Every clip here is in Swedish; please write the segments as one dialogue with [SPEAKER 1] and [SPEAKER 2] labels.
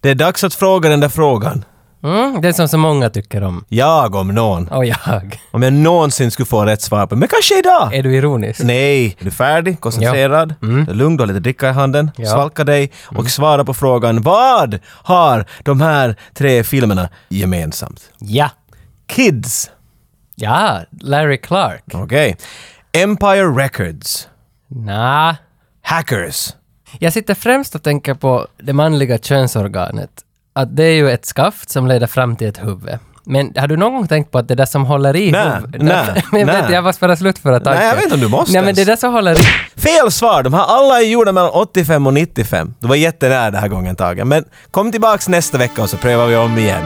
[SPEAKER 1] Det är dags att fråga den där frågan.
[SPEAKER 2] Mm, den som så många tycker om.
[SPEAKER 1] Jag om någon.
[SPEAKER 2] Och jag.
[SPEAKER 1] Om jag någonsin skulle få rätt svar på Men kanske idag!
[SPEAKER 2] Är du ironisk?
[SPEAKER 1] Nej. Är du färdig? Koncentrerad?
[SPEAKER 2] Mm.
[SPEAKER 1] Du är lugn, du har lite dricka i handen.
[SPEAKER 2] Ja. Mm.
[SPEAKER 1] Svalka dig och svara på frågan Vad har de här tre filmerna gemensamt?
[SPEAKER 2] Ja.
[SPEAKER 1] Kids.
[SPEAKER 2] Ja, Larry Clark.
[SPEAKER 1] Okej. Empire Records.
[SPEAKER 2] Nja.
[SPEAKER 1] Hackers.
[SPEAKER 2] Jag sitter främst och tänker på det manliga könsorganet. Att det är ju ett skaft som leder fram till ett huvud. Men har du någon gång tänkt på att det där som håller i
[SPEAKER 1] Nej,
[SPEAKER 2] huvudet...
[SPEAKER 1] nej,
[SPEAKER 2] Men jag vet
[SPEAKER 1] nej.
[SPEAKER 2] inte, jag var bara slut för att
[SPEAKER 1] Nej, jag vet inte om du måste
[SPEAKER 2] Nej, men
[SPEAKER 1] ens.
[SPEAKER 2] det där som håller i...
[SPEAKER 1] Fel svar! De här alla är gjorda mellan 85 och 95. Du var jättenära den här gången Tage. Men kom tillbaks nästa vecka och så prövar vi om igen.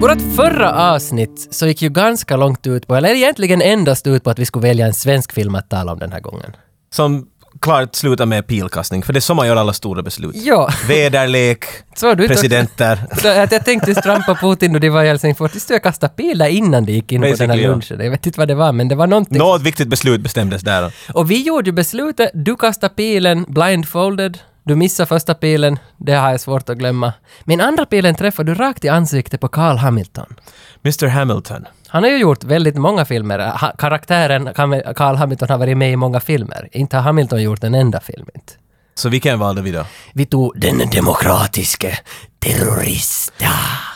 [SPEAKER 2] Vårt förra avsnitt så gick ju ganska långt ut på, eller egentligen endast ut på att vi skulle välja en svensk film att tala om den här gången.
[SPEAKER 1] Som klart slutar med pilkastning, för det är så man gör alla stora beslut.
[SPEAKER 2] Ja.
[SPEAKER 1] Väderlek,
[SPEAKER 2] Så du
[SPEAKER 1] presidenter.
[SPEAKER 2] Så att jag tänkte just trampa Putin och det var i Helsingfors. Visst du jag kastade pil där innan det gick in på den här
[SPEAKER 1] Basically, ja.
[SPEAKER 2] lunchen? Jag vet inte vad det var, men det var någonting.
[SPEAKER 1] Något viktigt beslut bestämdes där.
[SPEAKER 2] Och vi gjorde ju beslutet, du kastade pilen blindfolded, du missade första pilen, det har jag svårt att glömma. Men andra pilen träffade du rakt i ansiktet på Carl Hamilton.
[SPEAKER 1] Mr Hamilton.
[SPEAKER 2] Han har ju gjort väldigt många filmer. Ha, karaktären Kam- Carl Hamilton har varit med i många filmer. Inte har Hamilton gjort en enda film inte.
[SPEAKER 1] Så vilken valde vi då?
[SPEAKER 2] Vi tog den demokratiske terrorista.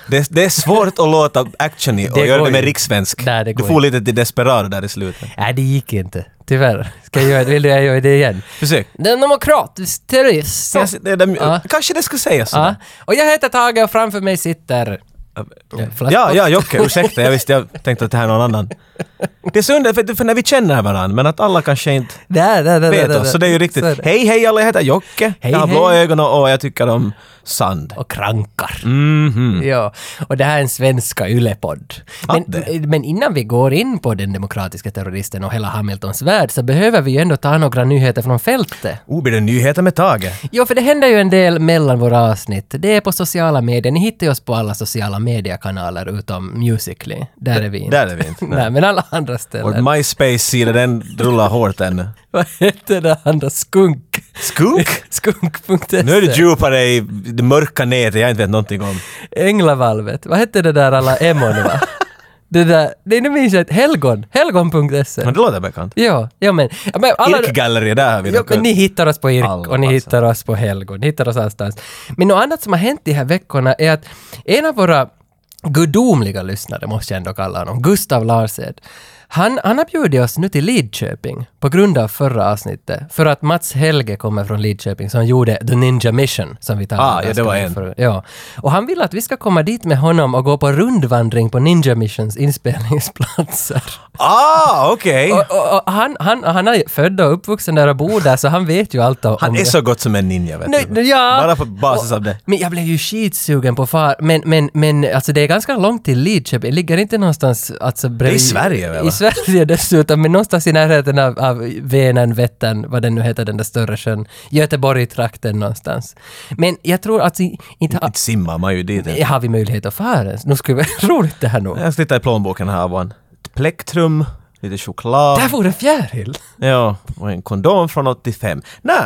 [SPEAKER 1] Det, det är svårt att låta actionig och
[SPEAKER 2] Det
[SPEAKER 1] göra
[SPEAKER 2] går
[SPEAKER 1] det med
[SPEAKER 2] ju.
[SPEAKER 1] rikssvensk.
[SPEAKER 2] Nej, det
[SPEAKER 1] Du
[SPEAKER 2] går
[SPEAKER 1] får lite till desperado där i slutet.
[SPEAKER 2] Nej, det gick inte. Tyvärr. Ska jag göra, vill jag göra det igen?
[SPEAKER 1] Försök.
[SPEAKER 2] Den demokratisk terrorist.
[SPEAKER 1] Jag, det, det,
[SPEAKER 2] Ja.
[SPEAKER 1] Kanske det skulle sägas
[SPEAKER 2] Ja.
[SPEAKER 1] sådär.
[SPEAKER 2] Och jag heter Tage och framför mig sitter... Flaskpost.
[SPEAKER 1] Ja, ja, Jocke, ursäkta. Jag visste, jag tänkte att det här är någon annan. Det är så underligt, för, för när vi känner varandra, men att alla kanske inte
[SPEAKER 2] Där, där, där, där,
[SPEAKER 1] vet
[SPEAKER 2] där.
[SPEAKER 1] oss. Så det är ju riktigt.
[SPEAKER 2] Så är det.
[SPEAKER 1] Hej, hej alla, jag heter Jocke.
[SPEAKER 2] Hej,
[SPEAKER 1] jag har blå
[SPEAKER 2] hej.
[SPEAKER 1] ögon och, och jag tycker om sand.
[SPEAKER 2] Och krankar.
[SPEAKER 1] Mhm.
[SPEAKER 2] Ja, och det här är en svenska ylepodd. Men,
[SPEAKER 1] Att det.
[SPEAKER 2] men innan vi går in på den demokratiska terroristen och hela Hamiltons värld så behöver vi ju ändå ta några nyheter från fältet.
[SPEAKER 1] Oh, blir det nyheter med Tage?
[SPEAKER 2] Jo, för det händer ju en del mellan våra avsnitt. Det är på sociala medier. Ni hittar ju oss på alla sociala mediekanaler utom Musically. Där är vi inte.
[SPEAKER 1] Där är vi inte.
[SPEAKER 2] Nej, men alla andra ställen.
[SPEAKER 1] Vår MySpace-sida, den rullar hårt ännu.
[SPEAKER 2] Vad heter det andra? Skunk?
[SPEAKER 1] Skunk?
[SPEAKER 2] Skunk.se.
[SPEAKER 1] Nu är du djupare i det mörka nätet jag inte vet någonting om.
[SPEAKER 2] Änglavalvet. Vad hette det där alla emon va? det där, det nu minns jag inte. Helgon. Helgon.se.
[SPEAKER 1] Men det låter bekant.
[SPEAKER 2] Ja, ja men. ja, men alla,
[SPEAKER 1] Irkgalleriet, där har vi
[SPEAKER 2] ja,
[SPEAKER 1] något.
[SPEAKER 2] men ni hittar oss på Irk
[SPEAKER 1] Alla,
[SPEAKER 2] och ni
[SPEAKER 1] alltså.
[SPEAKER 2] hittar oss på Helgon. Ni hittar oss allstans. Men något annat som har hänt de här veckorna är att en av våra gudomliga lyssnare, måste jag ändå kalla honom, Gustav Larsed, han, han har bjudit oss nu till Lidköping på grund av förra avsnittet. För att Mats Helge kommer från Lidköping som gjorde The Ninja Mission som vi talade
[SPEAKER 1] Ah, ja, det
[SPEAKER 2] ganska
[SPEAKER 1] var
[SPEAKER 2] mycket
[SPEAKER 1] en.
[SPEAKER 2] förut. Ja. Och han vill att vi ska komma dit med honom och gå på rundvandring på Ninja Missions inspelningsplatser.
[SPEAKER 1] Ah, okej!
[SPEAKER 2] Och, och, och han, han, han är född och uppvuxen där och bor där, så han vet ju allt om
[SPEAKER 1] Han
[SPEAKER 2] om
[SPEAKER 1] är
[SPEAKER 2] det.
[SPEAKER 1] så gott som en ninja, vet
[SPEAKER 2] Nej,
[SPEAKER 1] du.
[SPEAKER 2] ja.
[SPEAKER 1] Bara på basis av det.
[SPEAKER 2] Men jag blev ju skitsugen på far. Men, men, men alltså det är ganska långt till Lidköping. Ligger inte någonstans alltså bredvid...
[SPEAKER 1] Sverige, väl, va?
[SPEAKER 2] I Sverige dessutom, men någonstans i närheten av, av Vänern, Vättern, vad den nu heter, den där större sjön. Göteborg-trakten någonstans. Men jag tror alltså inte... Ha,
[SPEAKER 1] Inte simmar man ju dit. ens.
[SPEAKER 2] har vi möjlighet att fara ens? Nu skulle det vara roligt det här nog.
[SPEAKER 1] Jag ska titta i plånboken här var en ett plektrum, lite choklad.
[SPEAKER 2] Där vore en fjäril!
[SPEAKER 1] Ja, och en kondom från 85. Nej,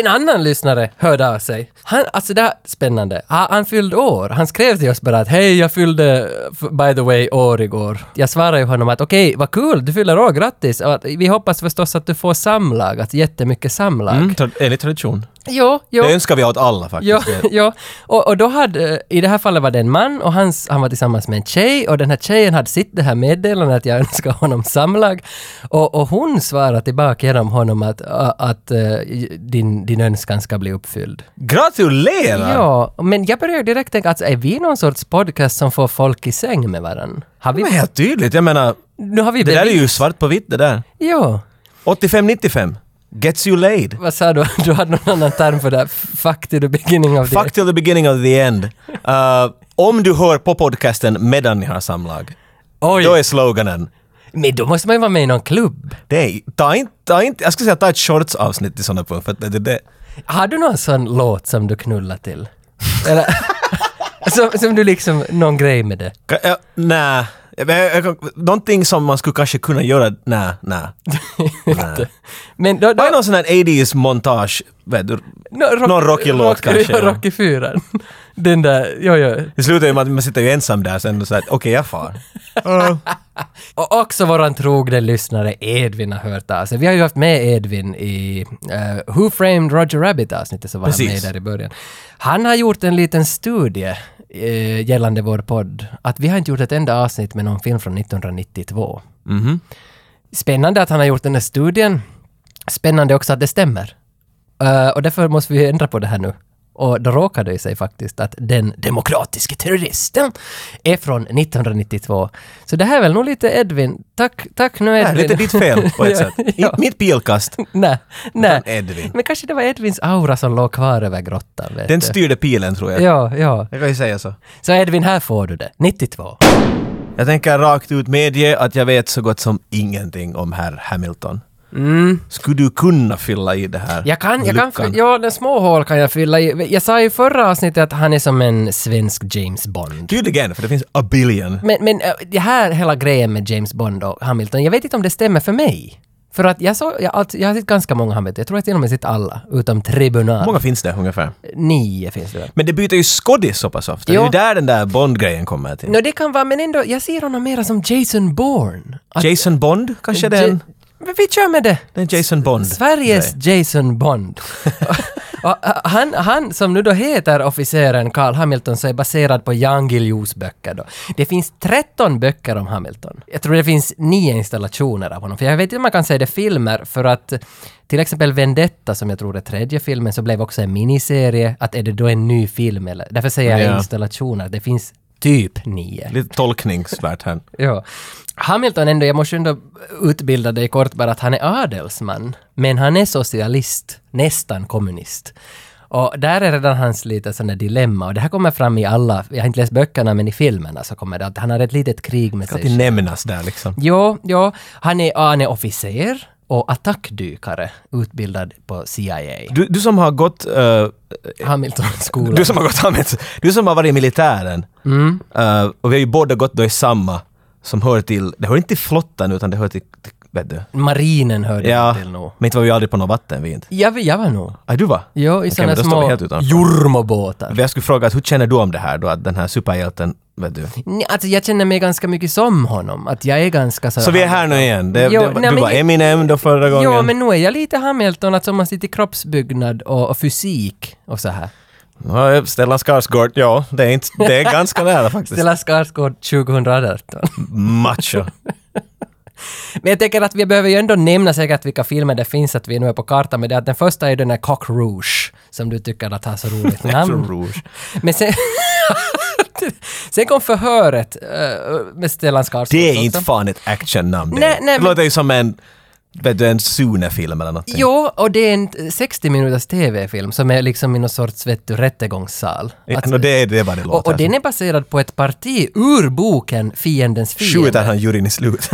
[SPEAKER 2] En annan lyssnare hörde av sig. Han, alltså det här, spännande. Han, han fyllde år. Han skrev till oss bara att hej, jag fyllde f- by the way år igår. Jag svarade ju honom att okej, vad kul, du fyller år, grattis! Och att, vi hoppas förstås att du får samlag, alltså jättemycket samlag.
[SPEAKER 1] mm, tra- enligt tradition.
[SPEAKER 2] Jo, jo.
[SPEAKER 1] Det önskar vi åt alla
[SPEAKER 2] Ja,
[SPEAKER 1] faktiskt.
[SPEAKER 2] ja. Och, och då hade, i det här fallet var det en man och hans, han var tillsammans med en tjej och den här tjejen hade sitt det här meddelandet att jag önskar honom samlag och, och hon svarade tillbaka genom honom att, att eh, din, din önskan ska bli uppfylld.
[SPEAKER 1] Gratulerar!
[SPEAKER 2] Ja, men jag började direkt tänka, alltså, är vi någon sorts podcast som får folk i säng med varandra? Har vi,
[SPEAKER 1] Men helt tydligt, jag menar,
[SPEAKER 2] nu har vi
[SPEAKER 1] det där är
[SPEAKER 2] bevis.
[SPEAKER 1] ju svart på vitt det där.
[SPEAKER 2] Ja.
[SPEAKER 1] 85-95, gets you laid.
[SPEAKER 2] Vad sa du? Du hade någon annan term för det? här. Fuck to the beginning of the...
[SPEAKER 1] Fuck till the beginning of the end. Uh, Om du hör på podcasten medan ni har samlag,
[SPEAKER 2] Oj!
[SPEAKER 1] då är sloganen
[SPEAKER 2] Men då måste man ju vara med i någon klubb.
[SPEAKER 1] Nej, ta inte, ta inte, jag skulle säga ta ett shorts-avsnitt i sådana punkt, för att det, det, det,
[SPEAKER 2] Har du någon sån låt som du knullar till? Eller? som, som du liksom, någon grej med det?
[SPEAKER 1] Ka- ja, nä. Jag- jag- jag- Någonting som man skulle kanske kunna göra, nä, nä. Nä.
[SPEAKER 2] Men då,
[SPEAKER 1] Vad är
[SPEAKER 2] då,
[SPEAKER 1] någon sån här 80s montage, vet du?
[SPEAKER 2] nå, rock,
[SPEAKER 1] någon rockig låt kanske, ja.
[SPEAKER 2] Rocky 4. Den där, jo, jo.
[SPEAKER 1] Det slutar ju med att man sitter ju ensam där sen och så här, okej jag far. Uh.
[SPEAKER 2] Och också våran trogne lyssnare Edvin har hört av sig. Vi har ju haft med Edvin i eh, Who Framed Roger Rabbit-avsnittet som var han med
[SPEAKER 1] Precis.
[SPEAKER 2] där i början. Han har gjort en liten studie eh, gällande vår podd. Att vi har inte gjort ett enda avsnitt med någon film från 1992. Spännande att han har gjort den här studien. Spännande också att det stämmer. Eh, och därför måste vi ändra på det här nu. Och då råkar det ju sig faktiskt att den demokratiske terroristen är från 1992. Så det här är väl nog lite Edvin. Tack, tack nu
[SPEAKER 1] Det är
[SPEAKER 2] Edvin.
[SPEAKER 1] lite ditt fel på ett sätt.
[SPEAKER 2] ja.
[SPEAKER 1] Inte mitt pilkast,
[SPEAKER 2] Nej, nej.
[SPEAKER 1] utan Edvin.
[SPEAKER 2] Men kanske det var Edvins aura som låg kvar över grottan. Vet
[SPEAKER 1] Den
[SPEAKER 2] du.
[SPEAKER 1] styrde pilen tror jag.
[SPEAKER 2] Ja, ja.
[SPEAKER 1] Jag kan ju säga så.
[SPEAKER 2] Så Edvin, här får du det. 92.
[SPEAKER 1] Jag tänker rakt ut medge att jag vet så gott som ingenting om herr Hamilton. Skulle du kunna fylla i det här
[SPEAKER 2] Mm. Jag kan, jag kan,
[SPEAKER 1] luckan?
[SPEAKER 2] ja, den små hål kan jag fylla i. Jag sa ju i förra avsnittet att han är som en svensk James Bond.
[SPEAKER 1] Tydligen, för det finns a billion.
[SPEAKER 2] Men, men äh, det här hela grejen med James Bond och Hamilton, jag vet inte om det stämmer för mig. För att jag, så, jag, alltså, jag har sett ganska många Hamilton, jag tror att jag till och med sett alla, utom Tribunal.
[SPEAKER 1] Hur många finns det ungefär?
[SPEAKER 2] Nio finns det väl?
[SPEAKER 1] Men det byter ju skådis så pass ofta.
[SPEAKER 2] Jo.
[SPEAKER 1] Det är ju där den där Bond-grejen kommer till.
[SPEAKER 2] Nå det kan vara, men ändå, jag ser honom mera som Jason Bourne. Att-
[SPEAKER 1] Jason Bond kanske det är en?
[SPEAKER 2] Men vi kör med det!
[SPEAKER 1] Det är en Jason Bond.
[SPEAKER 2] Sveriges
[SPEAKER 1] grej.
[SPEAKER 2] Jason Bond. och, äh, han, han som nu då heter officeren Carl Hamilton så är baserad på Jan Guillous böcker då. Det finns 13 böcker om Hamilton. Jag tror det finns nio installationer av honom. För jag vet inte om man kan säga det är filmer för att till exempel Vendetta som jag tror är tredje filmen så blev också en miniserie. Att är det då en ny film eller? Därför säger jag
[SPEAKER 1] Ja.
[SPEAKER 2] installationer. Det finns typ nio.
[SPEAKER 1] Lite tolkningsvärt här.
[SPEAKER 2] Ja. Hamilton ändå, jag måste ändå utbilda dig kort bara att han är adelsman, men han är socialist, nästan kommunist. Och där är redan hans lite sådana dilemma och det här kommer fram i alla, jag har inte läst böckerna men i filmerna så kommer det att han har ett litet krig med
[SPEAKER 1] Ska
[SPEAKER 2] sig
[SPEAKER 1] inte nämnas där liksom.
[SPEAKER 2] Jo, jo, han är, han är officer och attackdykare, utbildad på CIA.
[SPEAKER 1] Du, du som har gått... eh,
[SPEAKER 2] Hamiltonskolan.
[SPEAKER 1] du som har gått Hamilton. Du som har varit i militären.
[SPEAKER 2] Mm.
[SPEAKER 1] eh, och vi har ju båda gått då i samma. Som hör till... Det hör inte till flottan utan det hör till... till vet du?
[SPEAKER 2] Marinen hörde
[SPEAKER 1] Ja.
[SPEAKER 2] jag till nog.
[SPEAKER 1] Men inte var vi aldrig på något vatten vi inte.
[SPEAKER 2] Jag, jag var nog.
[SPEAKER 1] Ah, du var?
[SPEAKER 2] Jo, i
[SPEAKER 1] Okej,
[SPEAKER 2] sådana
[SPEAKER 1] men då står vi
[SPEAKER 2] små
[SPEAKER 1] helt utanför.
[SPEAKER 2] jurmobåtar.
[SPEAKER 1] Jag skulle fråga att hur känner du om det här då? Att den här superhjälten... Vet du?
[SPEAKER 2] Nej, alltså jag känner mig ganska mycket som honom. Att jag är ganska så...
[SPEAKER 1] Så vi är här nu igen. Det,
[SPEAKER 2] Jo,
[SPEAKER 1] det,
[SPEAKER 2] nej,
[SPEAKER 1] du
[SPEAKER 2] men
[SPEAKER 1] var
[SPEAKER 2] ju-
[SPEAKER 1] Eminem då förra gången.
[SPEAKER 2] Jo, men nu är jag lite Hamilton, att som man sitter i kroppsbyggnad och, och fysik och så här.
[SPEAKER 1] Ja, Stellan Skarsgård, ja. Det är, inte, det är ganska nära faktiskt.
[SPEAKER 2] Stellan Skarsgård 2018.
[SPEAKER 1] Mm. Macho.
[SPEAKER 2] Men jag tänker att vi behöver ju ändå nämna säkert vilka filmer det finns att vi nu är på kartan med. Det är att den första är ju den här Cock Rouge, som du tycker att har så roligt namn.
[SPEAKER 1] Rouge.
[SPEAKER 2] Men sen... sen kom förhöret eh, med Stellan Skarsgård
[SPEAKER 1] Det är
[SPEAKER 2] också.
[SPEAKER 1] inte fan ett actionnamn. det.
[SPEAKER 2] Nej, nej,
[SPEAKER 1] det
[SPEAKER 2] men-
[SPEAKER 1] låter ju som en, vet du, en Sune-film eller någonting.
[SPEAKER 2] Jo, och det är en t- 60 minuters TV-film som är liksom i någon sorts vet du, rättegångssal.
[SPEAKER 1] Ja,
[SPEAKER 2] Att-
[SPEAKER 1] nå, det, är- det är vad det
[SPEAKER 2] och,
[SPEAKER 1] låter alltså-
[SPEAKER 2] och den
[SPEAKER 1] som.
[SPEAKER 2] är baserad på ett parti ur boken Fiendens
[SPEAKER 1] Skjuter
[SPEAKER 2] fiende.
[SPEAKER 1] han juryn i slutet.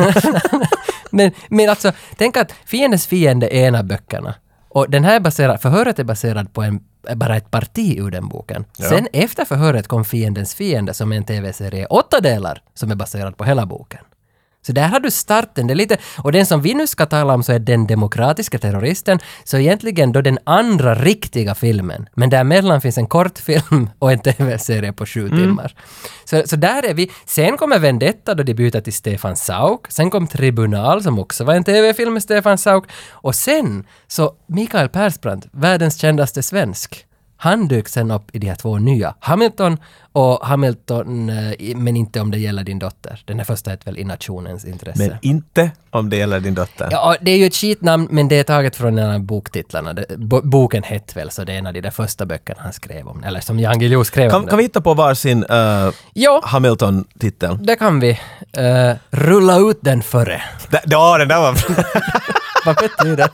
[SPEAKER 2] Men, men alltså, tänk att Fiendens fiende är en av böckerna. Och den här är baserad, förhöret är baserad på en, bara ett parti ur den boken. Sen efter förhöret kom Fiendens fiende som är en TV-serie i åtta delar som är baserad på hela boken. Så där har du starten. Det är lite, och den som vi nu ska tala om så är den demokratiska terroristen, så egentligen då den andra riktiga filmen. Men däremellan finns en kortfilm och en TV-serie på sju timmar. Så, så där är vi. Sen kommer Vendetta då de byter till Stefan Sauk. Sen kom Tribunal som också var en TV-film med Stefan Sauk. Och sen så Mikael Persbrandt, världens kändaste svensk. Han dök sen upp i de här två nya, Hamilton och Hamilton, eh, i- men inte om det gäller din dotter. Den här första heter väl I nationens intresse.
[SPEAKER 1] Men inte om det gäller din dotter.
[SPEAKER 2] Ja, och det är ju ett skitnamn, men det är taget från en av boktitlarna. Det, bo, boken hette väl, så det är en av de där första böckerna han skrev om, eller som Jan Guillou skrev om.
[SPEAKER 1] Kan, kan vi hitta på varsin uh,
[SPEAKER 2] Jo,
[SPEAKER 1] Hamilton-titel?
[SPEAKER 2] det kan vi. Eh, rulla ut den före.
[SPEAKER 1] Där- Ja, den där var...
[SPEAKER 2] Vad betyder det?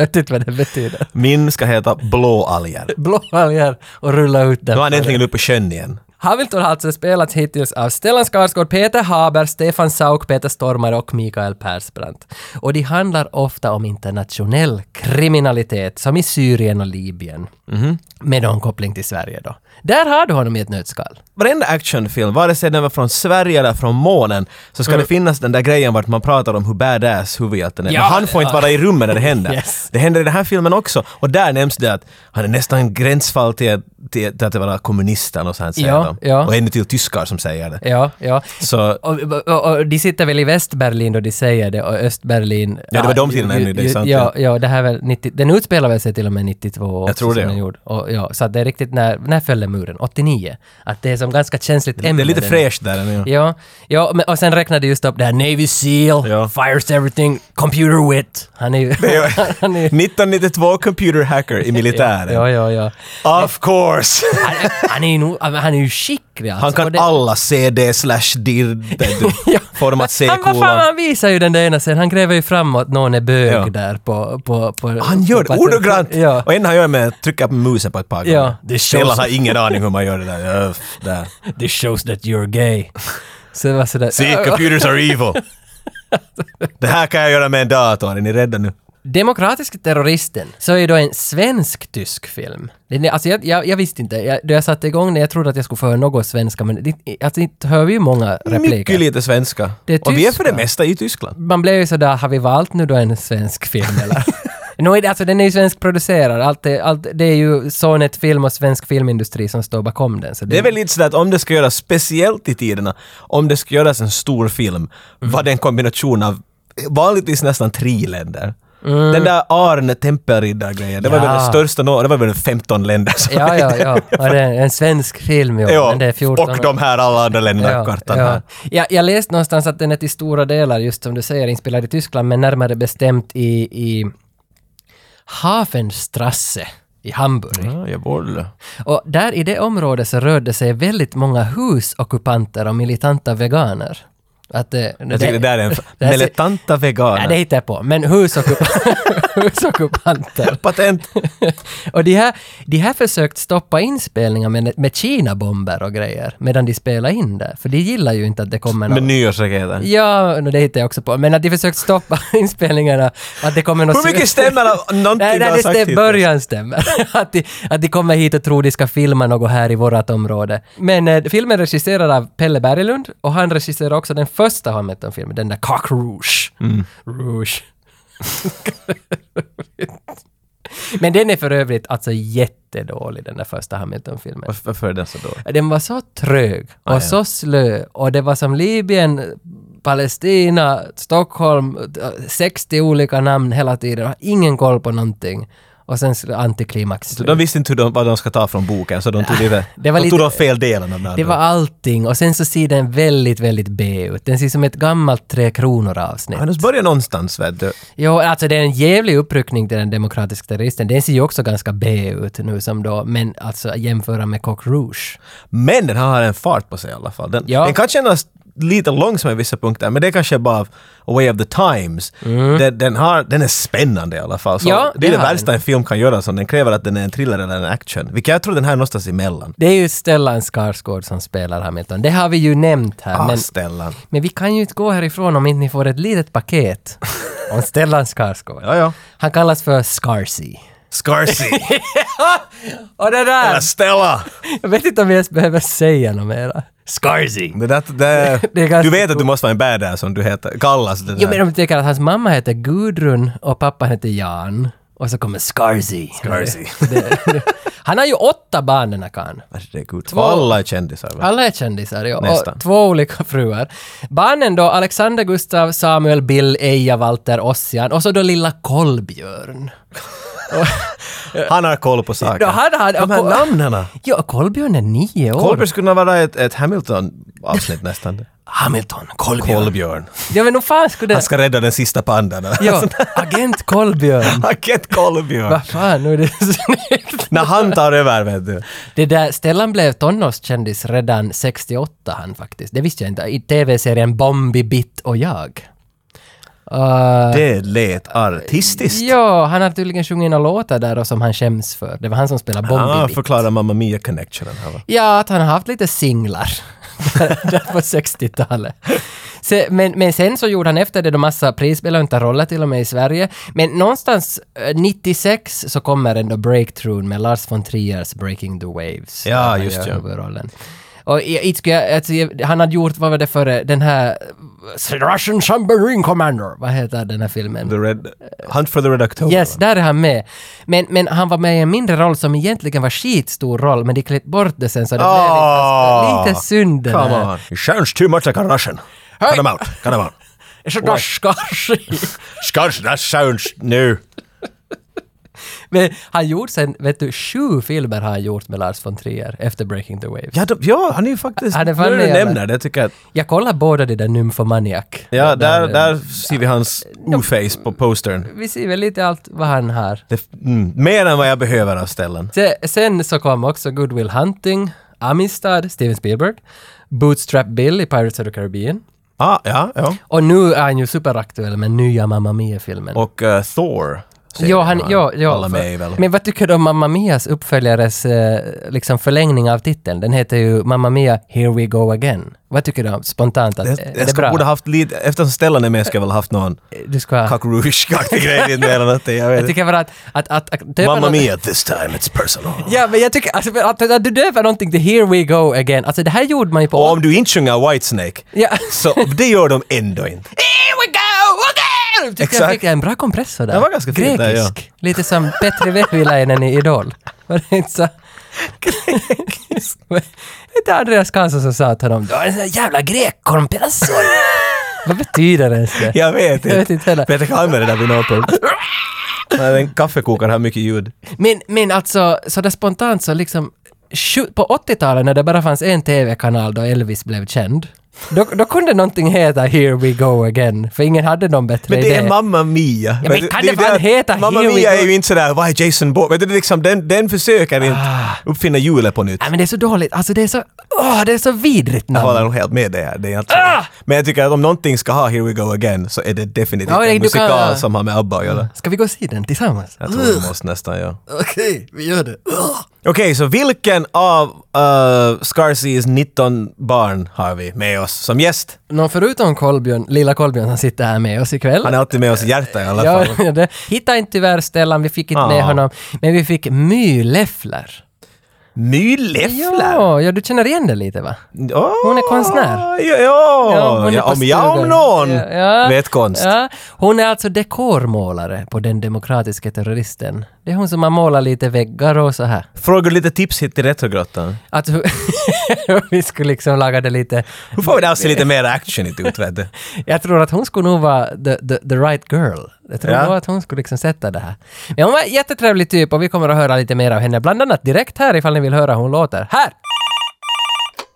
[SPEAKER 2] vet vad det betyder.
[SPEAKER 1] Min ska heta Blåalger.
[SPEAKER 2] Blåalger och rulla ut den.
[SPEAKER 1] Nu är han äntligen uppe på sjön igen.
[SPEAKER 2] Hamilton har alltså spelats hittills av Stellan Skarsgård, Peter Haber, Stefan Sauk, Peter Stormare och Mikael Persbrandt. Och de handlar ofta om internationell kriminalitet, som i Syrien och Libyen.
[SPEAKER 1] Mhm.
[SPEAKER 2] Med någon koppling till Sverige då. Där har du honom i ett nötskal.
[SPEAKER 1] Varenda actionfilm, vare sig den var från Sverige eller från månen, så ska det finnas den där grejen vart man pratar om hur badass huvudhjälten är.
[SPEAKER 2] Mm. Ja,
[SPEAKER 1] Men han får inte
[SPEAKER 2] ja.
[SPEAKER 1] vara i rummet när det händer.
[SPEAKER 2] Yes.
[SPEAKER 1] Det händer i den här filmen också. Och där nämns det att han är nästan gränsfall till, till, till att vara kommunisten och sånt säger
[SPEAKER 2] Ja,
[SPEAKER 1] de.
[SPEAKER 2] ja.
[SPEAKER 1] Och ännu till tyskar som säger det.
[SPEAKER 2] Ja, ja.
[SPEAKER 1] Så
[SPEAKER 2] Och, och, och de sitter väl i Västberlin då de säger det och Östberlin...
[SPEAKER 1] Ja, det var de tiderna ännu, det är sant,
[SPEAKER 2] Ja, ja, det här är väl 90, den utspelar väl sig till och med 92 också,
[SPEAKER 1] Jag tror det,
[SPEAKER 2] som den
[SPEAKER 1] ja.
[SPEAKER 2] gjorde. Och, ja, så att det är riktigt när, när föll den muren? 89? Att det är som ganska känsligt ämne.
[SPEAKER 1] det är lite
[SPEAKER 2] den-
[SPEAKER 1] fräscht där. ännu.
[SPEAKER 2] Ja, ja men, och sen räknade just upp det här Navy Seal,
[SPEAKER 1] Ja.
[SPEAKER 2] fires everything, computer wit. Han är ju... han är ju
[SPEAKER 1] 1992 computer hacker i militären.
[SPEAKER 2] ja, ja, ja.
[SPEAKER 1] Of course!
[SPEAKER 2] Han, är- han är ju nog- han är ju skicklig alltså.
[SPEAKER 1] Han
[SPEAKER 2] Och
[SPEAKER 1] kan
[SPEAKER 2] det-
[SPEAKER 1] alla CD slash dir...
[SPEAKER 2] Ja.
[SPEAKER 1] Format
[SPEAKER 2] Han, vad fan,
[SPEAKER 1] C-kolan.
[SPEAKER 2] han visar ju den där ena scenen, han gräver ju fram att någon är bög
[SPEAKER 1] Ja.
[SPEAKER 2] där på... på, på
[SPEAKER 1] Han
[SPEAKER 2] på
[SPEAKER 1] gör det
[SPEAKER 2] patrull-
[SPEAKER 1] ordagrant!
[SPEAKER 2] Ja.
[SPEAKER 1] Och en han gör med att trycka på musen på ett par gånger.
[SPEAKER 2] Det shows-
[SPEAKER 1] Sällan har ingen aning hur man gör det där. Öff, där.
[SPEAKER 2] This shows that you're gay. Så det var sådär...
[SPEAKER 1] See, computers are evil! Det här kan jag göra med en dator, är ni rädda nu?
[SPEAKER 2] Demokratiska terroristen, så är då en svensk-tysk film. Den är- Alltså jag, jag, jag visste inte, jag, då jag satte igång den, jag trodde att jag skulle få höra något svenska, men det, alltså, inte hör vi ju många repliker.
[SPEAKER 1] Mycket lite svenska.
[SPEAKER 2] Det är
[SPEAKER 1] Och vi är för det
[SPEAKER 2] tyska.
[SPEAKER 1] mesta i Tyskland.
[SPEAKER 2] Man blev ju sådär, har vi valt nu då en svensk film eller? Nå, är det- alltså den är ju svenskproducerad. Allt är, allt, det är ju Sonet Film och svensk filmindustri som står bakom den. Så det,
[SPEAKER 1] Det är väl lite sådär att om det ska göras speciellt i tiderna, om det ska göras en stor film,
[SPEAKER 2] Mm.
[SPEAKER 1] var det en kombination av vanligtvis nästan tre länder. Den där Arne Tempelriddar-grejen, det var väl
[SPEAKER 2] Mm. Ja.
[SPEAKER 1] den största nå- det var väl 15 länder som
[SPEAKER 2] Ja, ja, ja. ja det är en svensk film, ja.
[SPEAKER 1] Ja,
[SPEAKER 2] men det är 14
[SPEAKER 1] och de här alla andra länderna på
[SPEAKER 2] Ja,
[SPEAKER 1] kartan
[SPEAKER 2] ja.
[SPEAKER 1] här.
[SPEAKER 2] Jag, jag läste någonstans att den är till stora delar, just som du säger, inspelad i Tyskland, men närmare bestämt i, i Hafenstrasse i Hamburg.
[SPEAKER 1] Ja, jag borde.
[SPEAKER 2] Och där i det området så rörde sig väldigt många husockupanter och militanta veganer. Att eh, det,
[SPEAKER 1] Jag tycker det där är en...
[SPEAKER 2] det här ser-
[SPEAKER 1] Militanta veganer.
[SPEAKER 2] Nej, det hittar jag på. Men husockup- husockupanter.
[SPEAKER 1] Patent!
[SPEAKER 2] och de här, de här försökt stoppa inspelningar med, med Kina-bomber och grejer medan de spelar in det. För de gillar ju inte att det kommer någon...
[SPEAKER 1] Med nyårsraketer.
[SPEAKER 2] Ja, no, det hittar jag också på. Men att de försökt stoppa inspelningarna, att det kommer något...
[SPEAKER 1] Hur mycket stämmer av någonting
[SPEAKER 2] Nej,
[SPEAKER 1] du
[SPEAKER 2] nej
[SPEAKER 1] har sagt
[SPEAKER 2] det stämmer,
[SPEAKER 1] hittills?
[SPEAKER 2] början stämmer. att, de, att de kommer hit och tror de ska filma något här i vårt område. Men eh, filmen regisserad av Pelle Berglund och han regisserar också den första Hamilton-filmen, den där Cock Rouge.
[SPEAKER 1] Mm.
[SPEAKER 2] Rouge. Men den är för övrigt alltså jättedålig, den där första Hamilton-filmen.
[SPEAKER 1] Varför- Varför är den så dålig?
[SPEAKER 2] Den var så trög
[SPEAKER 1] Ah,
[SPEAKER 2] och så slö och det var som Libyen, Palestina, Stockholm, eh, 60 olika namn hela tiden och ingen koll på någonting. Och sen sl- antiklimax.
[SPEAKER 1] Så
[SPEAKER 2] slut.
[SPEAKER 1] De visste inte hur de, vad de ska ta från boken, så de tog, det,
[SPEAKER 2] det var
[SPEAKER 1] de,
[SPEAKER 2] lite-
[SPEAKER 1] tog de fel delen av den.
[SPEAKER 2] Det var allting och sen så ser den väldigt, väldigt B ut. Den ser som ett gammalt Tre Kronor avsnitt.
[SPEAKER 1] Han måste börja någonstans, vet du.
[SPEAKER 2] Jo, alltså det är en jävlig uppryckning till den demokratiska terroristen. Den ser ju också ganska B ut nu som då, men alltså jämföra med Coq Rouge.
[SPEAKER 1] Men den har en fart på sig i alla fall. Den,
[SPEAKER 2] Ja.
[SPEAKER 1] den kan kännas lite långsam i vissa punkter, men det kanske är bara av a way of the times. Den, den, har, den är spännande i alla fall. Så
[SPEAKER 2] Mm. Ja,
[SPEAKER 1] det är
[SPEAKER 2] det
[SPEAKER 1] det
[SPEAKER 2] har
[SPEAKER 1] värsta en film kan göra, som den kräver att den är en thriller eller en action. Vilket jag tror den här är någonstans emellan.
[SPEAKER 2] Det är ju Stellan Skarsgård som spelar Hamilton. Det har vi ju nämnt här.
[SPEAKER 1] Ah,
[SPEAKER 2] men,
[SPEAKER 1] Stellan.
[SPEAKER 2] Men vi kan ju inte gå härifrån om inte ni får ett litet paket om Stellan Skarsgård.
[SPEAKER 1] Ja, ja.
[SPEAKER 2] Han kallas för Scarsy.
[SPEAKER 1] Scarcy.
[SPEAKER 2] Och det
[SPEAKER 1] Eller
[SPEAKER 2] där!
[SPEAKER 1] Stella!
[SPEAKER 2] Jag vet inte om vi ens behöver säga något mera. Scarsy!
[SPEAKER 1] Det där, det,
[SPEAKER 2] Det är ganska
[SPEAKER 1] du vet att du måste vara en badass som du heter, kallas det där.
[SPEAKER 2] Jo, men de tycker att hans mamma heter Gudrun och pappa heter Jan. Och så kommer Scarsy.
[SPEAKER 1] Scarsy.
[SPEAKER 2] Det- det- Han har ju åtta barn den här karln.
[SPEAKER 1] Herregud. Alla är kändisar. va?
[SPEAKER 2] Alla är kändisar, ja.
[SPEAKER 1] Nästan.
[SPEAKER 2] Och två olika fruar. Barnen då, Alexander, Gustav, Samuel, Bill, Eija, Walter, Ossian och så då lilla Kolbjörn.
[SPEAKER 1] Han har koll på saker.
[SPEAKER 2] Då hade han...
[SPEAKER 1] De här namnen!
[SPEAKER 2] Ja, och Kolbjörn är nio år.
[SPEAKER 1] Kolbjörn skulle kunna vara ett, ett Hamilton-avsnitt nästan.
[SPEAKER 2] Hamilton, Kolbjörn.
[SPEAKER 1] Kolbjörn. Alltså,
[SPEAKER 2] ja, men nog fan skulle
[SPEAKER 1] Han
[SPEAKER 2] det...
[SPEAKER 1] ska rädda den sista pandan.
[SPEAKER 2] Ja,
[SPEAKER 1] alltså,
[SPEAKER 2] agent Kolbjörn.
[SPEAKER 1] Agent Kolbjörn.
[SPEAKER 2] Vad fan, nu är det snyggt.
[SPEAKER 1] När han tar över, vet du.
[SPEAKER 2] Det där, Stellan blev tonårskändis redan 68 han faktiskt. Det visste jag inte. I tv-serien Bombi, Bitt och jag. Uh,
[SPEAKER 1] Det lät artistiskt.
[SPEAKER 2] Ja, han har tydligen sjungit några låtar där och som han skäms för. Det var han som spelade Bombi
[SPEAKER 1] ah,
[SPEAKER 2] Bitt.
[SPEAKER 1] förklara Mamma Mia-connectionen här va?
[SPEAKER 2] Ja, att han har haft lite singlar där på 60-talet. Se, men, men sen så gjorde han efter det då massa prisbelönta roller till och med i Sverige. Men någonstans eh, 96 så kommer ändå breakthroughen med Lars von Triers Breaking the Waves.
[SPEAKER 1] Ja,
[SPEAKER 2] där han
[SPEAKER 1] just
[SPEAKER 2] gör
[SPEAKER 1] ja.
[SPEAKER 2] Huvudrollen. Och i- inte skulle jag, alltså, jag- han hade gjort, vad var det före, den här eh, Russian Submarine Commander, vad heter den här filmen?
[SPEAKER 1] The Red... Hunt for the Red October.
[SPEAKER 2] Yes, där är han med. Men, men han var med i en mindre roll som egentligen var skitstor roll, men de klippte bort det sen så det blev lite,
[SPEAKER 1] Ah,
[SPEAKER 2] alltså, lite synd det
[SPEAKER 1] Come
[SPEAKER 2] där.
[SPEAKER 1] on. It sounds too much like a Russian. Cut them out. Cut them out.
[SPEAKER 2] Det är så ganska skit.
[SPEAKER 1] Scotch, that sounds new.
[SPEAKER 2] Men han gjorde sen, vet du, sju filmer har han gjort med Lars von Trier efter Breaking the Waves.
[SPEAKER 1] Ja, de, ja, han är ju faktiskt...
[SPEAKER 2] Han är fan
[SPEAKER 1] nu när du
[SPEAKER 2] med jävla-
[SPEAKER 1] nämner det, jag tycker att...
[SPEAKER 2] Jag kollar båda de där Nymphomaniac.
[SPEAKER 1] Ja, där, där ser vi hans o-face på postern.
[SPEAKER 2] Vi ser väl lite allt vad han har.
[SPEAKER 1] Det, mm, mer än vad jag behöver av ställen.
[SPEAKER 2] Se- Sen så kom också Good Will Hunting, Amistad, Steven Spielberg, Bootstrap Bill i Pirates of the Caribbean.
[SPEAKER 1] Ah, ja, ja.
[SPEAKER 2] Och nu är han ju superaktuell med nya Mamma Mia-filmen.
[SPEAKER 1] Och eh, Thor. säger
[SPEAKER 2] Ja, han, ja, ja,
[SPEAKER 1] Alla
[SPEAKER 2] för-
[SPEAKER 1] med i väl.
[SPEAKER 2] Men vad tycker du om Mamma Mias uppföljares eh, liksom förlängning av titeln? Den heter ju Mamma Mia Here We Go Again. Vad tycker du om spontant? Att,
[SPEAKER 1] jag
[SPEAKER 2] eh,
[SPEAKER 1] jag
[SPEAKER 2] det är
[SPEAKER 1] ska,
[SPEAKER 2] bra? Eh,
[SPEAKER 1] borde haft lite... Eftersom Stellan är med ska jag väl haft någon
[SPEAKER 2] Du ska,
[SPEAKER 1] Cock Rouge-aktig grej in där eller någonting. Jag vet
[SPEAKER 2] jag
[SPEAKER 1] inte.
[SPEAKER 2] tycker bara att... att, att, att döpa
[SPEAKER 1] Mamma
[SPEAKER 2] något-
[SPEAKER 1] Mia, this time it's personal.
[SPEAKER 2] Ja, men jag tycker alltså, att, att, att du döper någonting till Here We Go Again. Alltså det här gjorde man ju på...
[SPEAKER 1] Och om du inte sjunger Whitesnake,
[SPEAKER 2] Ja.
[SPEAKER 1] så det gör de ändå inte.
[SPEAKER 2] Here we go again! Tyckte jag
[SPEAKER 1] Exakt.
[SPEAKER 2] fick en bra kompressor där.
[SPEAKER 1] Det var ganska fint
[SPEAKER 2] Grekisk.
[SPEAKER 1] där, ja.
[SPEAKER 2] Lite som Petri Vehviläinen i Idol. Var det inte så? Grekisk. inte Andreas Karlsson som sa till honom du har en sån där jävla grekkompressor. Vad betyder det ens det?
[SPEAKER 1] Jag vet
[SPEAKER 2] Jag vet inte
[SPEAKER 1] inte.
[SPEAKER 2] heller.
[SPEAKER 1] Peter kan använda det där vid någon punkt. Nej, Den kaffekokaren har mycket ljud.
[SPEAKER 2] Men, men alltså, så där spontant så liksom, sju- på 80-talet när det bara fanns en TV-kanal då Elvis blev känd, då, då kunde någonting heta “Here we go again”, för ingen hade någon bättre
[SPEAKER 1] Men
[SPEAKER 2] idé.
[SPEAKER 1] det är Mamma Mia.
[SPEAKER 2] men kan det
[SPEAKER 1] är
[SPEAKER 2] fan
[SPEAKER 1] att
[SPEAKER 2] heta
[SPEAKER 1] Mamma
[SPEAKER 2] Here We
[SPEAKER 1] Mia
[SPEAKER 2] Go?
[SPEAKER 1] är ju inte sådär, vad är Jason Bourne? Men det är liksom, den, den försöker inte
[SPEAKER 2] Ah.
[SPEAKER 1] uppfinna hjulet på nytt.
[SPEAKER 2] Nej men det är så dåligt, alltså det är så, åh, det är så vidrigt
[SPEAKER 1] Jag
[SPEAKER 2] namn.
[SPEAKER 1] håller nog helt med dig här. Det är alltså,
[SPEAKER 2] Ah!
[SPEAKER 1] Men jag tycker att om någonting ska ha Here We Go Again så är det definitivt
[SPEAKER 2] Ja,
[SPEAKER 1] en
[SPEAKER 2] du kan-
[SPEAKER 1] musikal som har med ABBA att göra.
[SPEAKER 2] Ska vi gå och se den tillsammans?
[SPEAKER 1] Jag tror vi måste nästan ja.
[SPEAKER 2] Okej, vi gör det.
[SPEAKER 1] Okej, så vilken av uh, Scarseas 19 barn har vi med oss som gäst?
[SPEAKER 2] Någon förutom Kolbjörn, lilla Kolbjörn som sitter här med oss ikväll.
[SPEAKER 1] Han är alltid med oss i hjärtat i alla
[SPEAKER 2] Ja,
[SPEAKER 1] fall.
[SPEAKER 2] det. Hittade inte tyvärr Stellan, vi fick inte med
[SPEAKER 1] Ah.
[SPEAKER 2] honom. Men vi fick My Leffler.
[SPEAKER 1] My Leffler!
[SPEAKER 2] Ja, ja, du känner igen det lite va?
[SPEAKER 1] Åh,
[SPEAKER 2] Hon är konstnär.
[SPEAKER 1] Ja,
[SPEAKER 2] Ja,
[SPEAKER 1] ja.
[SPEAKER 2] hon är
[SPEAKER 1] ja
[SPEAKER 2] på
[SPEAKER 1] om jag om
[SPEAKER 2] stugan.
[SPEAKER 1] någon
[SPEAKER 2] Ja, ja.
[SPEAKER 1] vet konst.
[SPEAKER 2] Ja, hon är alltså dekormålare på den demokratiska terroristen. Det är hon som har målat lite väggar och så här.
[SPEAKER 1] Frågar lite tips hit till Retrogrottan.
[SPEAKER 2] Att hur- vi skulle liksom laga det lite...
[SPEAKER 1] Hur får vi det här att se lite mer actionigt ut vet du?
[SPEAKER 2] Jag tror att hon skulle nog vara the, the, the right girl. Jag tror
[SPEAKER 1] Ja.
[SPEAKER 2] nog att hon skulle liksom sätta det här. Men hon var en jättetrevlig typ och vi kommer att höra lite mer av henne. Bland annat direkt här ifall ni vill höra hur hon låter. Här!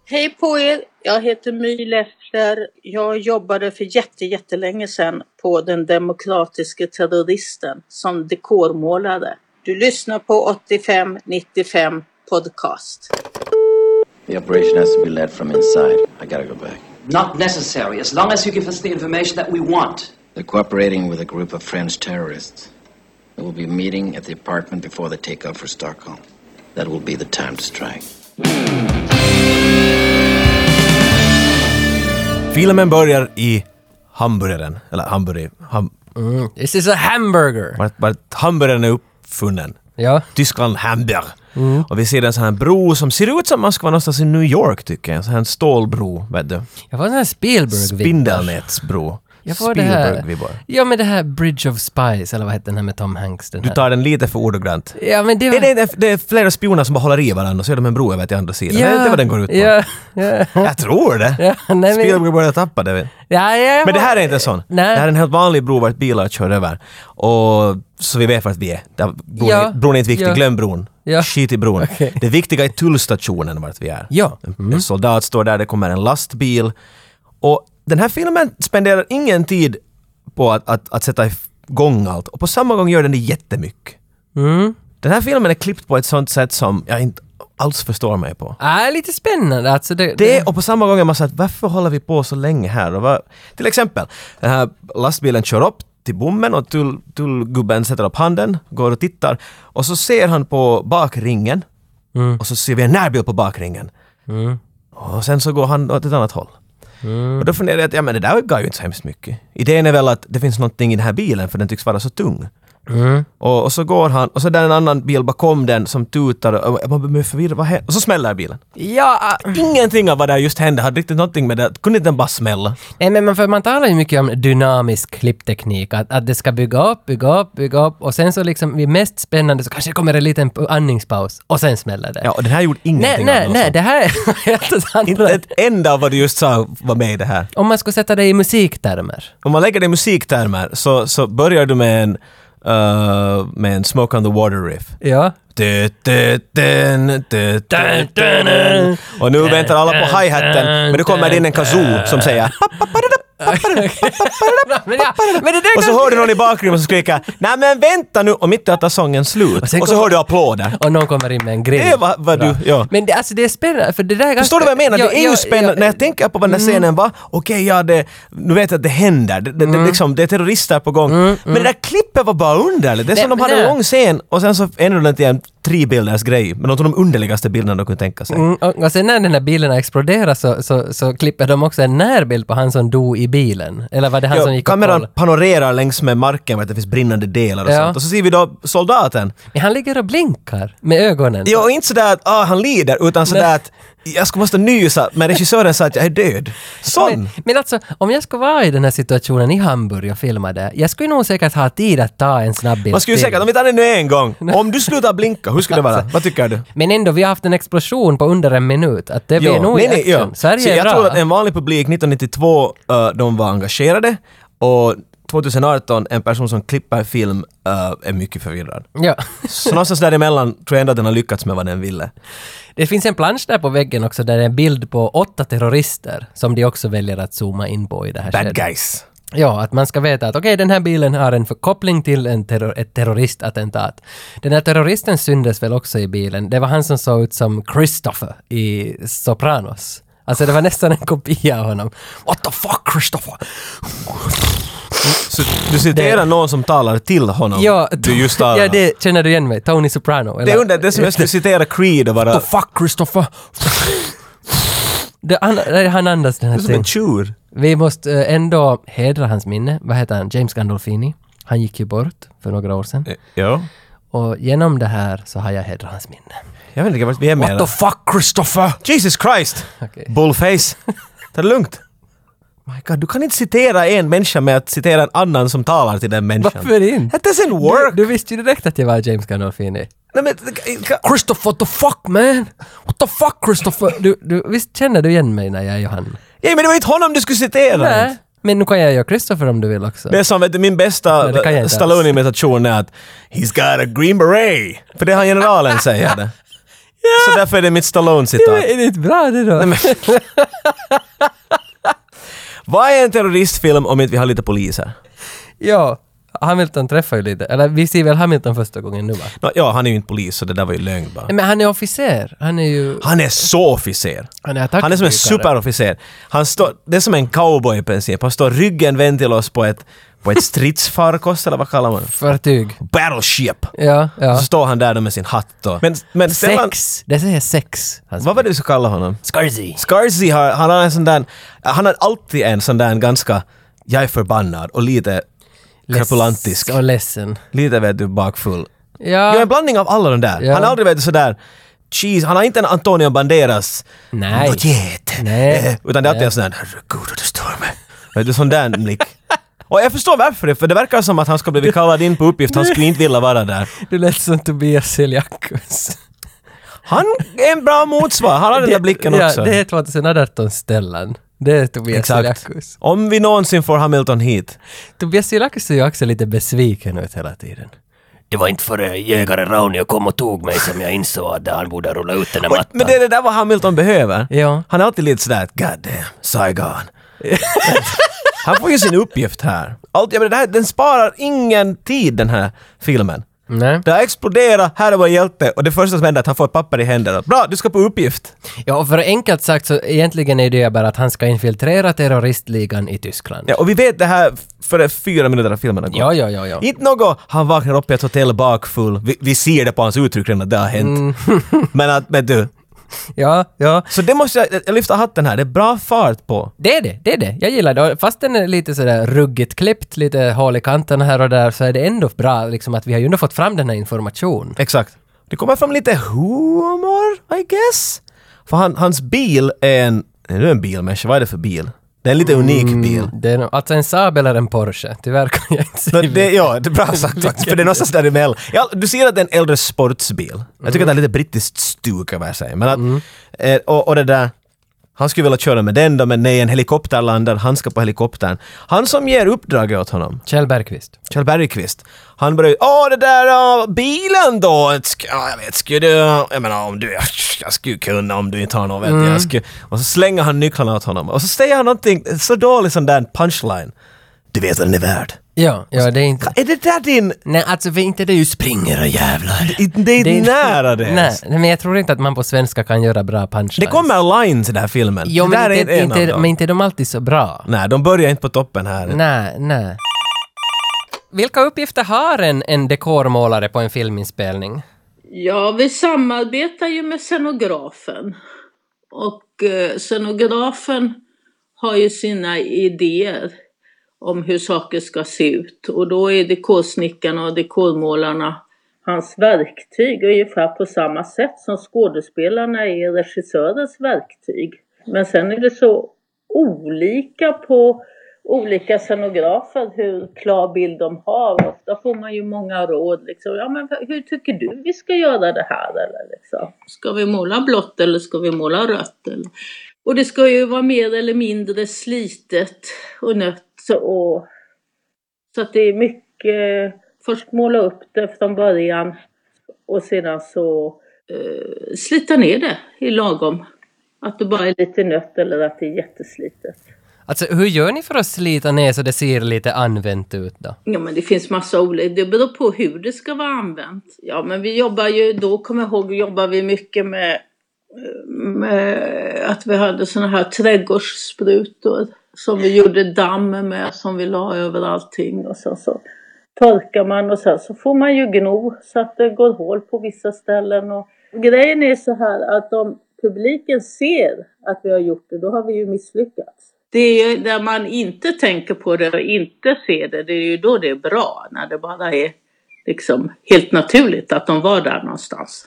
[SPEAKER 3] Hej på er! Jag heter My Leffler. Jag jobbade för jätte, jättelänge sedan på Den demokratiska terroristen som dekormålare. Du lyssnar på 8595 podcast.
[SPEAKER 4] The operation has to be led from inside. I gotta go back.
[SPEAKER 5] Not necessary, as long as you give us the information that we want.
[SPEAKER 4] They're cooperating with a group of French terrorists. They will be meeting at the apartment before the takeoff for Stockholm. That will be the time to strike.
[SPEAKER 1] Filmen börjar i hamburgaren. Eller hamburgare. Ham,
[SPEAKER 2] Mm. This is a hamburger!
[SPEAKER 1] vart, vart hamburgaren är uppfunnen.
[SPEAKER 2] Ja.
[SPEAKER 1] Tyskland Hamburg. Och vi ser en sån här bro som ser ut som man ska vara någonstans i New York tycker jag. En sån här stålbro, vet du.
[SPEAKER 2] Jag får sån här Spielberg-vibbar.
[SPEAKER 1] Spindelnätsbro.
[SPEAKER 2] Jag får det här...
[SPEAKER 1] Spielberg-vibbar.
[SPEAKER 2] Ja, men det här Bridge of Spies, eller vad hette den här med Tom Hanks? Den
[SPEAKER 1] Du
[SPEAKER 2] här.
[SPEAKER 1] tar den lite för ordagrant.
[SPEAKER 2] Ja, men det var...
[SPEAKER 1] Det, det, det, det är flera spioner som bara håller i varandra och så gör de en bro över till andra sidan.
[SPEAKER 2] ja,
[SPEAKER 1] Det är inte vad den går ut på.
[SPEAKER 2] Ja, ja.
[SPEAKER 1] Jag tror det.
[SPEAKER 2] Ja, nej, men-
[SPEAKER 1] Spielberg börjar tappa det. vet du.
[SPEAKER 2] ja, ja,
[SPEAKER 1] Men det här är inte en sån.
[SPEAKER 2] Nej.
[SPEAKER 1] Det här är en helt vanlig bro vart bilar kör över. Och så vi vet vart vi är. Där bron,
[SPEAKER 2] Ja.
[SPEAKER 1] är bron är inte viktig,
[SPEAKER 2] Ja.
[SPEAKER 1] glöm bron.
[SPEAKER 2] Ja.
[SPEAKER 1] Skit i bron.
[SPEAKER 2] Okej.
[SPEAKER 1] Det viktiga är tullstationen vart vi är. Mm.
[SPEAKER 2] Ja. Mm.
[SPEAKER 1] En soldat står där, det kommer en lastbil. Och den här filmen spenderar ingen tid på att, att, att sätta igång allt.
[SPEAKER 2] Mm.
[SPEAKER 1] Och på samma gång gör den det jättemycket. Den här filmen är klippt på ett sånt sätt som jag inte alls förstår mig på.
[SPEAKER 2] Äh, lite spännande. Alltså det,
[SPEAKER 1] Det och på samma gång är man så att varför håller vi på så länge här? Och vad, till exempel, den här lastbilen kör upp till bommen och tull, tullgubben sätter upp handen, går och tittar och så ser han på bakringen och så ser vi en närbild på bakringen. Och sen så går han åt ett annat håll. Och då funderar jag att ja, men det där gav ju inte så hemskt mycket. Idén är väl att det finns någonting i den här bilen för den tycks vara så tung. Och, och så går han och så är det en annan bil bakom den som tutar och, och man blir förvirrad. Vad händer? Och så smäller bilen.
[SPEAKER 2] Ja, ah.
[SPEAKER 1] Ingenting av vad där just hände hade riktigt någonting med det att- Kunde inte den bara smälla?
[SPEAKER 2] Nej, men man, för man talar ju mycket om dynamisk klippteknik, att, att det ska bygga upp, bygga upp, bygga upp och sen så liksom vid mest spännande så kanske det kommer en liten p- andningspaus och sen smäller det.
[SPEAKER 1] Ja, och den här gjorde
[SPEAKER 2] nej,
[SPEAKER 1] ingenting
[SPEAKER 2] nej,
[SPEAKER 1] av
[SPEAKER 2] nej,
[SPEAKER 1] det.
[SPEAKER 2] det här är helt
[SPEAKER 1] Inte
[SPEAKER 2] andra.
[SPEAKER 1] ett enda av vad du just sa var med i det här.
[SPEAKER 2] Om man skulle sätta det i musiktermer.
[SPEAKER 1] Om man lägger det i musiktermer så, så börjar du med en, eh, med en Smoke on the Water-riff.
[SPEAKER 2] Ja.
[SPEAKER 1] Och nu väntar alla på hi-hatten, men nu kommer det in en kazoo som säger
[SPEAKER 2] men, ja, men det där
[SPEAKER 1] och så
[SPEAKER 2] kan-
[SPEAKER 1] hör du någon i bakgrunden som skriker ”Nej men vänta nu” och mitt i att ta sången slut.
[SPEAKER 2] sen
[SPEAKER 1] Och så
[SPEAKER 2] kom-
[SPEAKER 1] hör du applåder.
[SPEAKER 2] Och någon kommer in med en grill.
[SPEAKER 1] Det var vad du...
[SPEAKER 2] Bra.
[SPEAKER 1] Ja.
[SPEAKER 2] Men det, alltså det är spännande, för det där är ganska...
[SPEAKER 1] Förstår du vad jag menar?
[SPEAKER 2] Ja,
[SPEAKER 1] det är
[SPEAKER 2] ja,
[SPEAKER 1] ju spännande.
[SPEAKER 2] ja. Mm.
[SPEAKER 1] När jag tänker på vad den här scenen var, okej, ja, det, nu vet jag att det händer. Det, det,
[SPEAKER 2] Mm.
[SPEAKER 1] det, liksom, det är terrorister på gång. Men det där klippet var bara underligt. Det är
[SPEAKER 2] Nej,
[SPEAKER 1] som de
[SPEAKER 2] men
[SPEAKER 1] hade en
[SPEAKER 2] nej.
[SPEAKER 1] lång scen och sen så ändrade den till en trebilders grej. Men de tog de underligaste bilderna de kunde tänka sig.
[SPEAKER 2] Mm, och, och sen när den här bilen exploderar så, så, så klipper de också en närbild på han som dog i bilen. Eller var det han som
[SPEAKER 1] Ja,
[SPEAKER 2] gick och
[SPEAKER 1] kameran
[SPEAKER 2] kollade?
[SPEAKER 1] panorerar längs med marken för att det finns brinnande delar och
[SPEAKER 2] Ja.
[SPEAKER 1] sånt. Och så ser vi då soldaten.
[SPEAKER 2] Men han ligger och blinkar med ögonen.
[SPEAKER 1] Ja, och inte sådär att ah, han lider, utan sådär att jag skulle måste nysa, men regissören sa att jag är död. Sån!
[SPEAKER 2] Men, men alltså, om jag skulle vara i den här situationen i Hamburg och filma det, jag skulle nog säkert ha tid att ta en snabbbild
[SPEAKER 1] Man skulle ju
[SPEAKER 2] till.
[SPEAKER 1] säkert, om vi tar det nu en gång, om du slutar blinka, hur skulle det
[SPEAKER 2] Alltså,
[SPEAKER 1] vara? Vad tycker du?
[SPEAKER 2] Men ändå, vi har haft en explosion på under en minut. Att det blir
[SPEAKER 1] Ja,
[SPEAKER 2] nog
[SPEAKER 1] nej,
[SPEAKER 2] i
[SPEAKER 1] nej,
[SPEAKER 2] action.
[SPEAKER 1] ja.
[SPEAKER 2] Sverige
[SPEAKER 1] Så
[SPEAKER 2] är
[SPEAKER 1] jag
[SPEAKER 2] bra.
[SPEAKER 1] tror att en vanlig publik 1992, eh, de var engagerade och 2018, en person som klipper film eh, är mycket förvirrad.
[SPEAKER 2] Ja.
[SPEAKER 1] Så någonstans däremellan tror jag ändå att den har lyckats med vad den ville.
[SPEAKER 2] Det finns en plansch där på väggen också där det är en bild på åtta terrorister som de också väljer att zooma in på i det här
[SPEAKER 1] Bad
[SPEAKER 2] skedet.
[SPEAKER 1] guys.
[SPEAKER 2] Ja, att man ska veta att okej, den här bilen har en förkoppling till en terror- ett terroristattentat. Den här terroristen syndes väl också i bilen. Det var han som såg ut som Christopher i Sopranos. Alltså det var nästan en kopia av honom. What the fuck Christopher?
[SPEAKER 1] Så du citerar någon som talar till honom.
[SPEAKER 2] Ja,
[SPEAKER 1] du just talar.
[SPEAKER 2] ja det känner du igen mig. Tony Soprano.
[SPEAKER 1] det är under, det är som jag skulle citera Creed och vara
[SPEAKER 2] What the fuck Christopher? det, han, nej, han andas den här
[SPEAKER 1] som en
[SPEAKER 2] tiden.
[SPEAKER 1] tjur.
[SPEAKER 2] Vi måste eh, ändå hedra hans minne. Vad heter han? James Gandolfini. Han gick ju bort för några år sedan.
[SPEAKER 1] Ja.
[SPEAKER 2] Och genom det här så har jag hedrat hans minne.
[SPEAKER 1] Jag vet inte vart vi är med.
[SPEAKER 2] What the fuck Christopher?
[SPEAKER 1] Jesus Christ!
[SPEAKER 2] Okej.
[SPEAKER 1] Bullface. Ta det lugnt. My God, du kan inte citera en människa med att citera en annan som talar till den människan.
[SPEAKER 2] Varför inte?
[SPEAKER 1] That doesn't work!
[SPEAKER 2] Du visste ju direkt att jag var James Gandolfini.
[SPEAKER 1] Nej, men,
[SPEAKER 2] Christopher, what the fuck man? What the fuck Christopher? Du, du, visst känner du igen mig när jag är Johan?
[SPEAKER 1] ja, men det var inte honom du skulle citera!
[SPEAKER 2] Nej. Men nu kan jag göra Christopher om du vill också.
[SPEAKER 1] Det är som vet du, min bästa
[SPEAKER 2] Nej, det kan jag inte
[SPEAKER 1] Stallone-imitation är att “He's got a green beret”. För det har generalen säger det. Så därför är det mitt
[SPEAKER 2] Men
[SPEAKER 1] Stallone-citat.
[SPEAKER 2] Är det inte bra det då?
[SPEAKER 1] Vad är en terroristfilm om inte vi har lite poliser?
[SPEAKER 2] ja, Hamilton träffar ju lite. Eller vi ser väl Hamilton första gången nu va?
[SPEAKER 1] Nå, ja, han är ju inte polis så det där var ju lögn bara.
[SPEAKER 2] Men han är officer. Han är ju...
[SPEAKER 1] Han är så officer!
[SPEAKER 2] Han är
[SPEAKER 1] Han är som en
[SPEAKER 2] attackdykare.
[SPEAKER 1] superofficer. Han står, det är som en cowboy i princip. Han står ryggen vänd till oss på ett, på ett stridsfarkost, eller vad kallar man det?
[SPEAKER 2] Fartyg.
[SPEAKER 1] Battleship!
[SPEAKER 2] Ja, ja.
[SPEAKER 1] Så står han där då med sin hatt då. Men, men Stellan,
[SPEAKER 2] Sex. Det säger sex. Han
[SPEAKER 1] vad var det du skulle kalla honom?
[SPEAKER 2] Scarzy.
[SPEAKER 1] Scarzy har, han har en sån där, han har alltid en sån där ganska, jag är förbannad och lite krapulantisk.
[SPEAKER 2] Och ledsen.
[SPEAKER 1] Lite vet du bakfull.
[SPEAKER 2] Ja.
[SPEAKER 1] Ja, en blandning av alla de där.
[SPEAKER 2] Ja.
[SPEAKER 1] Han har aldrig varit sådär Cheese. Han har inte en Antonio Banderas
[SPEAKER 2] Nej.
[SPEAKER 1] Något get.
[SPEAKER 2] Nej.
[SPEAKER 1] Eh, Utan det är alltid en sån där herregud och det stör mig. Vet du, sån där blick. Och jag förstår varför det, för det verkar som att han ska bli kallad in på uppgift, han skulle inte vilja vara där.
[SPEAKER 2] Du lät som Tobias Seljakus.
[SPEAKER 1] Han är en bra motsvar, han har den där blicken
[SPEAKER 2] ja,
[SPEAKER 1] också.
[SPEAKER 2] det är 2018 Stellan. Det är Tobias
[SPEAKER 1] Exakt.
[SPEAKER 2] Seljakus.
[SPEAKER 1] Om vi någonsin får Hamilton hit.
[SPEAKER 2] Tobias Seljakus ser ju också lite besviken ut hela tiden. Det var inte förrän jägare Raunio kom och tog mig som jag insåg att han borde rulla ut den här mattan.
[SPEAKER 1] Men det är det där vad Hamilton behöver.
[SPEAKER 2] Ja.
[SPEAKER 1] Han är alltid lite sådär God damn, Saigon. han får ju sin uppgift här. Allt, ja, men det här den sparar ingen tid den här filmen.
[SPEAKER 2] Nej.
[SPEAKER 1] Det har exploderat, här är vår hjälte och det första som händer är att han får ett papper i händerna. Bra, du ska på uppgift!
[SPEAKER 2] Ja, och för enkelt sagt så egentligen är det ju bara att han ska infiltrera terroristligan i Tyskland.
[SPEAKER 1] Ja, och vi vet det här före fyra minuter av filmen har gått.
[SPEAKER 2] Ja, ja, ja, ja.
[SPEAKER 1] Inte något, han vaknar upp i ett hotell bakfull. Vi, vi ser det på hans uttryck redan att det har hänt.
[SPEAKER 2] Mm.
[SPEAKER 1] men att, men du.
[SPEAKER 2] Ja, ja.
[SPEAKER 1] Så det måste jag, jag lyfter hatten här, det är bra fart på.
[SPEAKER 2] Det är det, det är det. Jag gillar det. Och Fast den är lite sådär ruggigt klippt, lite hål i kanterna här och där, så är det ändå bra liksom att vi har ju ändå fått fram den här informationen.
[SPEAKER 1] Exakt. Det kommer fram lite humor, I guess. För han, hans bil är en... Är det en bilmänniska? Vad är det för bil? Det är en lite unik bil.
[SPEAKER 2] Det är nog- alltså en Saab eller en Porsche. Tyvärr kan jag inte
[SPEAKER 1] Nå,
[SPEAKER 2] säga.
[SPEAKER 1] det, ja, det är bra sagt faktiskt, för det är någonstans däremellan. Ja, du ser att det är en äldre sportsbil. Jag tycker att det är lite brittiskt stuk över sig. Men att, eh, och, och det där, han skulle vilja köra med den då, men nej, en helikopter landar, han ska på helikoptern. Han som ger uppdraget åt honom,
[SPEAKER 2] Kjell Bergqvist.
[SPEAKER 1] Kjell Bergqvist, han börjar ju, åh det där ah, bilen då, sk- ja, jag vet, skulle du, jag menar om du, jag skulle kunna om du inte har någon, vet
[SPEAKER 2] Mm.
[SPEAKER 1] jag, jag skulle, och så slänger han nycklarna åt honom. Och så säger han någonting, så dålig sån där punchline. Du vet vad den är värd.
[SPEAKER 2] Ja, ja det är inte...
[SPEAKER 1] Är det där din
[SPEAKER 2] Nej, alltså för inte det är ju springer och jävlar.
[SPEAKER 1] Det, det är inte nära det.
[SPEAKER 2] Nej,
[SPEAKER 1] ens.
[SPEAKER 2] nej, men jag tror inte att man på svenska kan göra bra punchlines.
[SPEAKER 1] Det kommer lines i den här filmen.
[SPEAKER 2] Jo,
[SPEAKER 1] det
[SPEAKER 2] men
[SPEAKER 1] där
[SPEAKER 2] inte,
[SPEAKER 1] är en
[SPEAKER 2] inte,
[SPEAKER 1] av dem.
[SPEAKER 2] men inte är de alltid så bra.
[SPEAKER 1] Nej, de börjar inte på toppen här.
[SPEAKER 2] Nej, nej. Vilka uppgifter har en, en dekormålare på en filminspelning?
[SPEAKER 3] Ja, vi samarbetar ju med scenografen. Och eh, scenografen har ju sina idéer om hur saker ska se ut. Och då är dekorsnickarna och dekormålarna hans verktyg ungefär på samma sätt som skådespelarna är regissörens verktyg. Men sen är det så olika på olika scenografer hur klar bild de har. Ofta får man ju många råd. Liksom. Ja, men hur tycker du vi ska göra det här? Eller, liksom. Ska vi måla blått eller ska vi måla rött? Eller? Och det ska ju vara mer eller mindre slitet och nött. Och... Så att det är mycket, först måla upp det från början och sedan så eh, slita ner det i lagom. Att det bara är lite nött eller att det är jätteslitet.
[SPEAKER 2] Alltså hur gör ni för att slita ner så det ser lite använt ut då?
[SPEAKER 3] Ja men det finns massa olika, det beror på hur det ska vara använt. Ja men vi jobbar ju, då kommer jag ihåg, jobbar vi mycket med, med att vi hade såna här trädgårdssprutor som vi gjorde damm med som vi la över allting och sen så torkar man och sen så får man ju gno så att det går hål på vissa ställen och grejen är så här att om publiken ser att vi har gjort det, då har vi ju misslyckats. Det är ju när man inte tänker på det och inte ser det, det är ju då det är bra. När det bara är liksom helt naturligt att de var där någonstans.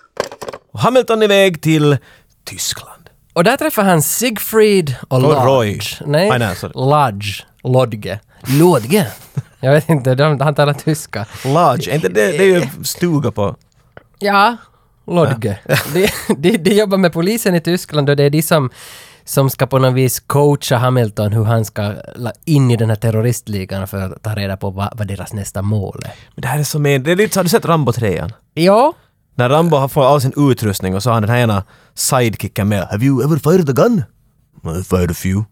[SPEAKER 1] Och Hamilton är iväg till Tyskland.
[SPEAKER 2] Och där träffar han Siegfried och Lodge.
[SPEAKER 1] Roy.
[SPEAKER 2] Nej,
[SPEAKER 1] Ah, nej, sorry.
[SPEAKER 2] Lodge. Lodge. Lodge. Jag vet inte, de, han talar tyska.
[SPEAKER 1] Lodge, är inte det, det är ju stuga på...
[SPEAKER 2] Ja, Lodge. De, de, de jobbar med polisen i Tyskland och det är de som, som ska på något vis coacha Hamilton hur han ska la- in i den här terroristligan för att ta reda på vad, vad deras nästa mål är.
[SPEAKER 1] Men det här är som en... Det är lite, så- har du sett Rambo 3?
[SPEAKER 2] Ja,
[SPEAKER 1] När Rambo har fått all sin utrustning och så har han den här ena sidekicken med. Have you ever fired a gun? I fired a few.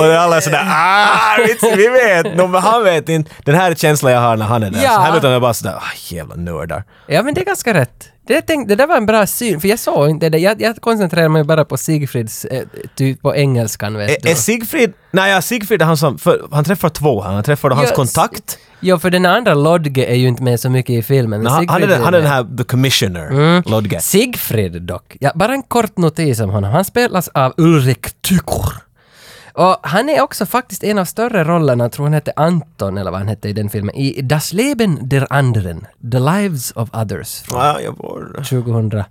[SPEAKER 1] Och alla är sådär ah, vi- vi vet! No, men han vet inte. Den här är känslan jag har när han är där.
[SPEAKER 2] Ja.
[SPEAKER 1] Så Hamilton är bara sådär, ah, jävla nördar.
[SPEAKER 2] Ja men det är ganska rätt. Det, tänk, det där var en bra syn, för jag såg inte det. Jag, jag koncentrerade mig bara på Sigfrids, eh, typ på engelskan vet
[SPEAKER 1] Är,
[SPEAKER 2] du.
[SPEAKER 1] är Sigfrid... Nej, ja, Sigfrid är han som... För, han träffar två här. Han träffar då hans
[SPEAKER 2] Ja,
[SPEAKER 1] kontakt.
[SPEAKER 2] Ja för den andra Lodge är ju inte med så mycket i filmen.
[SPEAKER 1] Nej, han,
[SPEAKER 2] men
[SPEAKER 1] han, är,
[SPEAKER 2] Siegfried
[SPEAKER 1] den-
[SPEAKER 2] Mm.
[SPEAKER 1] han är den
[SPEAKER 2] med.
[SPEAKER 1] här The Commissioner, Lodge.
[SPEAKER 2] Sigfrid dock. Ja, bara en kort notis om honom. Han spelas av Ulrik Tykor. Och han är också faktiskt en av större rollerna, jag tror han hette Anton eller vad han hette i den filmen, i Das Leben der Anderen, The Lives of Others från
[SPEAKER 1] Ja, jag var...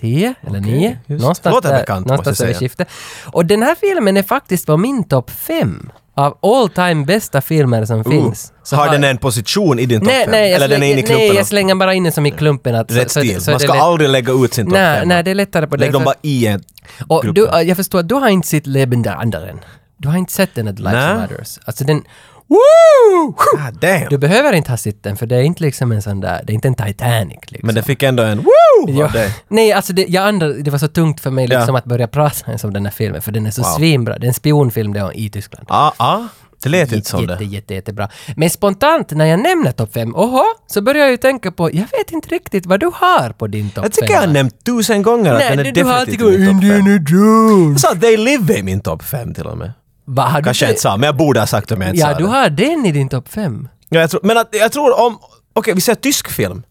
[SPEAKER 2] 2010 eller 9.
[SPEAKER 1] just.
[SPEAKER 2] Någonstans
[SPEAKER 1] Låter
[SPEAKER 2] där,
[SPEAKER 1] bekant,
[SPEAKER 2] någonstans
[SPEAKER 1] måste jag
[SPEAKER 2] över
[SPEAKER 1] säga.
[SPEAKER 2] skiftet. Och den här filmen är faktiskt på min topp 5 av all time bästa filmer som finns.
[SPEAKER 1] Så Oh, har den en position i din topp
[SPEAKER 2] Nej,
[SPEAKER 1] fem?
[SPEAKER 2] nej, jag
[SPEAKER 1] Eller den är
[SPEAKER 2] slänger-
[SPEAKER 1] inne i klumpen?
[SPEAKER 2] nej, jag
[SPEAKER 1] av-
[SPEAKER 2] slänger bara in den som i klumpen. Att,
[SPEAKER 1] Rätt stil. Man
[SPEAKER 2] det
[SPEAKER 1] ska
[SPEAKER 2] är lätt-
[SPEAKER 1] aldrig lägga ut sin topp
[SPEAKER 2] Nej,
[SPEAKER 1] fem.
[SPEAKER 2] nej, det är lättare på det.
[SPEAKER 1] Lägg dem
[SPEAKER 2] för-
[SPEAKER 1] bara i en
[SPEAKER 2] och
[SPEAKER 1] grupp.
[SPEAKER 2] du, jag förstår att du har inte sett Leben der anderen. Du har inte sett den at Lives
[SPEAKER 1] Nej.
[SPEAKER 2] of Others. Alltså den... Woo!
[SPEAKER 1] Ah, damn!
[SPEAKER 2] Du behöver inte ha sett den för det är inte liksom en sån där, det är inte en Titanic liksom.
[SPEAKER 1] Men det fick ändå en woo!
[SPEAKER 2] Ja.
[SPEAKER 1] av dig.
[SPEAKER 2] Nej, alltså det, jag andra, det var så tungt för mig liksom
[SPEAKER 1] Oh, Ja.
[SPEAKER 2] att börja prata ens om den här filmen, för den är så svinbra. Det är en spionfilm det är i Tyskland.
[SPEAKER 1] Ah, ah. Det lät inte som
[SPEAKER 2] jätte,
[SPEAKER 1] det.
[SPEAKER 2] Jätte, jättebra. Men spontant när jag nämner topp fem, oho, så börjar jag ju tänka på, jag vet inte riktigt vad du har på din topp fem.
[SPEAKER 1] Jag tycker jag har nämnt tusen gånger att
[SPEAKER 2] Nej,
[SPEAKER 1] den är
[SPEAKER 2] du, du har alltid
[SPEAKER 1] definitivt
[SPEAKER 2] gått
[SPEAKER 1] i min topp fem.
[SPEAKER 2] Indiana Jones.
[SPEAKER 1] Jag sa att They Live är i min topp fem till och med.
[SPEAKER 2] Vad har du
[SPEAKER 1] Kanske
[SPEAKER 2] det?
[SPEAKER 1] jag inte sa, men jag borde ha sagt det om jag inte
[SPEAKER 2] Ja,
[SPEAKER 1] sa
[SPEAKER 2] du
[SPEAKER 1] det.
[SPEAKER 2] har den i din topp fem.
[SPEAKER 1] Ja, jag tror, men att, jag tror om... Okej, vi säger tysk film.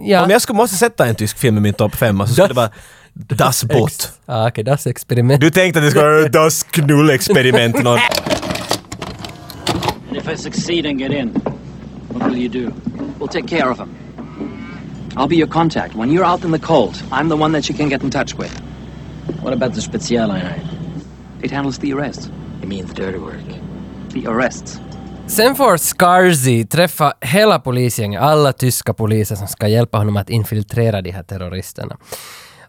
[SPEAKER 2] Ja.
[SPEAKER 1] Om jag skulle måste sätta en tysk film i min topp femma så skulle det vara Das Boot.
[SPEAKER 2] Ah, Okej, das experiment.
[SPEAKER 1] Du tänkte att det skulle vara Das Knull-experiment någon.
[SPEAKER 6] And if I succeed and get in, what will you do?
[SPEAKER 5] We'll take care of him. I'll be your contact. When you're out in the cold, I'm the one that you can get in touch with.
[SPEAKER 6] What about the Spezialeinheit?
[SPEAKER 5] It handles the arrests.
[SPEAKER 6] It means dirty work.
[SPEAKER 5] The arrests.
[SPEAKER 2] Sen får Scarzy träffa hela polisgänget, alla tyska poliser som ska hjälpa honom att infiltrera de här terroristerna.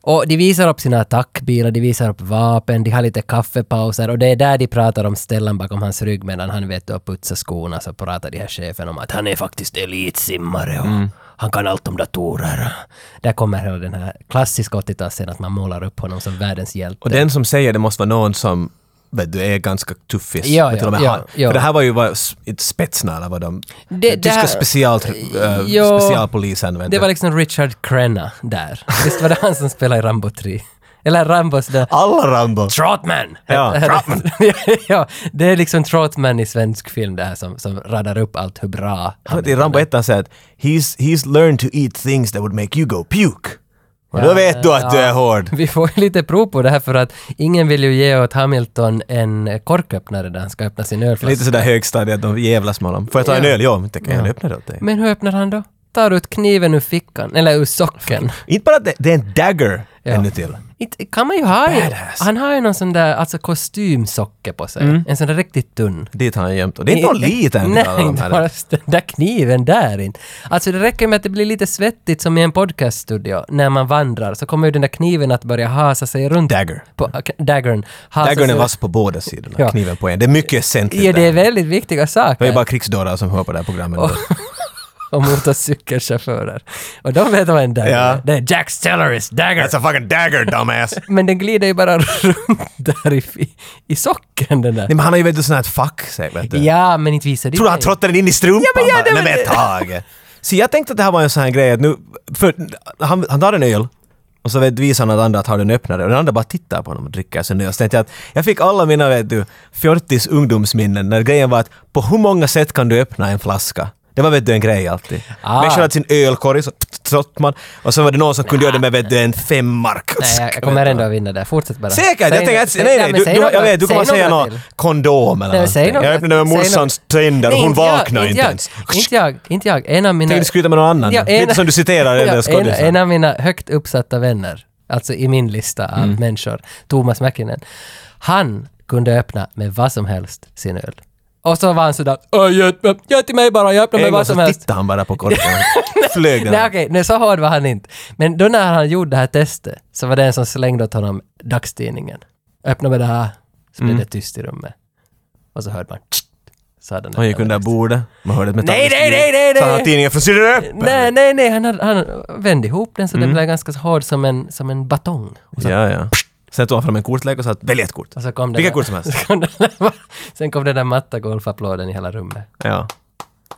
[SPEAKER 2] Och de visar upp sina attackbilar, de visar upp vapen, de har lite kaffepauser och det är där de pratar om Stellan bakom hans rygg medan han vet att putsa skorna så pratar de här chefen om att han är faktiskt elitsimmare och han kan allt om datorer. Där kommer hela den här klassiska 80-talsscenen att man målar upp honom som världens hjälte.
[SPEAKER 1] Och den som säger det måste vara någon som vet du, är ganska tuffis.
[SPEAKER 2] Ja,
[SPEAKER 1] Men till
[SPEAKER 2] ja,
[SPEAKER 1] och med
[SPEAKER 2] ja,
[SPEAKER 1] han.
[SPEAKER 2] ja.
[SPEAKER 1] För det här var ju vad, inte spetsna eller vad de...
[SPEAKER 2] Det- det
[SPEAKER 1] tyska
[SPEAKER 2] här-
[SPEAKER 1] special, äh,
[SPEAKER 2] Jo.
[SPEAKER 1] specialpolisen. vet
[SPEAKER 2] Det
[SPEAKER 1] du.
[SPEAKER 2] var liksom Richard Crenna där. Visst var det han som spelade i Rambo 3? Eller Rambos där...
[SPEAKER 1] Alla Rambo!
[SPEAKER 2] Trotman!
[SPEAKER 1] Ja,
[SPEAKER 2] Trotman. ja, det är liksom Trotman i svensk film det här som, som radar upp allt hur bra
[SPEAKER 1] Han I Rambo 1 säger att he's, “He's learned to eat things that would make you go puke”. Och då vet du att du är hård.
[SPEAKER 2] Vi får ju lite prov på det här för att ingen vill ju ge åt Hamilton en korköppnare där han ska öppna sin
[SPEAKER 1] Lite
[SPEAKER 2] ölflaska.
[SPEAKER 1] sådär högstadiet, de jävlas med honom. Får jag ta en öl? Ja, men det kan jag öppna det åt dig.
[SPEAKER 2] Men hur öppnar han då? Tar ut kniven ur fickan, eller ur socken.
[SPEAKER 1] Inte bara att det, det är en dagger
[SPEAKER 2] Ja.
[SPEAKER 1] ännu till.
[SPEAKER 2] Inte, kan man ju ha ju,
[SPEAKER 1] Badass. Mm.
[SPEAKER 2] Han har ju någon sån där alltså kostymsocke på sig. En sån där riktigt tunn.
[SPEAKER 1] Dit har han gömt. Och det är inte någon liten
[SPEAKER 2] Nej,
[SPEAKER 1] av de
[SPEAKER 2] inte
[SPEAKER 1] här.
[SPEAKER 2] bara den där kniven där inte. Alltså det räcker med att det blir lite svettigt som i en podcaststudio när man vandrar så kommer ju den där kniven att börja hasa sig runt.
[SPEAKER 1] Dagger.
[SPEAKER 2] På, okay, daggern. Hasa
[SPEAKER 1] Daggern är
[SPEAKER 2] sig-
[SPEAKER 1] vass på båda sidorna,
[SPEAKER 2] Alltså, Ja.
[SPEAKER 1] kniven på en. Det är mycket essentligt
[SPEAKER 2] Ja, det är
[SPEAKER 1] där.
[SPEAKER 2] väldigt viktiga
[SPEAKER 1] Det
[SPEAKER 2] saker.
[SPEAKER 1] är bara krigsdårar som hör på det här programmet.
[SPEAKER 2] och, och motorcykelchaufförer. Och de vet vad en dagger
[SPEAKER 1] Ja. Alltså-
[SPEAKER 2] är. Det är Jack Stellaris dagger.
[SPEAKER 1] a fucking dagger, dumbass! Nej
[SPEAKER 2] Men den glider ju bara runt där i, i, i socken den där.
[SPEAKER 1] men han har ju vet du sån här ett fack säkert. Ja,
[SPEAKER 2] Ja, men inte visar det
[SPEAKER 1] Tror du han
[SPEAKER 2] mig.
[SPEAKER 1] trottade den in i strumpan?
[SPEAKER 2] Ja, men ja, det
[SPEAKER 1] bara,
[SPEAKER 2] var
[SPEAKER 1] nej men
[SPEAKER 2] det.
[SPEAKER 1] Tage! Så jag tänkte att det här var en sån här grej att nu... För han, han tar en öl och så vet, visar han att andra att har den öppnare och den andra bara tittar på honom och dricker sin öl. Så tänkte jag att jag fick alla mina, vet du, fjortis ungdomsminnen när grejen var att på hur många sätt kan du öppna en flaska? Det var vet du en grej alltid.
[SPEAKER 2] Ah.
[SPEAKER 1] Ah. Människor hade sin ölkorg, så trott man. Och så var det någon som kunde göra det med vet du, en femmark.
[SPEAKER 2] Nej, jag- jag kommer ändå att vinna där. Fortsätt bara.
[SPEAKER 1] Säkert!
[SPEAKER 2] Säg
[SPEAKER 1] jag tänker
[SPEAKER 2] något-
[SPEAKER 1] att,
[SPEAKER 2] säg-
[SPEAKER 1] nej,
[SPEAKER 2] ja,
[SPEAKER 1] nej,
[SPEAKER 2] men
[SPEAKER 1] du,
[SPEAKER 2] säg
[SPEAKER 1] du,
[SPEAKER 2] något-
[SPEAKER 1] jag vet, du
[SPEAKER 2] säg
[SPEAKER 1] kommer säga
[SPEAKER 2] något
[SPEAKER 1] något
[SPEAKER 2] till.
[SPEAKER 1] kondom eller
[SPEAKER 2] Nej, men säg
[SPEAKER 1] någonting. Jag
[SPEAKER 2] något.
[SPEAKER 1] öppnade med
[SPEAKER 2] Säg
[SPEAKER 1] morsans
[SPEAKER 2] något.
[SPEAKER 1] tänder och
[SPEAKER 2] Nej,
[SPEAKER 1] hon
[SPEAKER 2] jag,
[SPEAKER 1] vaknade inte
[SPEAKER 2] jag,
[SPEAKER 1] ens.
[SPEAKER 2] Inte jag, inte jag. En av mina...
[SPEAKER 1] Tänkte du skryta med någon annan?
[SPEAKER 2] Ja,
[SPEAKER 1] Lite som du citerar den där
[SPEAKER 2] en,
[SPEAKER 1] skådisen.
[SPEAKER 2] en av mina högt uppsatta vänner, alltså i min lista av
[SPEAKER 1] Mm.
[SPEAKER 2] människor, Thomas Mäkinen, han kunde öppna med vad som helst sin öl. Och så var han sådär, "Åh, jag öppnar- gör till mig bara, jag öppnar med
[SPEAKER 1] En gång
[SPEAKER 2] vad som
[SPEAKER 1] så
[SPEAKER 2] helst.
[SPEAKER 1] tittade han bara på korken. Flög den.
[SPEAKER 2] Nej okej, nej, så hård var han inte. Men då när han gjorde det här testet så var det en som slängde åt honom dagstidningen. Öppna med det här. Så
[SPEAKER 1] Mm.
[SPEAKER 2] blev det tyst i rummet. Och så hörde man tsk, så hade
[SPEAKER 1] Han gick under bordet. Man hörde ett
[SPEAKER 2] Nej,
[SPEAKER 1] metalliskt
[SPEAKER 2] nej,
[SPEAKER 1] ljud.
[SPEAKER 2] nej, nej,
[SPEAKER 1] Så han
[SPEAKER 2] nej.
[SPEAKER 1] har tidningen från sidan öppen.
[SPEAKER 2] Nej, nej, nej, han, hade, han vände ihop den så
[SPEAKER 1] Mm.
[SPEAKER 2] den blev ganska hård som en, som en batong.
[SPEAKER 1] Ja, ja. Sen tog han fram en kortlek och sa att välj ett kort.
[SPEAKER 2] Och så kom den
[SPEAKER 1] Vilka
[SPEAKER 2] där-
[SPEAKER 1] kort som helst.
[SPEAKER 2] så kom den där- Sen kom den där matta golfapplåden i hela rummet.
[SPEAKER 1] Ja.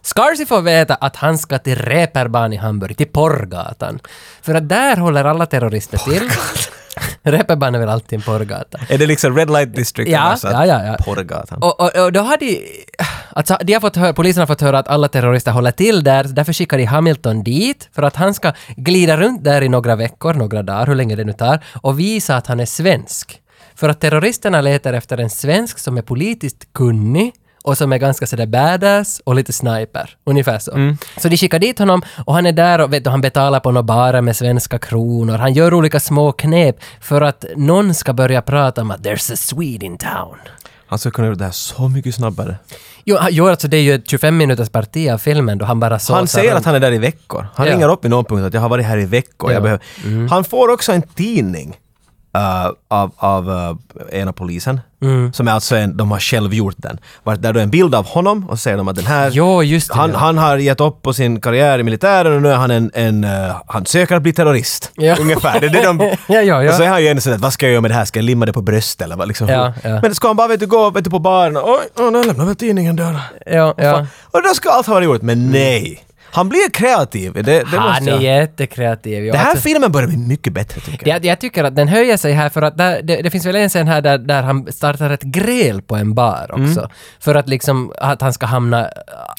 [SPEAKER 2] Scarsy får veta att han ska till Reeperbahn i Hamburg, till Porrgatan. För att där håller alla terrorister till. Reeperbahn är väl alltid en porrgata.
[SPEAKER 1] Är det liksom Red Light District?
[SPEAKER 2] Ja,
[SPEAKER 1] eller så att-
[SPEAKER 2] ja, ja, ja.
[SPEAKER 1] Porrgatan.
[SPEAKER 2] Och, och, och då har de... Alltså, de har fått höra, polisen har fått höra att alla terrorister håller till där, så därför skickar de Hamilton dit för att han ska glida runt där i några veckor, några dagar, hur länge det nu tar, och visa att han är svensk. För att terroristerna letar efter en svensk som är politiskt kunnig och som är ganska sådär badass och lite sniper. Ungefär så. Så de skickar dit honom och han är där och vet du, han betalar på några barer med svenska kronor. Han gör olika små knep för att någon ska börja prata om att “there's a Swede in town”.
[SPEAKER 1] Han skulle kunna göra det här så mycket snabbare.
[SPEAKER 2] Jo, han- jo alltså det är ju ett 25 minuters parti av filmen då han bara såsar
[SPEAKER 1] Han säger att han är där i veckor. Han
[SPEAKER 2] Ja.
[SPEAKER 1] ringer upp i någon punkt att jag har varit här i veckor.
[SPEAKER 2] Ja. Mm.
[SPEAKER 1] Jag behöver... Han får också en tidning eh, av, av eh, ena polisen.
[SPEAKER 2] Mm.
[SPEAKER 1] Som är alltså en, de har själv gjort den. Vart där då är en bild av honom och så säger de att den här...
[SPEAKER 2] Jo, just det.
[SPEAKER 1] han, han har gett upp på sin karriär i militären och nu är han en... en eh, han söker att bli terrorist.
[SPEAKER 2] Ja.
[SPEAKER 1] Ungefär. Det är det de...
[SPEAKER 2] Ja, ja, ja.
[SPEAKER 1] Och så är han ju ändå sådär, vad ska jag göra med det här? Ska jag limma det på bröstet eller vad liksom?
[SPEAKER 2] Ja, ja.
[SPEAKER 1] Men ska han bara vet du, gå vet du, på baren och oj, oh, nu lämnar väl tidningen där.
[SPEAKER 2] ja, ja. Mm.
[SPEAKER 1] Och då ska allt ha varit gjort, men nej. Han blir kreativ. Det, det
[SPEAKER 2] Han
[SPEAKER 1] måste
[SPEAKER 2] är
[SPEAKER 1] jag...
[SPEAKER 2] jättekreativ.
[SPEAKER 1] Den
[SPEAKER 2] Jag,
[SPEAKER 1] här
[SPEAKER 2] alltså,
[SPEAKER 1] filmen börjar bli mycket bättre tycker jag.
[SPEAKER 2] jag, jag tycker att den höjer sig här för att där, det, det finns väl en scen här där, där han startar ett gräl på en bar också. För att liksom att han ska hamna...
[SPEAKER 1] Mm.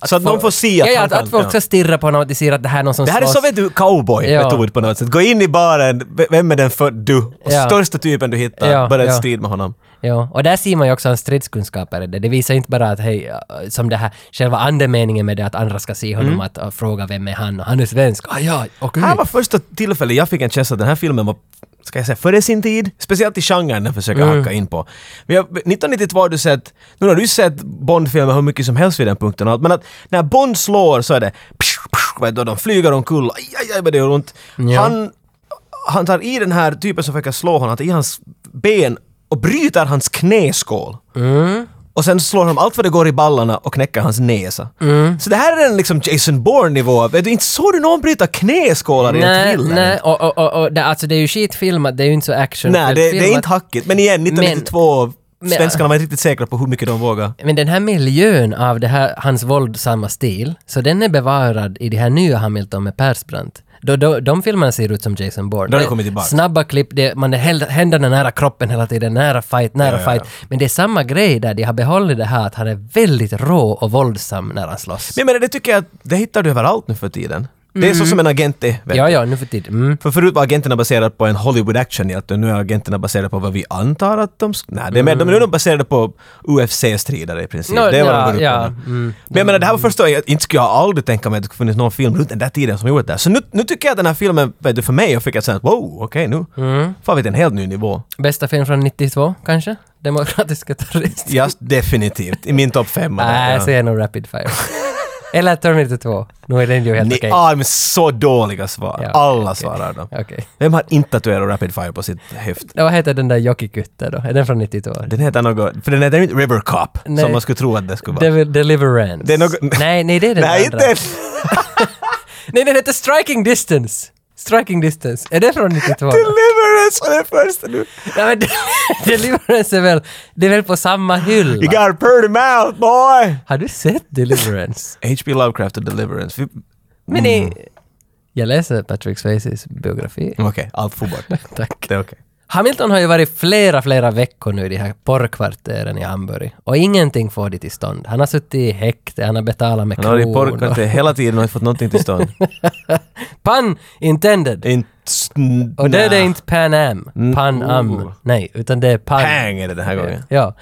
[SPEAKER 1] Så att någon
[SPEAKER 2] folk-
[SPEAKER 1] får se att
[SPEAKER 2] ja, ja,
[SPEAKER 1] han
[SPEAKER 2] att,
[SPEAKER 1] kan-
[SPEAKER 2] att folk
[SPEAKER 1] ja.
[SPEAKER 2] ska stirra på honom och att de ser att det här är någon som
[SPEAKER 1] Det här är
[SPEAKER 2] slåss.
[SPEAKER 1] så vet du cowboy-metod
[SPEAKER 2] Ja.
[SPEAKER 1] på något sätt. Gå in i baren, v- vem är den för du? Och
[SPEAKER 2] Ja.
[SPEAKER 1] största typen du hittar,
[SPEAKER 2] Ja,
[SPEAKER 1] börja en
[SPEAKER 2] ja.
[SPEAKER 1] strid med honom.
[SPEAKER 2] Ja, och där ser man ju också hans stridskunskaper i det. Det visar inte bara att hej, äh, som det här, själva andemeningen med det att andra ska se honom att äh, fråga vem är han och han är svensk. Ah, ja, okej.
[SPEAKER 1] Här Mm. var första tillfället jag fick en känsla att den här filmen var, ska jag säga, före sin tid. Speciellt i genren den försöker hacka in på. Men jag, 1992 har du sett, nu har du ju sett Bond-filmer hur mycket som helst vid den punkten och allt, men att när Bond slår så är det psh, psh, vet du, de flyger omkull, aj, aj, aj vad det gör ont. Han, han tar i den här typen som försöker slå honom, han tar i hans ben och bryter hans knäskål. Och sen slår han allt vad det går i ballarna och knäcker hans näsa.
[SPEAKER 2] Mm.
[SPEAKER 1] Så det här är en liksom Jason Bourne-nivå. av- Vet du, Inte såg du någon bryta knäskålar i en
[SPEAKER 2] Nej,
[SPEAKER 1] thriller?
[SPEAKER 2] nej, och, och, och, och det, alltså det är ju skitfilmat, det är ju inte så action.
[SPEAKER 1] Nej, det, det är inte hackigt. Men igen, 1992,
[SPEAKER 2] Men-
[SPEAKER 1] svenskarna var inte riktigt säkra på hur mycket de vågar.
[SPEAKER 2] Men den här miljön av det här, hans våldsamma stil, så den är bevarad i det här nya Hamilton med Persbrandt. Då, då, de filmerna ser ut som Jason Bourne.
[SPEAKER 1] Då har det kommit tillbaka.
[SPEAKER 2] Snabba klipp, det, man är häl- händerna nära kroppen hela tiden, nära fight, nära fight. Men det är samma grej där, de har behållit det här att han är väldigt rå och våldsam när han slåss.
[SPEAKER 1] Men jag menar, det tycker jag att det hittar du överallt nu för tiden. Det
[SPEAKER 2] Mm.
[SPEAKER 1] är så som en agent är. vet
[SPEAKER 2] Ja,
[SPEAKER 1] du.
[SPEAKER 2] ja, nu för tiden. Mm.
[SPEAKER 1] För förut var agenterna baserade på en Hollywood actionhjälte och nu är agenterna baserade på vad vi antar att de... sk- Nej, det är mer, de, nu är de baserade på UFC-stridare i princip.
[SPEAKER 2] Mm. Nå,
[SPEAKER 1] det är vad
[SPEAKER 2] ja,
[SPEAKER 1] de går ut
[SPEAKER 2] ja, Mm.
[SPEAKER 1] på nu. Men jag menar, det här var första... Jag inte skulle jag aldrig tänka mig att det skulle funnits någon film runt den där tiden som gjort det här. Så nu, nu tycker jag att den här filmen, vet du, för mig, jag fick ett sånt wow, okej nu
[SPEAKER 2] Mm.
[SPEAKER 1] får vi till en helt ny nivå.
[SPEAKER 2] Bästa film från 92, kanske? Demokratiska terrorister.
[SPEAKER 1] Ja, definitivt. I min topp fem.
[SPEAKER 2] Nej, jag säger nog Rapid Fire. Eller Terminator 2. Nu är den ju helt
[SPEAKER 1] Ni
[SPEAKER 2] okej.
[SPEAKER 1] ah, men så dåliga svar.
[SPEAKER 2] Ja,
[SPEAKER 1] Alla
[SPEAKER 2] okej.
[SPEAKER 1] svarar då.
[SPEAKER 2] Okej.
[SPEAKER 1] Vem har inte tatuerat Rapid Fire på sitt höft?
[SPEAKER 2] Vad heter den där Jockikutte då? Är den från 92?
[SPEAKER 1] Den heter något... För den heter inte River Cop,
[SPEAKER 2] Nej.
[SPEAKER 1] som man skulle tro att det skulle vara.
[SPEAKER 2] Devil Deliverance.
[SPEAKER 1] Det är något-
[SPEAKER 2] Nej, nej det är den
[SPEAKER 1] Nej,
[SPEAKER 2] andra.
[SPEAKER 1] inte...
[SPEAKER 2] Nej, den heter Striking Distance. Striking Distance. Är det från 92?
[SPEAKER 1] Deliverance var den första nu.
[SPEAKER 2] nej, men Del- Deliverance är väl, det är väl på samma
[SPEAKER 1] You
[SPEAKER 2] hylla?
[SPEAKER 1] got a pretty mouth boy!
[SPEAKER 2] Har du sett Deliverance?
[SPEAKER 1] H.P. Lovecraft och Deliverance. Vi-
[SPEAKER 2] Men
[SPEAKER 1] Mm.
[SPEAKER 2] det... Jag läser Patrick Swayzes biografi.
[SPEAKER 1] Okej, allt får bort.
[SPEAKER 2] Tack.
[SPEAKER 1] Det är okej.
[SPEAKER 2] Hamilton har ju varit flera, flera veckor nu i de här porrkvarteren i Hamburg. Och ingenting får det till stånd. Han har suttit i häkte, han har betalat med
[SPEAKER 1] Han har varit i
[SPEAKER 2] kronor.
[SPEAKER 1] porrkvarter hela tiden och inte fått någonting till stånd.
[SPEAKER 2] Pun intended!
[SPEAKER 1] Inte...
[SPEAKER 2] Och det är det inte Pan Am, Pan
[SPEAKER 1] oh.
[SPEAKER 2] Am. Nej, utan det är Pan.
[SPEAKER 1] Pang är det den här gången.
[SPEAKER 2] Ja.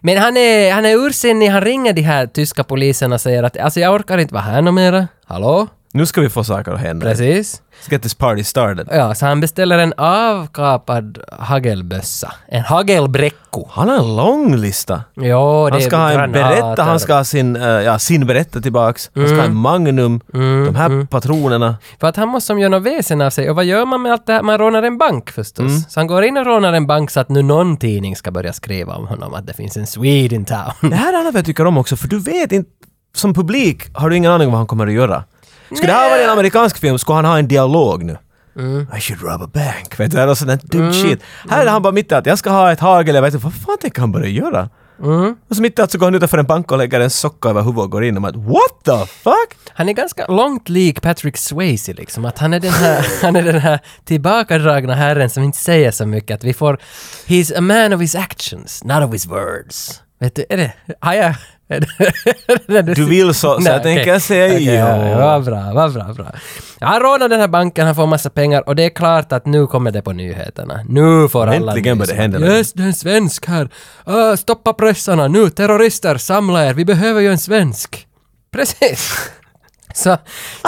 [SPEAKER 2] Men han är, han är ursinnig, han ringer de här tyska poliserna och säger att alltså jag orkar inte vara här något mera. Hallå?
[SPEAKER 1] Nu ska vi få saker att hända.
[SPEAKER 2] Precis.
[SPEAKER 1] Let's get this party started.
[SPEAKER 2] Ja, så han beställer en avkapad hagelbössa. En hagelbräcko.
[SPEAKER 1] Han har en lång lista.
[SPEAKER 2] Ja, det
[SPEAKER 1] Han ska ha
[SPEAKER 2] är
[SPEAKER 1] en
[SPEAKER 2] granater. Mm.
[SPEAKER 1] berätta, han ska ha sin, eh, ja, sin berätta tillbaks. Han ska ha en Magnum. De här patronerna.
[SPEAKER 2] För att han måste som göra något väsen av sig. Och vad gör man med allt det här? Man rånar en bank förstås. Så han går in och rånar en bank så att nu någon tidning ska börja skriva om honom att det finns en Swede in town.
[SPEAKER 1] Det här är annat jag tycker om också, för du vet inte... Som publik har du ingen aning om vad han kommer att göra. Skulle det här vara en amerikansk film skulle han ha en dialog nu. I should rob a bank. Vet du, eller sån där dum shit. Här är han bara mitt i att jag ska ha ett hagel, jag vet inte, vad fan tänker han börja göra? Och så mitt i att så går han utanför en bank och lägger en socka över huvudet och går in och man what the fuck?
[SPEAKER 2] Han är ganska långt lik Patrick Swayze liksom. Att han är den här, han är den här tillbakadragna herren som inte säger så mycket. Att vi får... He's a man of his actions, not of his words. Vet du, är det... Har jag... är det-
[SPEAKER 1] Du vill så, så
[SPEAKER 2] Nej,
[SPEAKER 1] jag tänker
[SPEAKER 2] okej.
[SPEAKER 1] säga
[SPEAKER 2] Okej,
[SPEAKER 1] ja.
[SPEAKER 2] ja. Vad bra, vad bra, bra. Han rånar den här banken, han får massa pengar och det är klart att nu kommer det på nyheterna. Nu får alla...
[SPEAKER 1] Äntligen
[SPEAKER 2] nys
[SPEAKER 1] börjar det
[SPEAKER 2] om
[SPEAKER 1] hända
[SPEAKER 2] att, Yes, det är en svensk här. Ah, stoppa pressarna nu, terrorister, samla er, vi behöver ju en svensk. Precis. Så,
[SPEAKER 1] I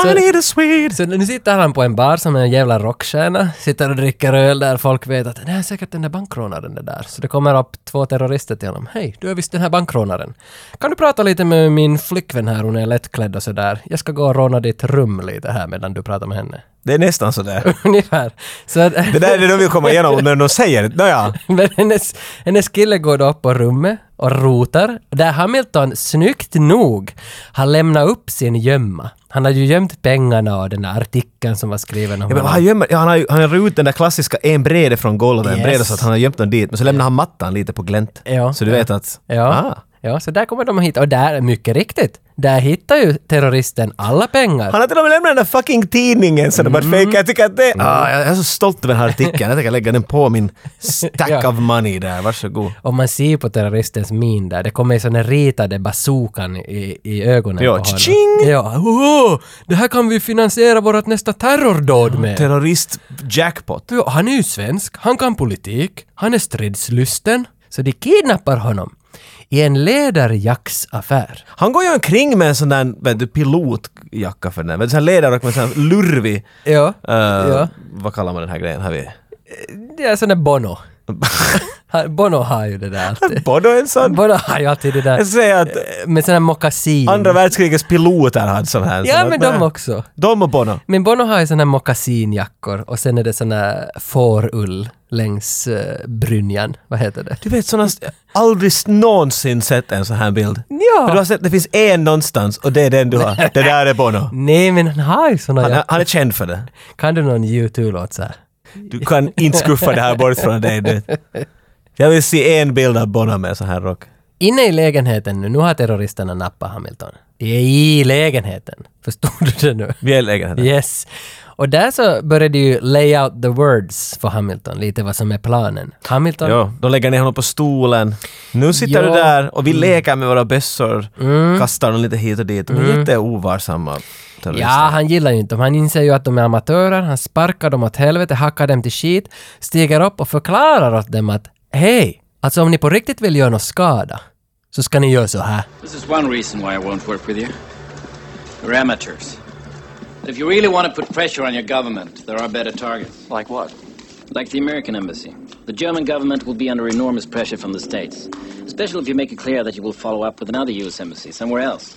[SPEAKER 2] så,
[SPEAKER 1] need a Swede!
[SPEAKER 2] så nu sitter han på en bar som är en jävla rockstjärna, sitter och dricker öl där folk vet att det här är säkert den där bankrånaren det där. Så det kommer upp två terrorister till honom. Hej, du är visst den här bankrånaren. Kan du prata lite med min flickvän här, hon är lättklädd och sådär. Jag ska gå och råna ditt rum lite här medan du pratar med henne.
[SPEAKER 1] Det är nästan sådär.
[SPEAKER 2] Ungefär. Så att,
[SPEAKER 1] Det där är det de vill komma igenom när de säger det. Nåja.
[SPEAKER 2] Men hennes, hennes kille går då upp på rummet och rotar, där Hamilton snyggt nog har lämnat upp sin gömma. Han hade ju gömt pengarna och den där artikeln som var skriven om
[SPEAKER 1] Ja, men
[SPEAKER 2] honom.
[SPEAKER 1] han, gömmer, ja, han har ju han har ut den där klassiska en brede från golvet, en
[SPEAKER 2] Yes.
[SPEAKER 1] brede så att han har gömt den dit. Men så lämnar han mattan lite på glänt.
[SPEAKER 2] Ja.
[SPEAKER 1] så du vet att...
[SPEAKER 2] Ja.
[SPEAKER 1] Ah,
[SPEAKER 2] ja, så där kommer de hit. Och där, mycket riktigt, där hittar ju terroristen alla pengar.
[SPEAKER 1] han har till och med lämnat den där fucking tidningen så de
[SPEAKER 2] Mm.
[SPEAKER 1] bara fejkar. Jag tycker att det... Ah, jag jag är så stolt över den här artikeln. Jag tänker lägga den på min stack
[SPEAKER 2] Ja.
[SPEAKER 1] of money där. Varsågod.
[SPEAKER 2] Och man ser på terroristens min där, det kommer ju sån här ritade bazookan i, i ögonen
[SPEAKER 1] Ja,
[SPEAKER 2] på honom.
[SPEAKER 1] tjing!
[SPEAKER 2] Ja, oh, det här kan vi finansiera vårt nästa terrordåd med.
[SPEAKER 1] Terrorist-jackpot.
[SPEAKER 2] Ja, han är ju svensk, han kan politik, han är stridslysten. Så de kidnappar honom i en läderjacksaffär.
[SPEAKER 1] Han går ju omkring med en sån där vet du, pilotjacka för den. Vet du, sån här ledarrock med sån här lurvig...
[SPEAKER 2] Ja,
[SPEAKER 1] eh,
[SPEAKER 2] ja.
[SPEAKER 1] Vad kallar man den här grejen? Har vi...
[SPEAKER 2] Det är sån där Bono. Han- Bono har ju det där alltid.
[SPEAKER 1] Bono är en sån?
[SPEAKER 2] Bono har ju alltid det där
[SPEAKER 1] Jag säger att
[SPEAKER 2] med sån här mockasin.
[SPEAKER 1] andra världskrigets piloter hade sån här.
[SPEAKER 2] Mm. Ja,
[SPEAKER 1] sån
[SPEAKER 2] men
[SPEAKER 1] här-
[SPEAKER 2] de också.
[SPEAKER 1] De och Bono.
[SPEAKER 2] Men Bono har ju såna här mockasinjackor och sen är det såna här fårull längs uh, brynjan. Vad heter det?
[SPEAKER 1] Du vet sådana, aldrig någonsin sett en sån här bild.
[SPEAKER 2] Ja.
[SPEAKER 1] För du har sett, det finns en någonstans och det är den du har. Det där är Bono.
[SPEAKER 2] Nej, men han har ju såna
[SPEAKER 1] Han,
[SPEAKER 2] jackor.
[SPEAKER 1] han är känd för det.
[SPEAKER 2] Kan du någon U2-låt så här?
[SPEAKER 1] Du kan inte skuffa det här bort från dig. Du. Jag vill se en bild av Bono med sån här rock.
[SPEAKER 2] Inne i lägenheten nu, nu har terroristerna nappat Hamilton. De är i lägenheten. Förstod du det nu?
[SPEAKER 1] Vi lägger den.
[SPEAKER 2] Yes. Och där så började ju lay out the words för Hamilton, lite vad som är planen. Hamilton,
[SPEAKER 1] Ja, de lägger ner honom på stolen. Nu sitter
[SPEAKER 2] Ja. Mm.
[SPEAKER 1] du där och vi leker med våra bössor. Kastar dem lite hit och dit. De är jätteovarsamma
[SPEAKER 2] ja,
[SPEAKER 1] terrorister.
[SPEAKER 2] han gillar ju inte dem. Han inser ju att de är amatörer, han sparkar dem åt helvete, hackar dem till skit, stiger upp och förklarar åt dem att hej, alltså om ni på riktigt vill göra någon skada, så ska ni göra så här.
[SPEAKER 6] This is one reason why I won't work with you. You're amateurs. But if you really want to put pressure on your government, there are better targets.
[SPEAKER 5] Like what?
[SPEAKER 6] Like the American embassy. The German government will be under enormous pressure from the States. Especially if you make it clear that you will follow up with another U.S. embassy somewhere else.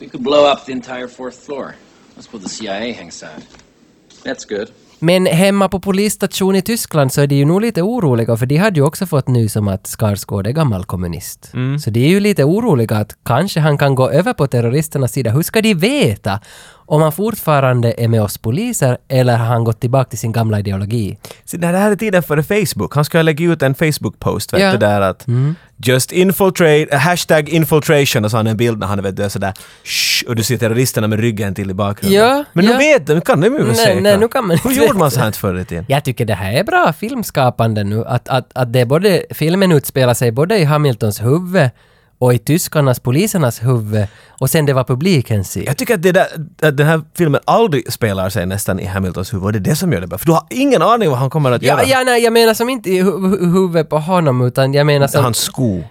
[SPEAKER 6] We could blow up the entire fourth floor. That's where the CIA hangs out. That's good.
[SPEAKER 2] Men hemma på polisstation i Tyskland så är de ju nog lite oroliga för de hade ju också fått nys om att Skarsgård är gammal kommunist. Så de är ju lite oroliga att kanske han kan gå över på terroristernas sida. Hur ska de veta om han fortfarande är med oss poliser eller har han gått tillbaka till sin gamla ideologi?
[SPEAKER 1] Så det här är tiden före Facebook. Han ska lägga ut en Facebook-post, vet
[SPEAKER 2] Ja. Mm.
[SPEAKER 1] du, där att just infiltrate, äh, hashtag infiltration och så har han en bild när han vet du, är sådär shh, och du ser terroristerna med ryggen till i bakgrunden.
[SPEAKER 2] Ja,
[SPEAKER 1] Men nu
[SPEAKER 2] ja.
[SPEAKER 1] vet de, nu kan de ju
[SPEAKER 2] Nej,
[SPEAKER 1] säkra.
[SPEAKER 2] nej, nu kan man
[SPEAKER 1] Hur
[SPEAKER 2] inte
[SPEAKER 1] gjorde man
[SPEAKER 2] veta.
[SPEAKER 1] så här förr i tiden?
[SPEAKER 2] Jag tycker det här är bra filmskapande nu, att, att, att det är både, filmen utspelar sig både i Hamiltons huvud och i tyskarnas, polisernas huvud och sen det var publikens sida.
[SPEAKER 1] Jag tycker att, det där, att den här filmen aldrig spelar sig nästan i Hamiltons huvud och det är det som gör det bra. För du har ingen aning vad han kommer att
[SPEAKER 2] Ja,
[SPEAKER 1] göra.
[SPEAKER 2] ja, nej, jag menar som inte i hu- hu- huvudet på honom, utan jag menar som...
[SPEAKER 1] Hans sko.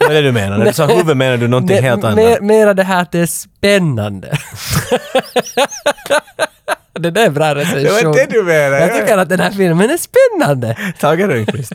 [SPEAKER 1] vad är det du menar? När du sa huvud menar du någonting
[SPEAKER 2] Me-
[SPEAKER 1] helt annat?
[SPEAKER 2] me- mera det här att det är spännande. det där är bra recension.
[SPEAKER 1] Det var det du menade.
[SPEAKER 2] Jag tycker att den här filmen är spännande.
[SPEAKER 1] Tage Rönnqvist.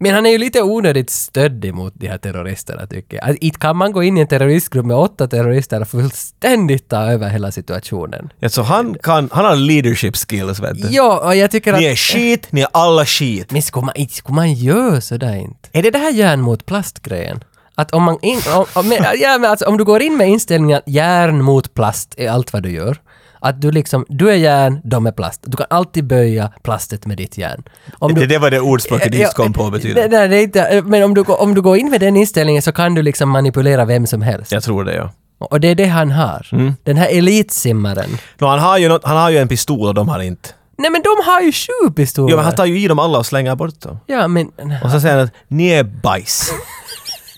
[SPEAKER 2] Men han är ju lite onödigt stöddig mot de här terroristerna tycker jag. Alltså, Inte kan man gå in i en terroristgrupp med åtta terrorister och fullständigt ta över hela situationen.
[SPEAKER 1] Ja, så han, kan, han har leadership skills, vet du.
[SPEAKER 2] Ja, och jag tycker att...
[SPEAKER 1] Ni är skit, ni är alla skit.
[SPEAKER 2] Men skulle man, inte skulle man göra sådär inte? Är det det här järn mot plast-grejen? Att om man in, om, om, men, ja, men alltså, om du går in med inställningen att järn mot plast är allt vad du gör. Att du liksom, du är järn, de är plast. Du kan alltid böja plastet med ditt järn. Om
[SPEAKER 1] Det,
[SPEAKER 2] du,
[SPEAKER 1] det var det ordspråket
[SPEAKER 2] Ja,
[SPEAKER 1] du kom på
[SPEAKER 2] nej,
[SPEAKER 1] betyder.
[SPEAKER 2] nej, det är inte, men om du, går- om du går in med den inställningen så kan du liksom manipulera vem som helst.
[SPEAKER 1] Jag tror det ja. Mm.
[SPEAKER 2] Och det är det han har. Den här elitsimmaren.
[SPEAKER 1] Nå, han, har ju något, han har ju en pistol och de har inte.
[SPEAKER 2] Nej men de har ju sju pistoler!
[SPEAKER 1] Jo men han tar ju i dem alla och slänger bort dem.
[SPEAKER 2] ja, men,
[SPEAKER 1] Och så säger han att ni är bajs.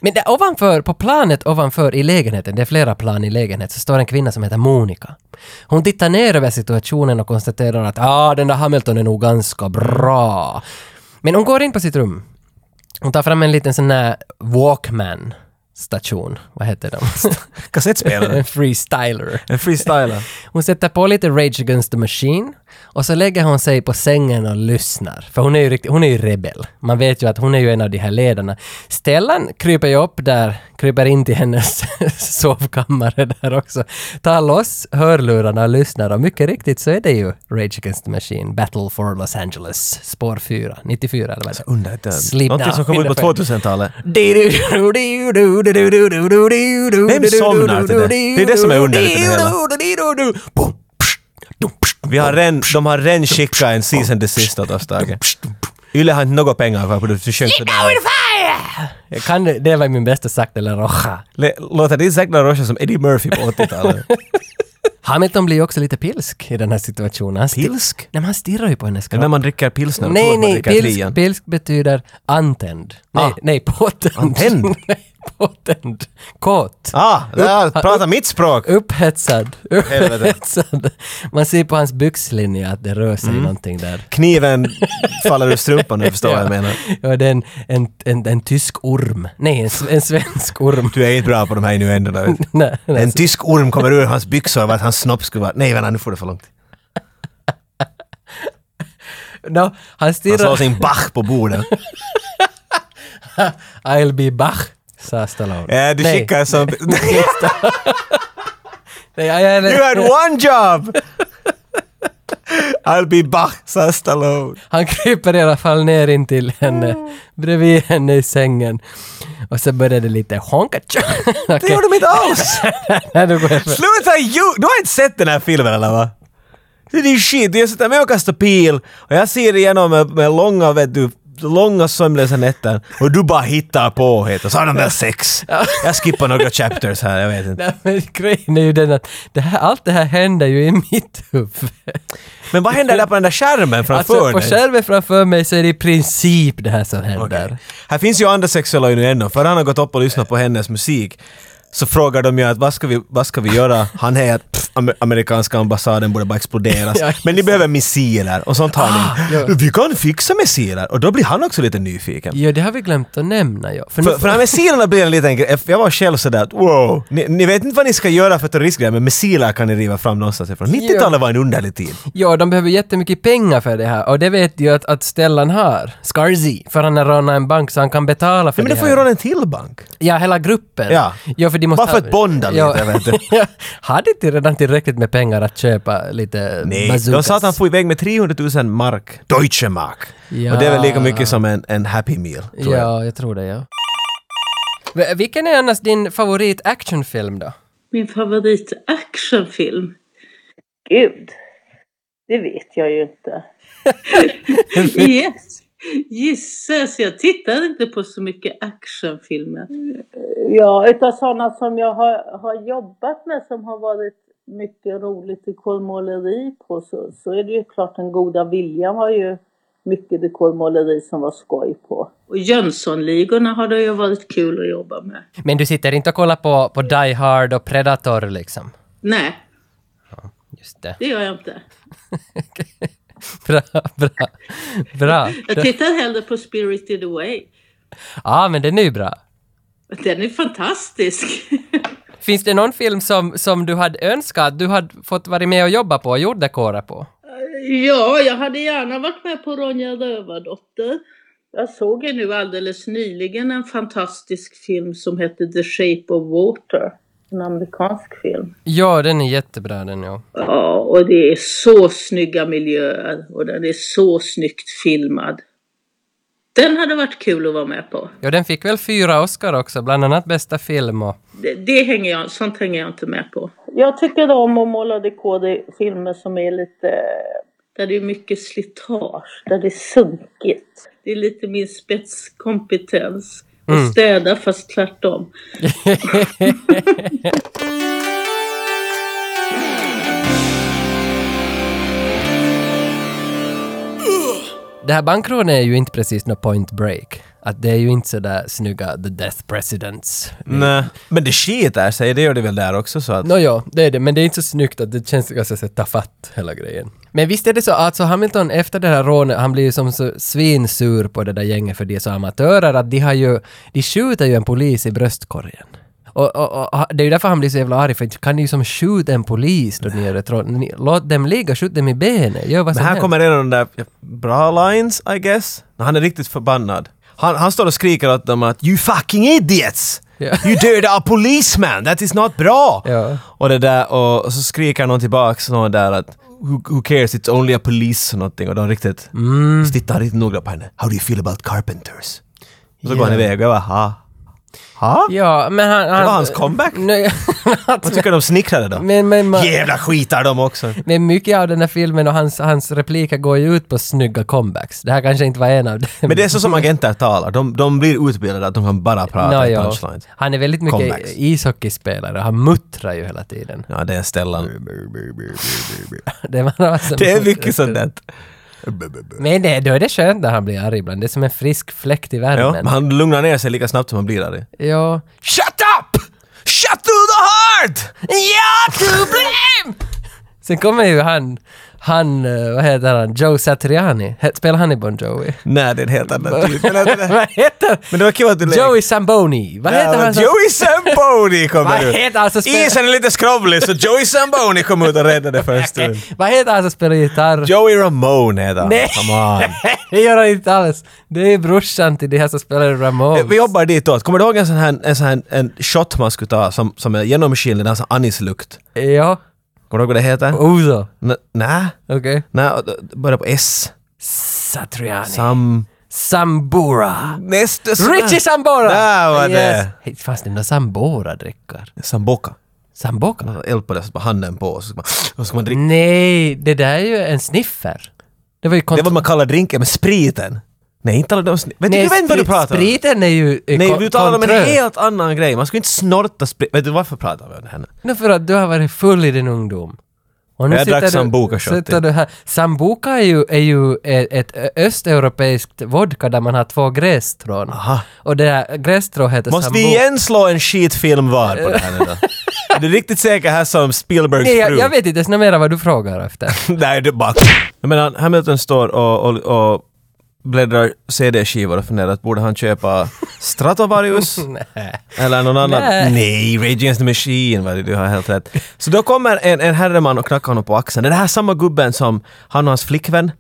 [SPEAKER 2] Men där ovanför, på planet ovanför i lägenheten, det är flera plan i lägenheten, så står en kvinna som heter Monica. Hon tittar ner över situationen och konstaterar att ah, den där Hamilton är nog ganska bra. Men hon går in på sitt rum. Hon tar fram en liten sån här Walkman station. Vad heter de? en
[SPEAKER 1] Kassettspelare.
[SPEAKER 2] freestyler.
[SPEAKER 1] En freestyler.
[SPEAKER 2] Hon sätter på lite Rage Against the Machine och så lägger hon sig på sängen och lyssnar. För hon är ju, riktigt, hon är ju rebell. Man vet ju att hon är ju en av de här ledarna. Stellan kryper ju upp där kryper in till hennes sovkammare där också, tar loss hörlurarna och lyssnar och mycket riktigt så är det ju Rage Against the Machine, Battle for Los Angeles, spår 4, 94 eller vad det är.
[SPEAKER 1] Undrar inte.
[SPEAKER 2] Sleep
[SPEAKER 1] Någonting
[SPEAKER 2] now,
[SPEAKER 1] som kom ut på
[SPEAKER 2] Winterfell.
[SPEAKER 1] 2000-talet.
[SPEAKER 2] Vem
[SPEAKER 1] somnar till det? Det är det som är underligt i det hela. Vi har redan, de har redan skickat en season desist åt oss, Tage. Yle har inte några pengar kvar för att du sjöng sådär.
[SPEAKER 2] Jag Eh, kan, det var min bästa sagt eller rocha.
[SPEAKER 1] Le- Låter det Zack LaRoche som Eddie Murphy på 80-talet?
[SPEAKER 2] Hamilton blir ju också lite pilsk i den här situationen. Han sti-
[SPEAKER 1] Pilsk?
[SPEAKER 2] Nej, men han stirrar ju på hennes
[SPEAKER 1] När
[SPEAKER 2] kropp.
[SPEAKER 1] man dricker pilsner och tror
[SPEAKER 2] Nej,
[SPEAKER 1] att man
[SPEAKER 2] nej,
[SPEAKER 1] dricker
[SPEAKER 2] pilsk,
[SPEAKER 1] trian.
[SPEAKER 2] pilsk betyder antänd. Nej,
[SPEAKER 1] Ah.
[SPEAKER 2] nej påtänd.
[SPEAKER 1] Antänd?
[SPEAKER 2] nej, påtänd. Kåt.
[SPEAKER 1] Ah, där, prata mitt språk!
[SPEAKER 2] Upphetsad.
[SPEAKER 1] Helvete.
[SPEAKER 2] Upphetsad. Man ser på hans byxlinje att det rör sig
[SPEAKER 1] Mm.
[SPEAKER 2] någonting där.
[SPEAKER 1] Kniven faller ur strumpan nu, förstår vad jag
[SPEAKER 2] Ja.
[SPEAKER 1] menar.
[SPEAKER 2] Ja, det är en, en, en, en tysk orm. Nej, en, s- en svensk orm.
[SPEAKER 1] Du är inte bra på de här innuenderna. vet du.
[SPEAKER 2] nej, nej.
[SPEAKER 1] En tysk orm kommer ur hans byxor av att hans snopp skulle vara... Nej, vänta, nu får det för långt.
[SPEAKER 2] No, han
[SPEAKER 1] Han slår
[SPEAKER 2] stirrar...
[SPEAKER 1] sin Bach på bordet.
[SPEAKER 2] I'll be Bach, sa Stallone.
[SPEAKER 1] Ja, Eh, du
[SPEAKER 2] Nej.
[SPEAKER 1] skickar som...
[SPEAKER 2] Nej, jag, jag,
[SPEAKER 1] You had one job! I'll be Bach, sa Stallone.
[SPEAKER 2] Han kryper i alla fall ner in till henne,
[SPEAKER 1] Mm.
[SPEAKER 2] bredvid henne i sängen. Och så börjar det lite honka okay.
[SPEAKER 1] Det gjorde de inte alls! Sluta ju! Du har inte sett den här filmen eller va? Det är din shit, jag sitter med och kastar pil och jag ser igenom med, med långa, vet du, långa sömnlösa nätter och du bara hittar på heter så har de väl sex. Jag skippar några chapters här, jag vet inte.
[SPEAKER 2] Nej, men grejen är ju den att det här, allt det här händer ju i mitt huvud.
[SPEAKER 1] Men vad händer där på den där skärmen framför
[SPEAKER 2] Alltså på
[SPEAKER 1] dig?
[SPEAKER 2] skärmen framför mig så är det i princip det här som händer.
[SPEAKER 1] Okej. Här finns ju andra sexuella innuendo, för han har gått upp och lyssnat på hennes musik. Så frågar de ju att vad ska vi, vad ska vi göra? Han är att pff, amer- amerikanska ambassaden borde bara exploderas.
[SPEAKER 2] Ja, just Ah,
[SPEAKER 1] Men ni behöver missiler och sånt har ni. Vi kan fixa missiler! Och då blir han också lite nyfiken.
[SPEAKER 2] Ja, det har vi glömt att nämna ja. För nu-
[SPEAKER 1] För, för de här missilerna blir en liten grej. Jag var själv sådär att wow, ni, ni vet inte vad ni ska göra för terroristgrejer men missiler kan ni riva fram någonstans ifrån. 90-talet var en underlig tid.
[SPEAKER 2] Ja, de behöver jättemycket pengar för det här och det vet ju att, att Stellan har. Scarzi, för han har rånat en bank så han kan betala för
[SPEAKER 1] Men
[SPEAKER 2] det
[SPEAKER 1] det får
[SPEAKER 2] här.
[SPEAKER 1] ju råda en till bank.
[SPEAKER 2] Ja, hela gruppen.
[SPEAKER 1] Ja.
[SPEAKER 2] ja för de måste
[SPEAKER 1] Bara för att bonda lite, vet du.
[SPEAKER 2] Ja. Hade inte redan tillräckligt med pengar att köpa lite
[SPEAKER 1] Nej, de
[SPEAKER 2] bazookas?
[SPEAKER 1] sa att han får iväg med 300 000 mark, Deutsche Mark.
[SPEAKER 2] Ja.
[SPEAKER 1] Och det är väl lika mycket som en, en Happy Meal, tror jag.
[SPEAKER 2] Ja, jag tror det, ja. V- Vilken är annars din favorit actionfilm då?
[SPEAKER 3] Min favorit actionfilm? Gud, det vet jag ju inte. yes. Gissas, jag tittar inte på så mycket actionfilmer. Ja, utav sådana som jag har, har jobbat med som har varit mycket roligt dekormåleri på så, så är det ju klart den goda viljan var ju mycket dekormåleri som var skoj på. Och Jönssonligorna har det ju varit kul att jobba med.
[SPEAKER 2] Men du sitter inte och kollar på, på Die Hard och Predator liksom?
[SPEAKER 3] Nej,
[SPEAKER 2] Just det.
[SPEAKER 3] det gör jag inte.
[SPEAKER 2] Bra, bra. Bra.
[SPEAKER 3] Jag tittar hellre på Spirited Away.
[SPEAKER 2] Ja, men den är ju bra.
[SPEAKER 3] Den är fantastisk.
[SPEAKER 2] Finns det någon film som, som du hade önskat att du hade fått vara med och jobba på och gjort dekorer på?
[SPEAKER 3] ja, jag hade gärna varit med på Ronja Rövardotter. Jag såg ju nu alldeles nyligen en fantastisk film som hette The Shape of Water. En amerikansk film.
[SPEAKER 2] Ja, den är jättebra den ja.
[SPEAKER 3] Ja, och det är så snygga miljöer och den är så snyggt filmad. Den hade varit kul att vara med på.
[SPEAKER 2] Ja, den fick väl fyra Oscar också, bland annat bästa film och...
[SPEAKER 3] Det, det hänger jag, sånt hänger jag inte med på. Jag tycker om att måla dekor i filmer som är lite... Där det är mycket slitage, där det är sunkigt. Det är lite min spetskompetens. Att städa fast tvärtom.
[SPEAKER 2] Det här bankrånet är ju inte precis något point break. Att det är ju inte sådär snygga the death presidents.
[SPEAKER 1] Nej. Men det skiter sig, det gör det väl där också så att...
[SPEAKER 2] Nåja, det är det, men det är inte så snyggt att det känns ganska så ta fatt hela grejen. Men visst är det så, alltså Hamilton efter det här rånet, han blir ju som så svinsur på det där gänget för de är så amatörer att de har ju, de skjuter ju en polis i bröstkorgen. Och, och, och det är ju därför han blir så jävla arg, för inte kan ni ju som skjuta en polis då ni gör ett rån? Ni- Låt dem ligga, skjut dem i benet, gör vad
[SPEAKER 1] Men
[SPEAKER 2] som
[SPEAKER 1] här
[SPEAKER 2] helst.
[SPEAKER 1] kommer en av de där bra lines, I guess. När han är riktigt förbannad. Han, han står och skriker åt dem att “You fucking idiots!
[SPEAKER 2] Ja.
[SPEAKER 1] You dödade a policeman! That is not bra!
[SPEAKER 2] Ja.
[SPEAKER 1] Och det där, och så skriker någon tillbaks någon där att who, who cares, it's only a police någonting och de riktigt mm. tittar riktigt noga på henne. How do you feel about carpenters? Och så går han iväg och jag bara ha? Ha?
[SPEAKER 2] Ja, men han... han
[SPEAKER 1] Det var hans comeback?
[SPEAKER 2] Nej, att-
[SPEAKER 1] Vad tycker du om snickrare då?
[SPEAKER 2] men, men, man,
[SPEAKER 1] Jävla skitar de också!
[SPEAKER 2] men mycket av den här filmen och hans, hans repliker går ju ut på snygga comebacks. Det här kanske inte var en av dem.
[SPEAKER 1] Men det är så som agenter talar, de, de blir utbildade att de kan bara prata
[SPEAKER 2] Nå,
[SPEAKER 1] i
[SPEAKER 2] ja.
[SPEAKER 1] punchlines.
[SPEAKER 2] Han är väldigt mycket
[SPEAKER 1] Comebacks.
[SPEAKER 2] ishockeyspelare, han muttrar ju hela tiden.
[SPEAKER 1] Ja, det är Stellan.
[SPEAKER 2] Det, var alltså
[SPEAKER 1] Det är mycket sånt där.
[SPEAKER 2] Men det, då är det skönt när han blir arg ibland. Det är som en frisk fläkt i
[SPEAKER 1] Ja,
[SPEAKER 2] värmen.
[SPEAKER 1] men han lugnar ner sig lika snabbt som han blir arg.
[SPEAKER 2] Ja.
[SPEAKER 1] Shut up! Shut through the heart!
[SPEAKER 2] Ja, problem! Sen kommer ju han, han, eh, vad heter han, Joe Satriani. He- Spelar han i Bon Jovi?
[SPEAKER 1] Nej, det är en helt annan typ. Men det-
[SPEAKER 2] vad heter
[SPEAKER 1] Men det var kul att du lekte.
[SPEAKER 2] Joey Samboni. Vad heter han? som-
[SPEAKER 1] Joey Samboni kommer
[SPEAKER 2] Vad
[SPEAKER 1] ut.
[SPEAKER 2] heter alltså han som spelar-
[SPEAKER 1] Isen är lite skrovlig så Joey Samboni kom ut och räddade för en stund.
[SPEAKER 2] Vad heter han som spelar gitarr?
[SPEAKER 1] Joey Ramone heter han.
[SPEAKER 2] Nej.
[SPEAKER 1] Come on.
[SPEAKER 2] det gör han inte alls. Det är brorsan till de här som spelar i Ramones.
[SPEAKER 1] Vi jobbar ditåt. Kommer du ihåg en sån här, en sån här en shot man skulle ta som, som är genomskinlig, den har sån anislukt?
[SPEAKER 2] Ja.
[SPEAKER 1] Kommer du ihåg vad det heter?
[SPEAKER 2] Ozo.
[SPEAKER 1] N- Nej,
[SPEAKER 2] Okej.
[SPEAKER 1] nej, det börjar på S.
[SPEAKER 2] Satriani.
[SPEAKER 1] Sam...
[SPEAKER 2] Sambora.
[SPEAKER 1] Nästa sån här-
[SPEAKER 2] Richie Sambora!
[SPEAKER 1] Där var det.
[SPEAKER 2] Hey, Fanns det några Sambora-drickor?
[SPEAKER 1] Samboka.
[SPEAKER 2] Samboka?
[SPEAKER 1] Man har Eld på det, så bara handen på och så ska man, och så ska man dricka.
[SPEAKER 2] Nej, det där är ju en sniffer. Det var ju kont-
[SPEAKER 1] Det är vad man kallar drinken, men spriten. Nej, inte alla de... sn- Vet du,
[SPEAKER 2] Nej,
[SPEAKER 1] du vet inte vad du
[SPEAKER 2] spri-
[SPEAKER 1] pratar om.
[SPEAKER 2] Spriten är ju är
[SPEAKER 1] Nej,
[SPEAKER 2] kon-
[SPEAKER 1] du talar om en
[SPEAKER 2] kontrör.
[SPEAKER 1] helt annan grej. Man skulle inte snorta sprit. Vet du varför pratar vi om det här nu?
[SPEAKER 2] Nu för att du har varit full i din ungdom. Och nu
[SPEAKER 1] Jag
[SPEAKER 2] sitter
[SPEAKER 1] drack
[SPEAKER 2] du-
[SPEAKER 1] Sambuca shot, ja.
[SPEAKER 2] sitter du här. Sambuca är ju, är ju ett, ett östeuropeiskt vodka där man har två grässtrån.
[SPEAKER 1] Aha.
[SPEAKER 2] Och det här grässtrået heter
[SPEAKER 1] Måste
[SPEAKER 2] Sambuca.
[SPEAKER 1] vi igen slå en skitfilm var på det här nu då? Är du riktigt säker här som Spielbergs
[SPEAKER 2] Nej, jag,
[SPEAKER 1] fru?
[SPEAKER 2] jag vet inte ens mer vad du frågar efter.
[SPEAKER 1] Nej, det är bara... Jag menar, Hamilton står och, och, och bläddrar CD-skivor och funderar att borde han köpa Stratovarius?
[SPEAKER 2] Nej.
[SPEAKER 1] Eller någon annan?
[SPEAKER 2] Nej.
[SPEAKER 1] Nej, Rage Against the Machine var det, du har helt rätt. Så då kommer en, en herreman och knackar honom på axeln. Det är det här samma gubben som han och hans flickvän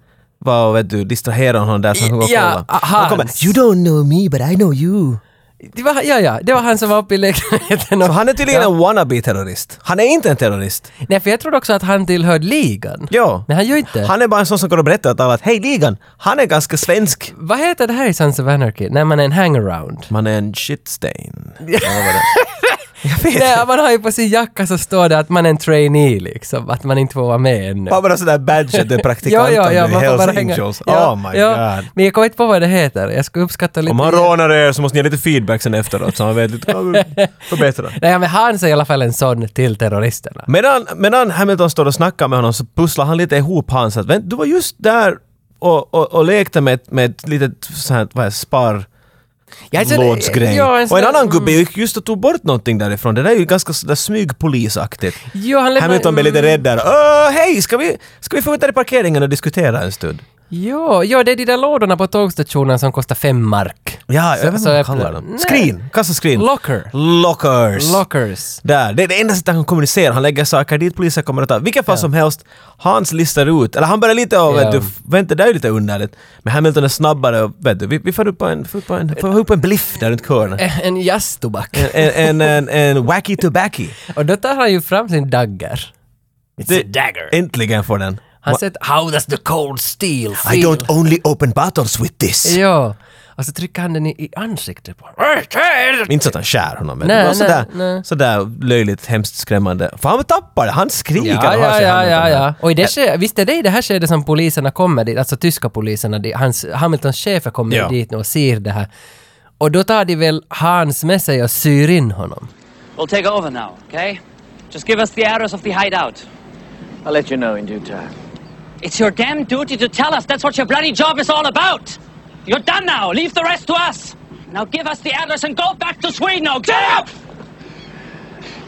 [SPEAKER 1] var och vet du, distraherade honom där så han skulle
[SPEAKER 2] Ja, ah,
[SPEAKER 1] kolla. Han
[SPEAKER 2] Hans.
[SPEAKER 1] kommer “You don't know me but I know you”.
[SPEAKER 2] Det var, ja, ja, det var han som var uppe i lägenheten.
[SPEAKER 1] Så han är tydligen en wannabe-terrorist. Han är inte en terrorist.
[SPEAKER 2] Nej, för jag trodde också att han tillhörde ligan.
[SPEAKER 1] Ja.
[SPEAKER 2] Men han gör inte.
[SPEAKER 1] Han är bara en sån som går och berättar åt alla att “Hej ligan, han är ganska svensk”.
[SPEAKER 2] Vad heter det här i Sons of Anarchy? När man är en hangaround.
[SPEAKER 1] Man är en shitstain. Eller vad var det? Jag vet
[SPEAKER 2] Nej, man har ju på sin jacka så står det att man är en trainee liksom, att man inte får vara med ännu.
[SPEAKER 1] Bara sådär badge att du är praktikant om du är Hells Angels.
[SPEAKER 2] Ja,
[SPEAKER 1] oh my
[SPEAKER 2] ja.
[SPEAKER 1] god.
[SPEAKER 2] Men jag kommer inte på vad det heter. Jag skulle uppskatta lite...
[SPEAKER 1] Om han rånar er så måste ni ha lite feedback sen efteråt så han vet lite vad vi förbättrar.
[SPEAKER 2] Nej, men han är i alla fall en sån till terroristerna.
[SPEAKER 1] Medan, medan Hamilton står och snackar med honom så pusslar han lite ihop hans att "Vänt, du var just där och, och, och lekte med, ett- med ett litet sånt här, vad är det, spar...
[SPEAKER 2] Ja, så det-
[SPEAKER 1] lådsgrej.
[SPEAKER 2] ja, alltså mm. en sån
[SPEAKER 1] och en
[SPEAKER 2] där-
[SPEAKER 1] annan gubbe gick just och tog bort någonting därifrån. Det där är ju ganska sådär smygpolisaktigt.
[SPEAKER 2] Jo, han lämnar-
[SPEAKER 1] Hamilton blev lite rädd där. Öh, hej, ska vi, ska vi få ut där i parkeringen och diskutera en stund?
[SPEAKER 2] Jo, jo, det är de där lådorna på tågstationen som kostar fem mark.
[SPEAKER 1] Ja,
[SPEAKER 2] Så-
[SPEAKER 1] jag vet inte
[SPEAKER 2] så
[SPEAKER 1] vad man
[SPEAKER 2] öppnar-
[SPEAKER 1] kallar dem.
[SPEAKER 2] alltså, Nej.
[SPEAKER 1] Skrin, kassaskrin.
[SPEAKER 2] Locker.
[SPEAKER 1] Lockers.
[SPEAKER 2] Lockers.
[SPEAKER 1] Där, det är det enda sättet han kan kommunicera. Han lägger saker dit polisen kommer att ta. Vilken fall som helst, Hans listar ut, eller han börjar lite och
[SPEAKER 2] Ja.
[SPEAKER 1] vet du, f- vänta det där är ju lite underligt. Men Hamilton är snabbare och vet du, vi, vi får upp en, får upp en, får upp en bliff där runt hörnet.
[SPEAKER 2] Eh, En jazztobak.
[SPEAKER 1] En, en, en, en wacky tobacky.
[SPEAKER 2] Och då tar han ju fram sin dagger. It's
[SPEAKER 1] Det-
[SPEAKER 2] a dagger.
[SPEAKER 1] Äntligen får den.
[SPEAKER 2] Han säger “How does the cold steel feel?”
[SPEAKER 1] I don't only open battles with this.
[SPEAKER 2] Ja. Och så trycker han den i, i ansiktet på honom.
[SPEAKER 1] Inte så att han skär honom, men
[SPEAKER 2] Nej,
[SPEAKER 1] det var
[SPEAKER 2] nej,
[SPEAKER 1] sådär,
[SPEAKER 2] nej.
[SPEAKER 1] sådär löjligt, hemskt skrämmande. För han tappar det, han skriker
[SPEAKER 2] Ja,
[SPEAKER 1] och har
[SPEAKER 2] ja,
[SPEAKER 1] sig
[SPEAKER 2] ja,
[SPEAKER 1] handen
[SPEAKER 2] ja,
[SPEAKER 1] på den.
[SPEAKER 2] ja. Och i det ske, visst är det i det här skedet som poliserna kommer dit, alltså tyska poliserna, dit, hans, Hamiltons chefer kommer
[SPEAKER 1] Ja.
[SPEAKER 2] dit nu och ser det här. Och då tar de väl Hans med sig och syr in honom.
[SPEAKER 5] We'll take over now, okay? Just give us the address of the hideout.
[SPEAKER 6] I'll let you know in due time.
[SPEAKER 5] It's your damn duty to tell us. That's what your bloody job is all about. You're done now. Leave the rest to us. Now give us the address and go back to Sweden. Now get out!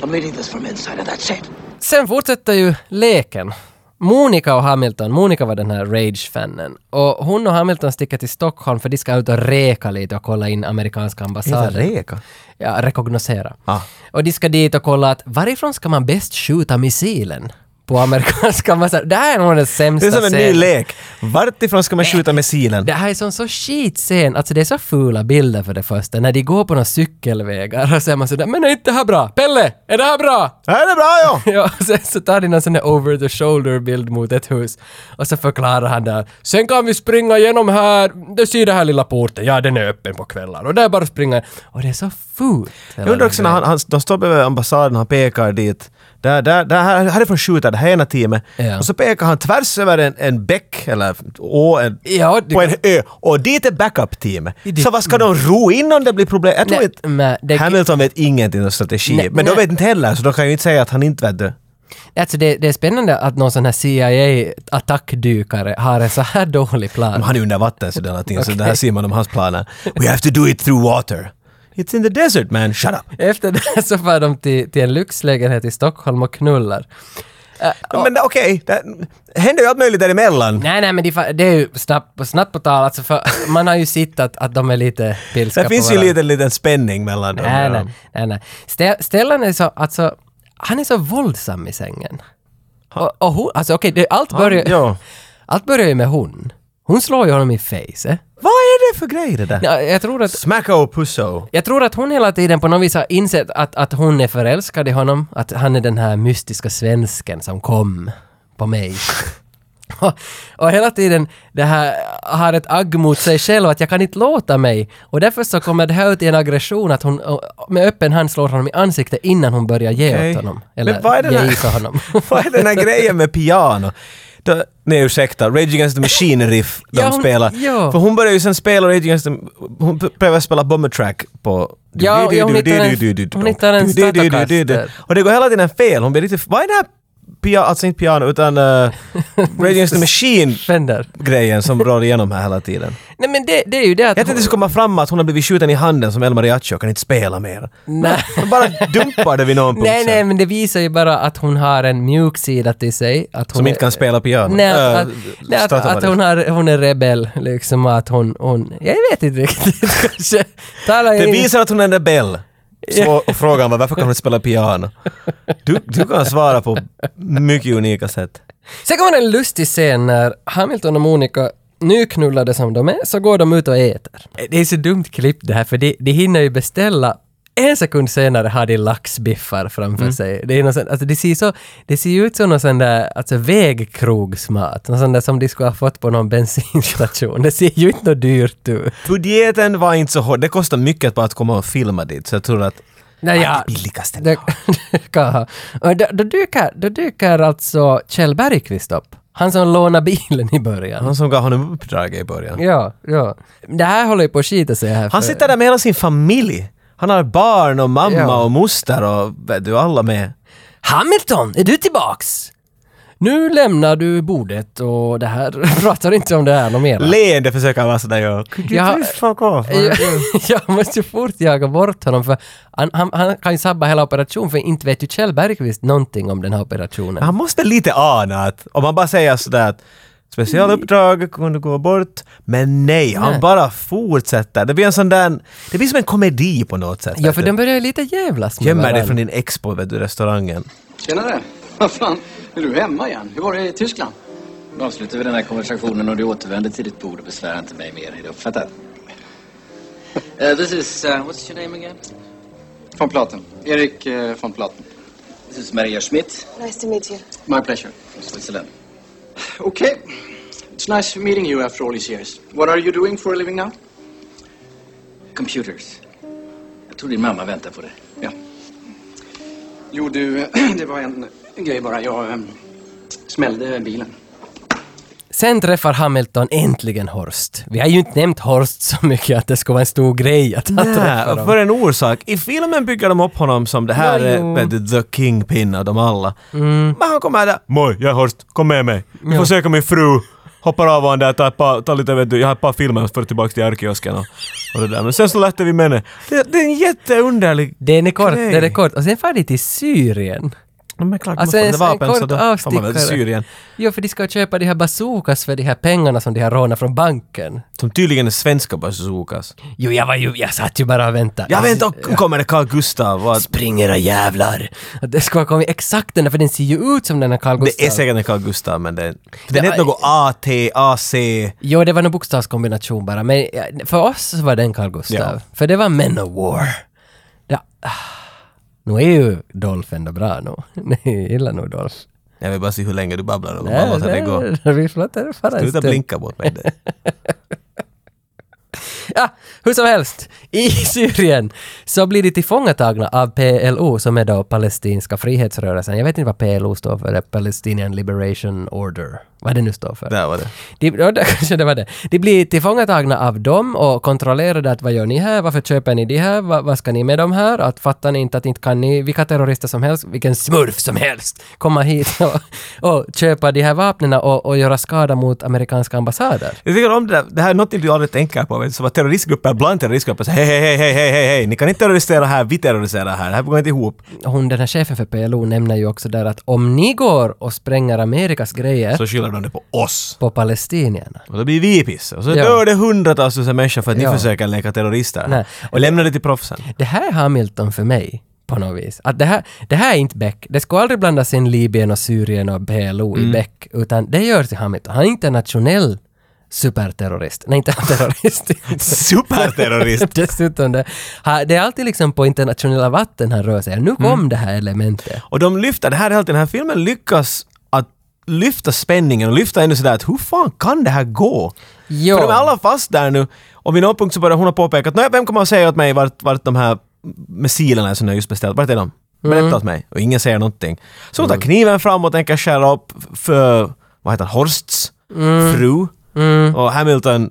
[SPEAKER 4] I'm leading this from inside of that set.
[SPEAKER 2] Sen fortsätter ju leken. Monica och Hamilton, Monica var den här Rage-fanen. Och hon och Hamilton sticker till Stockholm för de ska ut och reka lite och kolla in amerikanska
[SPEAKER 1] Heter
[SPEAKER 2] ambassaden.
[SPEAKER 1] Reka?
[SPEAKER 2] Ja, rekognosera.
[SPEAKER 1] Ah.
[SPEAKER 2] Och de ska dit och kolla att varifrån ska man bäst skjuta missilen? på amerikanska. Man säger, det här är nog den
[SPEAKER 1] Det
[SPEAKER 2] sämsta
[SPEAKER 1] är som en ny
[SPEAKER 2] scenen.
[SPEAKER 1] lek. Vart ifrån ska man skjuta missilen?
[SPEAKER 2] Det här är som så skitscen, alltså det är så fula bilder för det första, när de går på några cykelvägar och så är man sådär ”men är inte det här bra? Pelle, är det här bra?”
[SPEAKER 1] Ja, det är bra ja!
[SPEAKER 2] Ja, och sen så tar de någon sån där over the shoulder bild mot ett hus och så förklarar han där ”sen kan vi springa genom här, du ser den här lilla porten, ja den är öppen på kvällar och där bara springa och det är så fult.
[SPEAKER 1] Jag undrar också när han, han, de står bredvid ambassaden, han pekar dit. Där, där, där, här, härifrån skjuter det här ena teamet.
[SPEAKER 2] Ja.
[SPEAKER 1] Och så pekar han tvärs över en, en bäck, eller å, en,
[SPEAKER 2] Ja, det-
[SPEAKER 1] på en ö. Och dit är backup-teamet.
[SPEAKER 2] Det-
[SPEAKER 1] Så vad ska de ro in om det blir problem? Jag tror
[SPEAKER 2] Nej,
[SPEAKER 1] inte...
[SPEAKER 2] men det-
[SPEAKER 1] Hamilton vet ingenting om strategi.
[SPEAKER 2] Nej,
[SPEAKER 1] men de
[SPEAKER 2] nej.
[SPEAKER 1] vet inte heller, så de kan ju inte säga att han inte vet det.
[SPEAKER 2] Alltså det, det är spännande att någon sån här CIA-attackdykare har en så här dålig plan.
[SPEAKER 1] Men han är under vatten så det är någonting, så
[SPEAKER 2] Okej.
[SPEAKER 1] det här ser man om hans planer. We have to do it through water. It's in the desert man, shut up!
[SPEAKER 2] Efter det här så far de till, till en lyxlägenhet i Stockholm och knullar.
[SPEAKER 1] Men okej, det händer ju allt möjligt däremellan.
[SPEAKER 2] Nej, nej, men det, fa- det är ju snabbt, på- snabbt på tal, alltså för man har ju sett att, att de är lite pilska
[SPEAKER 1] Det finns
[SPEAKER 2] på
[SPEAKER 1] ju en
[SPEAKER 2] varandra.
[SPEAKER 1] liten, liten spänning mellan dem.
[SPEAKER 2] Nej,
[SPEAKER 1] ja.
[SPEAKER 2] nej, nej, nej. Ste- Stellan är så, alltså, han är så våldsam i sängen. Och, och hon, alltså okej, det- allt börjar
[SPEAKER 1] ja.
[SPEAKER 2] allt börjar ju med hon. Hon slår ju honom i face. Eh?
[SPEAKER 1] Vad är det för grej det där?
[SPEAKER 2] Ja, Jag tror att
[SPEAKER 1] Smacka och pusso.
[SPEAKER 2] Jag tror att hon hela tiden på något vis har insett att, att hon är förälskad i honom, att han är den här mystiska svensken som kom på mig. och, och hela tiden det här har ett agg mot sig själv, att jag kan inte låta mig. Och därför så kommer det här ut i en aggression, att hon och- och med öppen hand slår honom i ansiktet innan hon börjar ge
[SPEAKER 1] Okej.
[SPEAKER 2] åt honom. Eller
[SPEAKER 1] Men vad är den
[SPEAKER 2] ge
[SPEAKER 1] här-
[SPEAKER 2] i för honom.
[SPEAKER 1] Vad är den här grejen med piano? Då, nej ursäkta, Rage Against the Machine riff de
[SPEAKER 2] Ja, hon-
[SPEAKER 1] spelar.
[SPEAKER 2] ja.
[SPEAKER 1] För hon började ju sen spela Rage Against the... Hon p- prövade spela Bomber Track på...
[SPEAKER 2] Ja, ja, hon hittar en- hon hittar en statocaster.
[SPEAKER 1] Och det går hela tiden fel. Hon blir lite... Vad är det här piano, alltså inte piano utan uh, Rage Against the Machine
[SPEAKER 2] Fender.
[SPEAKER 1] grejen som drar igenom här hela tiden.
[SPEAKER 2] Nej men det, det är ju det att
[SPEAKER 1] Jag tänkte det skulle komma fram att hon har blivit skjuten i handen som El Mariachi och kan inte spela mer.
[SPEAKER 2] Nej.
[SPEAKER 1] Hon bara dumpar det vid någon punkt
[SPEAKER 2] Nej,
[SPEAKER 1] sen.
[SPEAKER 2] nej, men det visar ju bara att hon har en mjuk sida till sig. Att hon
[SPEAKER 1] Som
[SPEAKER 2] är-
[SPEAKER 1] inte kan spela piano.
[SPEAKER 2] Nej,
[SPEAKER 1] Äh,
[SPEAKER 2] att, att, nej, att,
[SPEAKER 1] starta
[SPEAKER 2] att
[SPEAKER 1] varje.
[SPEAKER 2] hon, har, hon är rebell, liksom att hon, hon... Jag vet inte riktigt kanske. Talar
[SPEAKER 1] Det
[SPEAKER 2] in-
[SPEAKER 1] visar att hon är en rebell. Så och frågan var varför kan hon spela piano? Du, du kan svara på mycket unika sätt.
[SPEAKER 2] Sen kommer en lustig scen när Hamilton och Monica, nyknullade som de är, så går de ut och äter. Det är så dumt klipp det här, för de, de hinner ju beställa en sekund senare har de laxbiffar framför sig. Det, är någon sån, alltså det, ser så, det ser ju ut som någon sån där alltså vägkrogsmat. Någon sån där som de skulle ha fått på någon bensinstation. Det ser ju inte något dyrt ut.
[SPEAKER 1] Budgeten var inte så hård. Det kostar mycket bara att komma och filma dit. Så jag tror att
[SPEAKER 2] Nej, ja.
[SPEAKER 1] det billigaste.
[SPEAKER 2] Det, det kan ha. Och då, då, dyker, då dyker alltså Kjell Bergqvist upp. Han som lånade bilen i början.
[SPEAKER 1] Han som gav honom uppdraget i början.
[SPEAKER 2] Ja, ja. Det här håller ju på att skita sig här.
[SPEAKER 1] Han
[SPEAKER 2] för-
[SPEAKER 1] sitter där med hela sin familj. Han har barn och mamma
[SPEAKER 2] Ja.
[SPEAKER 1] och moster och vet du, alla med.
[SPEAKER 2] Hamilton, är du tillbaks? Nu lämnar du bordet och det här pratar inte om det här något mer. va?
[SPEAKER 1] Leende försöker han vara sådär ja. Could you
[SPEAKER 2] Ja.
[SPEAKER 1] please fuck off?
[SPEAKER 2] jag, jag måste ju fort jaga bort honom för han, han, han kan ju sabba hela operationen för inte vet ju Kjell Bergqvist någonting om den här operationen.
[SPEAKER 1] Han måste lite ana att om han bara säger sådär att specialuppdrag kunde gå bort. Men nej, han
[SPEAKER 2] Nej.
[SPEAKER 1] bara fortsätter. Det blir en sån där, det blir som en komedi på något sätt.
[SPEAKER 2] Ja,
[SPEAKER 1] vet
[SPEAKER 2] för
[SPEAKER 1] du.
[SPEAKER 2] de börjar ju lite jävlas med
[SPEAKER 1] Gömmer dig
[SPEAKER 2] varandra.
[SPEAKER 1] från din ex på vet du, restaurangen.
[SPEAKER 6] Tjenare! Vad fan, är du hemma igen? Hur var det i Tyskland? Nu avslutar vi den här konversationen och du återvänder till ditt bord och besvärar inte mig mer. Är det uppfattat? Uh, this is... Uh, what's your name again?
[SPEAKER 7] Von Platen. Erik eh, von Platen.
[SPEAKER 6] This is Maria Schmidt,
[SPEAKER 8] Nice to meet you.
[SPEAKER 7] My pleasure.
[SPEAKER 6] from Switzerland.
[SPEAKER 7] Okay. It's nice meeting you after all these years. What are you doing for a living now?
[SPEAKER 6] Computers. Jag tror din mamma väntar på dig.
[SPEAKER 7] Ja. Jo, du, eh, det var en grej bara. Jag eh, smällde bilen.
[SPEAKER 2] Sen träffar Hamilton äntligen Horst. Vi har ju inte nämnt Horst så mycket att det skulle vara en stor grej att han
[SPEAKER 1] Nej,
[SPEAKER 2] träffar
[SPEAKER 1] och
[SPEAKER 2] dem.
[SPEAKER 1] för en orsak. I filmen bygger de upp honom som det här
[SPEAKER 2] Ja, jo. Mm.
[SPEAKER 1] är vet du, the kingpin av dem alla. Men han kommer där. Moj, jag är Horst, kom med mig. Vi får söka min fru. Hoppar av honom där, tar, ett par, tar lite, vet du, jag har ett par filmer för tillbaka till arkkiosken och, och det där. Men sen så lättar vi med henne. Det, det är en jätteunderlig
[SPEAKER 2] Den är kort,
[SPEAKER 1] grej.
[SPEAKER 2] den är kort. Och sen far de till Syrien.
[SPEAKER 1] No, men klart,
[SPEAKER 2] Alltså
[SPEAKER 1] måste
[SPEAKER 2] en,
[SPEAKER 1] det
[SPEAKER 2] en
[SPEAKER 1] vapen så
[SPEAKER 2] kort
[SPEAKER 1] då får man väl till
[SPEAKER 2] avstickare.
[SPEAKER 1] Syrien.
[SPEAKER 2] Jo, för de ska köpa de här bazookas för de här pengarna som de har rånat från banken.
[SPEAKER 1] Som tydligen är svenska bazookas.
[SPEAKER 2] Jo, jag var ju, jag satt ju bara och väntade.
[SPEAKER 1] Jag vet inte, och kommer det Carl Gustav? Vad?
[SPEAKER 2] Spring era jävlar! Det ska ha kommit exakt den där, för den ser ju ut som den här Carl Gustaf.
[SPEAKER 1] Det är säkert en Carl Gustav, men det, den
[SPEAKER 2] Ja,
[SPEAKER 1] heter något AT, AC.
[SPEAKER 2] Jo, det var en bokstavskombination bara, men ja, för oss så var den Carl Gustav.
[SPEAKER 1] Ja.
[SPEAKER 2] För det var Men of War. Det, ah. Nu är ju Dolph ändå bra nu. Nej, jag gillar nog Dolph.
[SPEAKER 1] Jag vill bara se hur länge du babblar om mamma låter det gå.
[SPEAKER 2] Vi låter det fara en
[SPEAKER 1] Sluta
[SPEAKER 2] stund.
[SPEAKER 1] blinka mot mig. Det-
[SPEAKER 2] Ja, hur som helst, i Syrien så blir de tillfångatagna av PLO som är då palestinska frihetsrörelsen. Jag vet inte vad PLO står för, det är Palestinian Liberation Order. Vad det nu står för.
[SPEAKER 1] Där var det.
[SPEAKER 2] De, ja, det kanske det var det. De blir tillfångatagna av dem och kontrollerade att vad gör ni här, varför köper ni de här, vad, vad ska ni med de här, att fattar ni inte att inte kan ni, vilka terrorister som helst, vilken smurf som helst, komma hit och, och köpa de här vapnen och, och göra skada mot amerikanska ambassader.
[SPEAKER 1] Jag tycker om det där. Det här är något du aldrig tänker på. Vet du? Som att terroristgrupper bland terroristgrupper säger hej, hej, hej, hej, hej, hej, ni kan inte terrorisera här, vi terroriserar här. Det här går inte ihop.
[SPEAKER 2] hon, den här chefen för PLO nämner ju också där att om ni går och spränger Amerikas grejer
[SPEAKER 1] Så skyller de det på oss.
[SPEAKER 2] på palestinierna.
[SPEAKER 1] Och då blir vi piss. Och så
[SPEAKER 2] Ja.
[SPEAKER 1] dör det hundratals tusen människor för att ni
[SPEAKER 2] Ja.
[SPEAKER 1] försöker leka terrorister.
[SPEAKER 2] Nej.
[SPEAKER 1] Och lämnar det till proffsen.
[SPEAKER 2] Det här är Hamilton för mig på något vis. Att det, här, det här är inte Beck. Det ska aldrig blandas in Libyen och Syrien och PLO
[SPEAKER 1] Mm.
[SPEAKER 2] i Beck, utan det gör till Hamilton. Han är internationell superterrorist. Nej, inte terrorist.
[SPEAKER 1] Superterrorist!
[SPEAKER 2] Dessutom, det, ha- det är alltid liksom på internationella vatten han rör sig. Nu kom
[SPEAKER 1] Mm.
[SPEAKER 2] det här elementet.
[SPEAKER 1] Och de lyfter, det här är helt den här filmen lyckas att lyfta spänningen och lyfta ändå sådär att hur fan kan det här gå?
[SPEAKER 2] Jo.
[SPEAKER 1] För de är alla fast där nu och vid någon punkt så börjar hon ha påpekat att vem kommer att säga åt mig vart, vart de här missilerna som jag just beställt, vart är de? Berätta åt mig. Och ingen säger någonting. Så hon tar kniven fram och tänker skära upp för, vad heter han, Horsts fru. Och Hamilton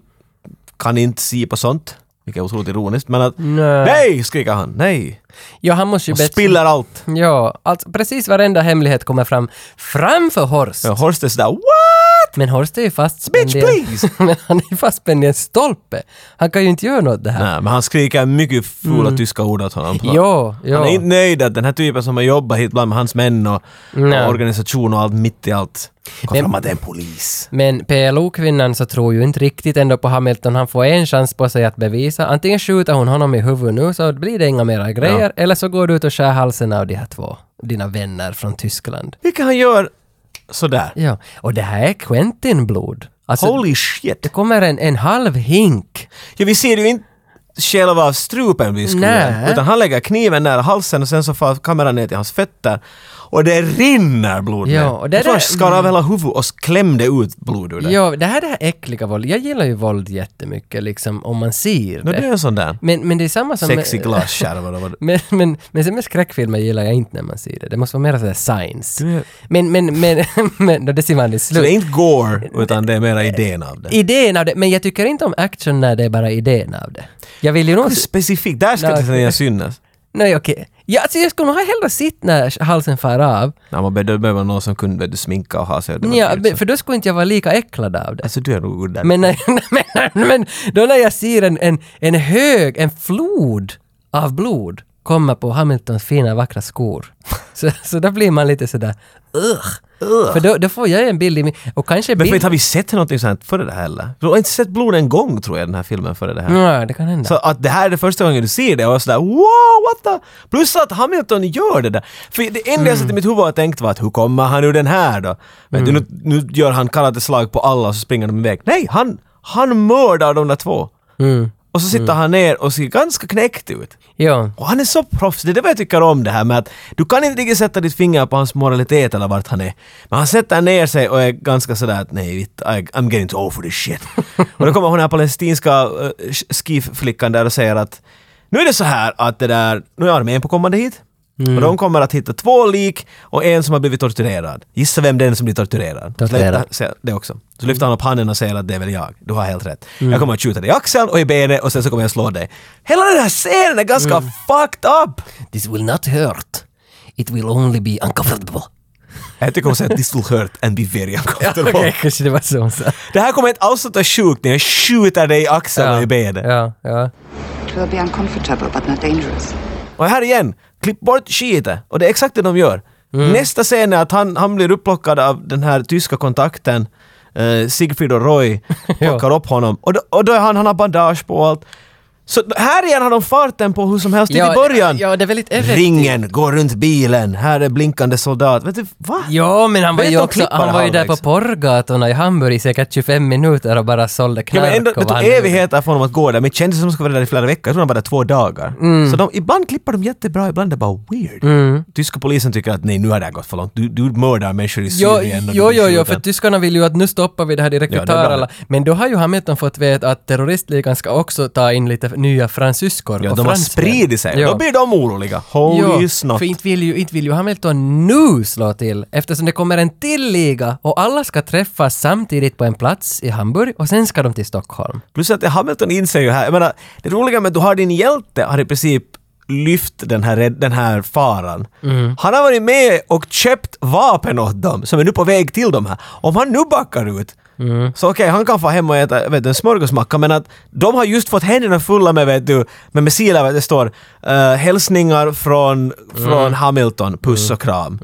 [SPEAKER 1] kan inte se på sånt, vilket är otroligt ironiskt, men att
[SPEAKER 2] Nej.
[SPEAKER 1] nej, skriker han, nej.
[SPEAKER 2] Ja, han måste ju
[SPEAKER 1] Och
[SPEAKER 2] bättre-
[SPEAKER 1] spiller allt.
[SPEAKER 2] Ja, alltså precis varenda hemlighet kommer fram framför Horst.
[SPEAKER 1] Ja, Horst är sådär “What?”
[SPEAKER 2] Men Horst är ju fastspänd
[SPEAKER 1] Bitch,
[SPEAKER 2] i
[SPEAKER 1] please!
[SPEAKER 2] en, Men han är ju fastspänd i en stolpe. Han kan ju inte göra något åt det här.
[SPEAKER 1] Nej, men han skriker mycket fula tyska ord åt honom.
[SPEAKER 2] Jo, jo.
[SPEAKER 1] Han är inte nöjd att den här typen som har jobbat hit bland med hans män och,
[SPEAKER 2] Nej.
[SPEAKER 1] och organisation och allt mitt i allt. Kom
[SPEAKER 2] Men-
[SPEAKER 1] fram att det är en polis.
[SPEAKER 2] Men PLO-kvinnan så tror ju inte riktigt ändå på Hamilton. Han får en chans på sig att bevisa. Antingen skjuter hon honom i huvudet nu så blir det inga mera grejer. Eller så går du ut och skär halsen av de här två. Dina vänner från Tyskland.
[SPEAKER 1] Vilket han gör sådär.
[SPEAKER 2] Ja, och det här är Quentin-blod. Alltså,
[SPEAKER 1] Holy shit!
[SPEAKER 2] det kommer en, en halv hink.
[SPEAKER 1] Ja, vi ser ju inte själva strupen bli skuren.
[SPEAKER 2] Nej.
[SPEAKER 1] Utan han lägger kniven nära halsen och sen så far kameran ner till hans fötter. Och det rinner blod
[SPEAKER 2] Ja,
[SPEAKER 1] ner.
[SPEAKER 2] och det
[SPEAKER 1] Jag tror
[SPEAKER 2] där-
[SPEAKER 1] han skar av hela huvudet och klämde ut blod ur det.
[SPEAKER 2] Ja, det här det här äckliga våld. Jag gillar ju våld jättemycket, liksom, om man ser
[SPEAKER 1] Nå, det
[SPEAKER 2] det.
[SPEAKER 1] är en sån där
[SPEAKER 2] Men, men det är samma som...
[SPEAKER 1] sexig glasskärva. eller vad det-
[SPEAKER 2] Men, men, men sen med skräckfilmer gillar jag inte när man ser det. Det måste vara mer sådär science.
[SPEAKER 1] Du är-
[SPEAKER 2] Men, men, men, men då det ser man i
[SPEAKER 1] Så det är
[SPEAKER 2] slut.
[SPEAKER 1] inte gore, utan det är mera idén av det.
[SPEAKER 2] Idén av det, men jag tycker inte om action när det är bara idén av det. Jag vill ju nog...
[SPEAKER 1] Specifikt, där ska
[SPEAKER 2] Nej,
[SPEAKER 1] det
[SPEAKER 2] okej.
[SPEAKER 1] säga synas.
[SPEAKER 2] Nej okej. Ja, alltså jag skulle nog hellre sitta när halsen far av.
[SPEAKER 1] När man behöver någon som kunde vet du, sminka och ha sig. det var
[SPEAKER 2] Ja,
[SPEAKER 1] kul,
[SPEAKER 2] men-
[SPEAKER 1] så.
[SPEAKER 2] för då skulle inte jag vara lika äcklad av det.
[SPEAKER 1] Alltså du är nog god där.
[SPEAKER 2] Men, när, men, men då när jag ser en, en, en hög, en flod av blod komma på Hamiltons fina vackra skor. Så, så då blir man lite sådär Ugh. För då, då får jag en bild i min... Och kanske
[SPEAKER 1] men för
[SPEAKER 2] bild...
[SPEAKER 1] inte har vi sett någonting sånt här före det här heller? Du har inte sett blod en gång tror jag i den här filmen före det här.
[SPEAKER 2] Ja, det kan hända.
[SPEAKER 1] Så att det här är det första gången du ser det och jag var sådär wow, what the... Plus att Hamilton gör det där. För det enda
[SPEAKER 2] Mm.
[SPEAKER 1] jag satt i mitt huvud och tänkt var att hur kommer han ur den här då? Men du,
[SPEAKER 2] Mm.
[SPEAKER 1] nu, nu gör han karateslag på alla och så springer de iväg. Nej, han, han mördar de där två.
[SPEAKER 2] Mm.
[SPEAKER 1] Och så sitter han ner och ser ganska knäckt ut.
[SPEAKER 2] Ja.
[SPEAKER 1] Och han är så proffs, det är det jag tycker om det här med att du kan inte riktigt sätta ditt finger på hans moralitet eller vart han är. Men han sätter ner sig och är ganska sådär att nej, vitt, I, I'm getting too old for this shit. och då kommer hon här palestinska uh, skiflickan där och säger att nu är det så här att det där, nu är armén på kommande hit. Och de kommer att hitta två lik och en som har blivit torturerad. Gissa vem den som blir torturerad?
[SPEAKER 2] Torterad.
[SPEAKER 1] Så säger Det också. Så lyfter han upp handen och säger att det är väl jag. Du har helt rätt.
[SPEAKER 2] Mm.
[SPEAKER 1] Jag kommer att skjuta dig i axeln och i benet och sen så kommer jag slå dig. Hela den här scenen är ganska
[SPEAKER 2] Mm.
[SPEAKER 1] fucked up!
[SPEAKER 2] This will not hurt. It will only be uncomfortable.
[SPEAKER 1] Jag tycker hon säger “This will hurt and be very
[SPEAKER 2] Okej,
[SPEAKER 1] uncomfortable”.
[SPEAKER 2] kanske det var så hon sa.
[SPEAKER 1] Det här kommer inte alls att ta sjukt när jag skjuter dig i axeln och i benet.
[SPEAKER 2] ja, ja.
[SPEAKER 8] It will be uncomfortable, but not dangerous.
[SPEAKER 1] Och här igen, klipp bort skitet. Och det är exakt det de gör.
[SPEAKER 2] Mm.
[SPEAKER 1] Nästa scen är att han, han blir upplockad av den här tyska kontakten. Eh, Sigfrid och Roy plockar upp honom. Och då, och då är han, han har bandage på och allt. Så här igen har de farten på hur som helst. till
[SPEAKER 2] Ja,
[SPEAKER 1] I början!
[SPEAKER 2] ja, det är väldigt effektivt.
[SPEAKER 1] Ringen går runt bilen, här är blinkande soldat. Vet du, va?
[SPEAKER 2] Ja, men han var
[SPEAKER 1] Vet
[SPEAKER 2] ju
[SPEAKER 1] de
[SPEAKER 2] också,
[SPEAKER 1] klippa
[SPEAKER 2] han
[SPEAKER 1] det
[SPEAKER 2] var ju där på
[SPEAKER 1] halvvägs?
[SPEAKER 2] porrgatorna i Hamburg i säkert 25 minuter och bara sålde
[SPEAKER 1] Ja,
[SPEAKER 2] knark.
[SPEAKER 1] men ändå,
[SPEAKER 2] och
[SPEAKER 1] det tog
[SPEAKER 2] vann över.
[SPEAKER 1] evigheter för honom att gå där, men det kändes som att de skulle vara där i flera veckor. Jag tror de var där två dagar.
[SPEAKER 2] Mm.
[SPEAKER 1] Så de, ibland klipper de jättebra, ibland är det bara weird. Tyska polisen tycker att nej, nu har det här gått för långt. Du, du mördar människor i
[SPEAKER 2] Jo,
[SPEAKER 1] Syrien. och du
[SPEAKER 2] jo,
[SPEAKER 1] blir
[SPEAKER 2] jo, jo,
[SPEAKER 1] skjuten.
[SPEAKER 2] för tyskarna vill ju att nu stoppar vi det här direkt, vi
[SPEAKER 1] Ja, det är
[SPEAKER 2] tar
[SPEAKER 1] bra.
[SPEAKER 2] alla. Men då har ju Hamilton fått veta att terroristligan ska också ta in lite nya fransyskor
[SPEAKER 1] Ja,
[SPEAKER 2] och
[SPEAKER 1] de har
[SPEAKER 2] fransmän.
[SPEAKER 1] spridit sig.
[SPEAKER 2] Ja.
[SPEAKER 1] Då blir de oroliga. Holy
[SPEAKER 2] Jo,
[SPEAKER 1] snott.
[SPEAKER 2] för inte vill, ju, inte vill ju Hamilton nu slå till eftersom det kommer en till liga och alla ska träffas samtidigt på en plats i Hamburg och sen ska de till Stockholm.
[SPEAKER 1] Plus att Hamilton inser ju här, jag menar, det roliga med att du har din hjälte har i princip lyft den här, red- den här faran. Han har varit med och köpt vapen åt dem som är nu på väg till dem här. Om han nu backar ut Så okej, han kan få hem och äta vet du, en smörgåsmacka men att de har just fått händerna fulla med, vet du, med missiler, vet du, det står eh, hälsningar från, från Hamilton, puss och kram.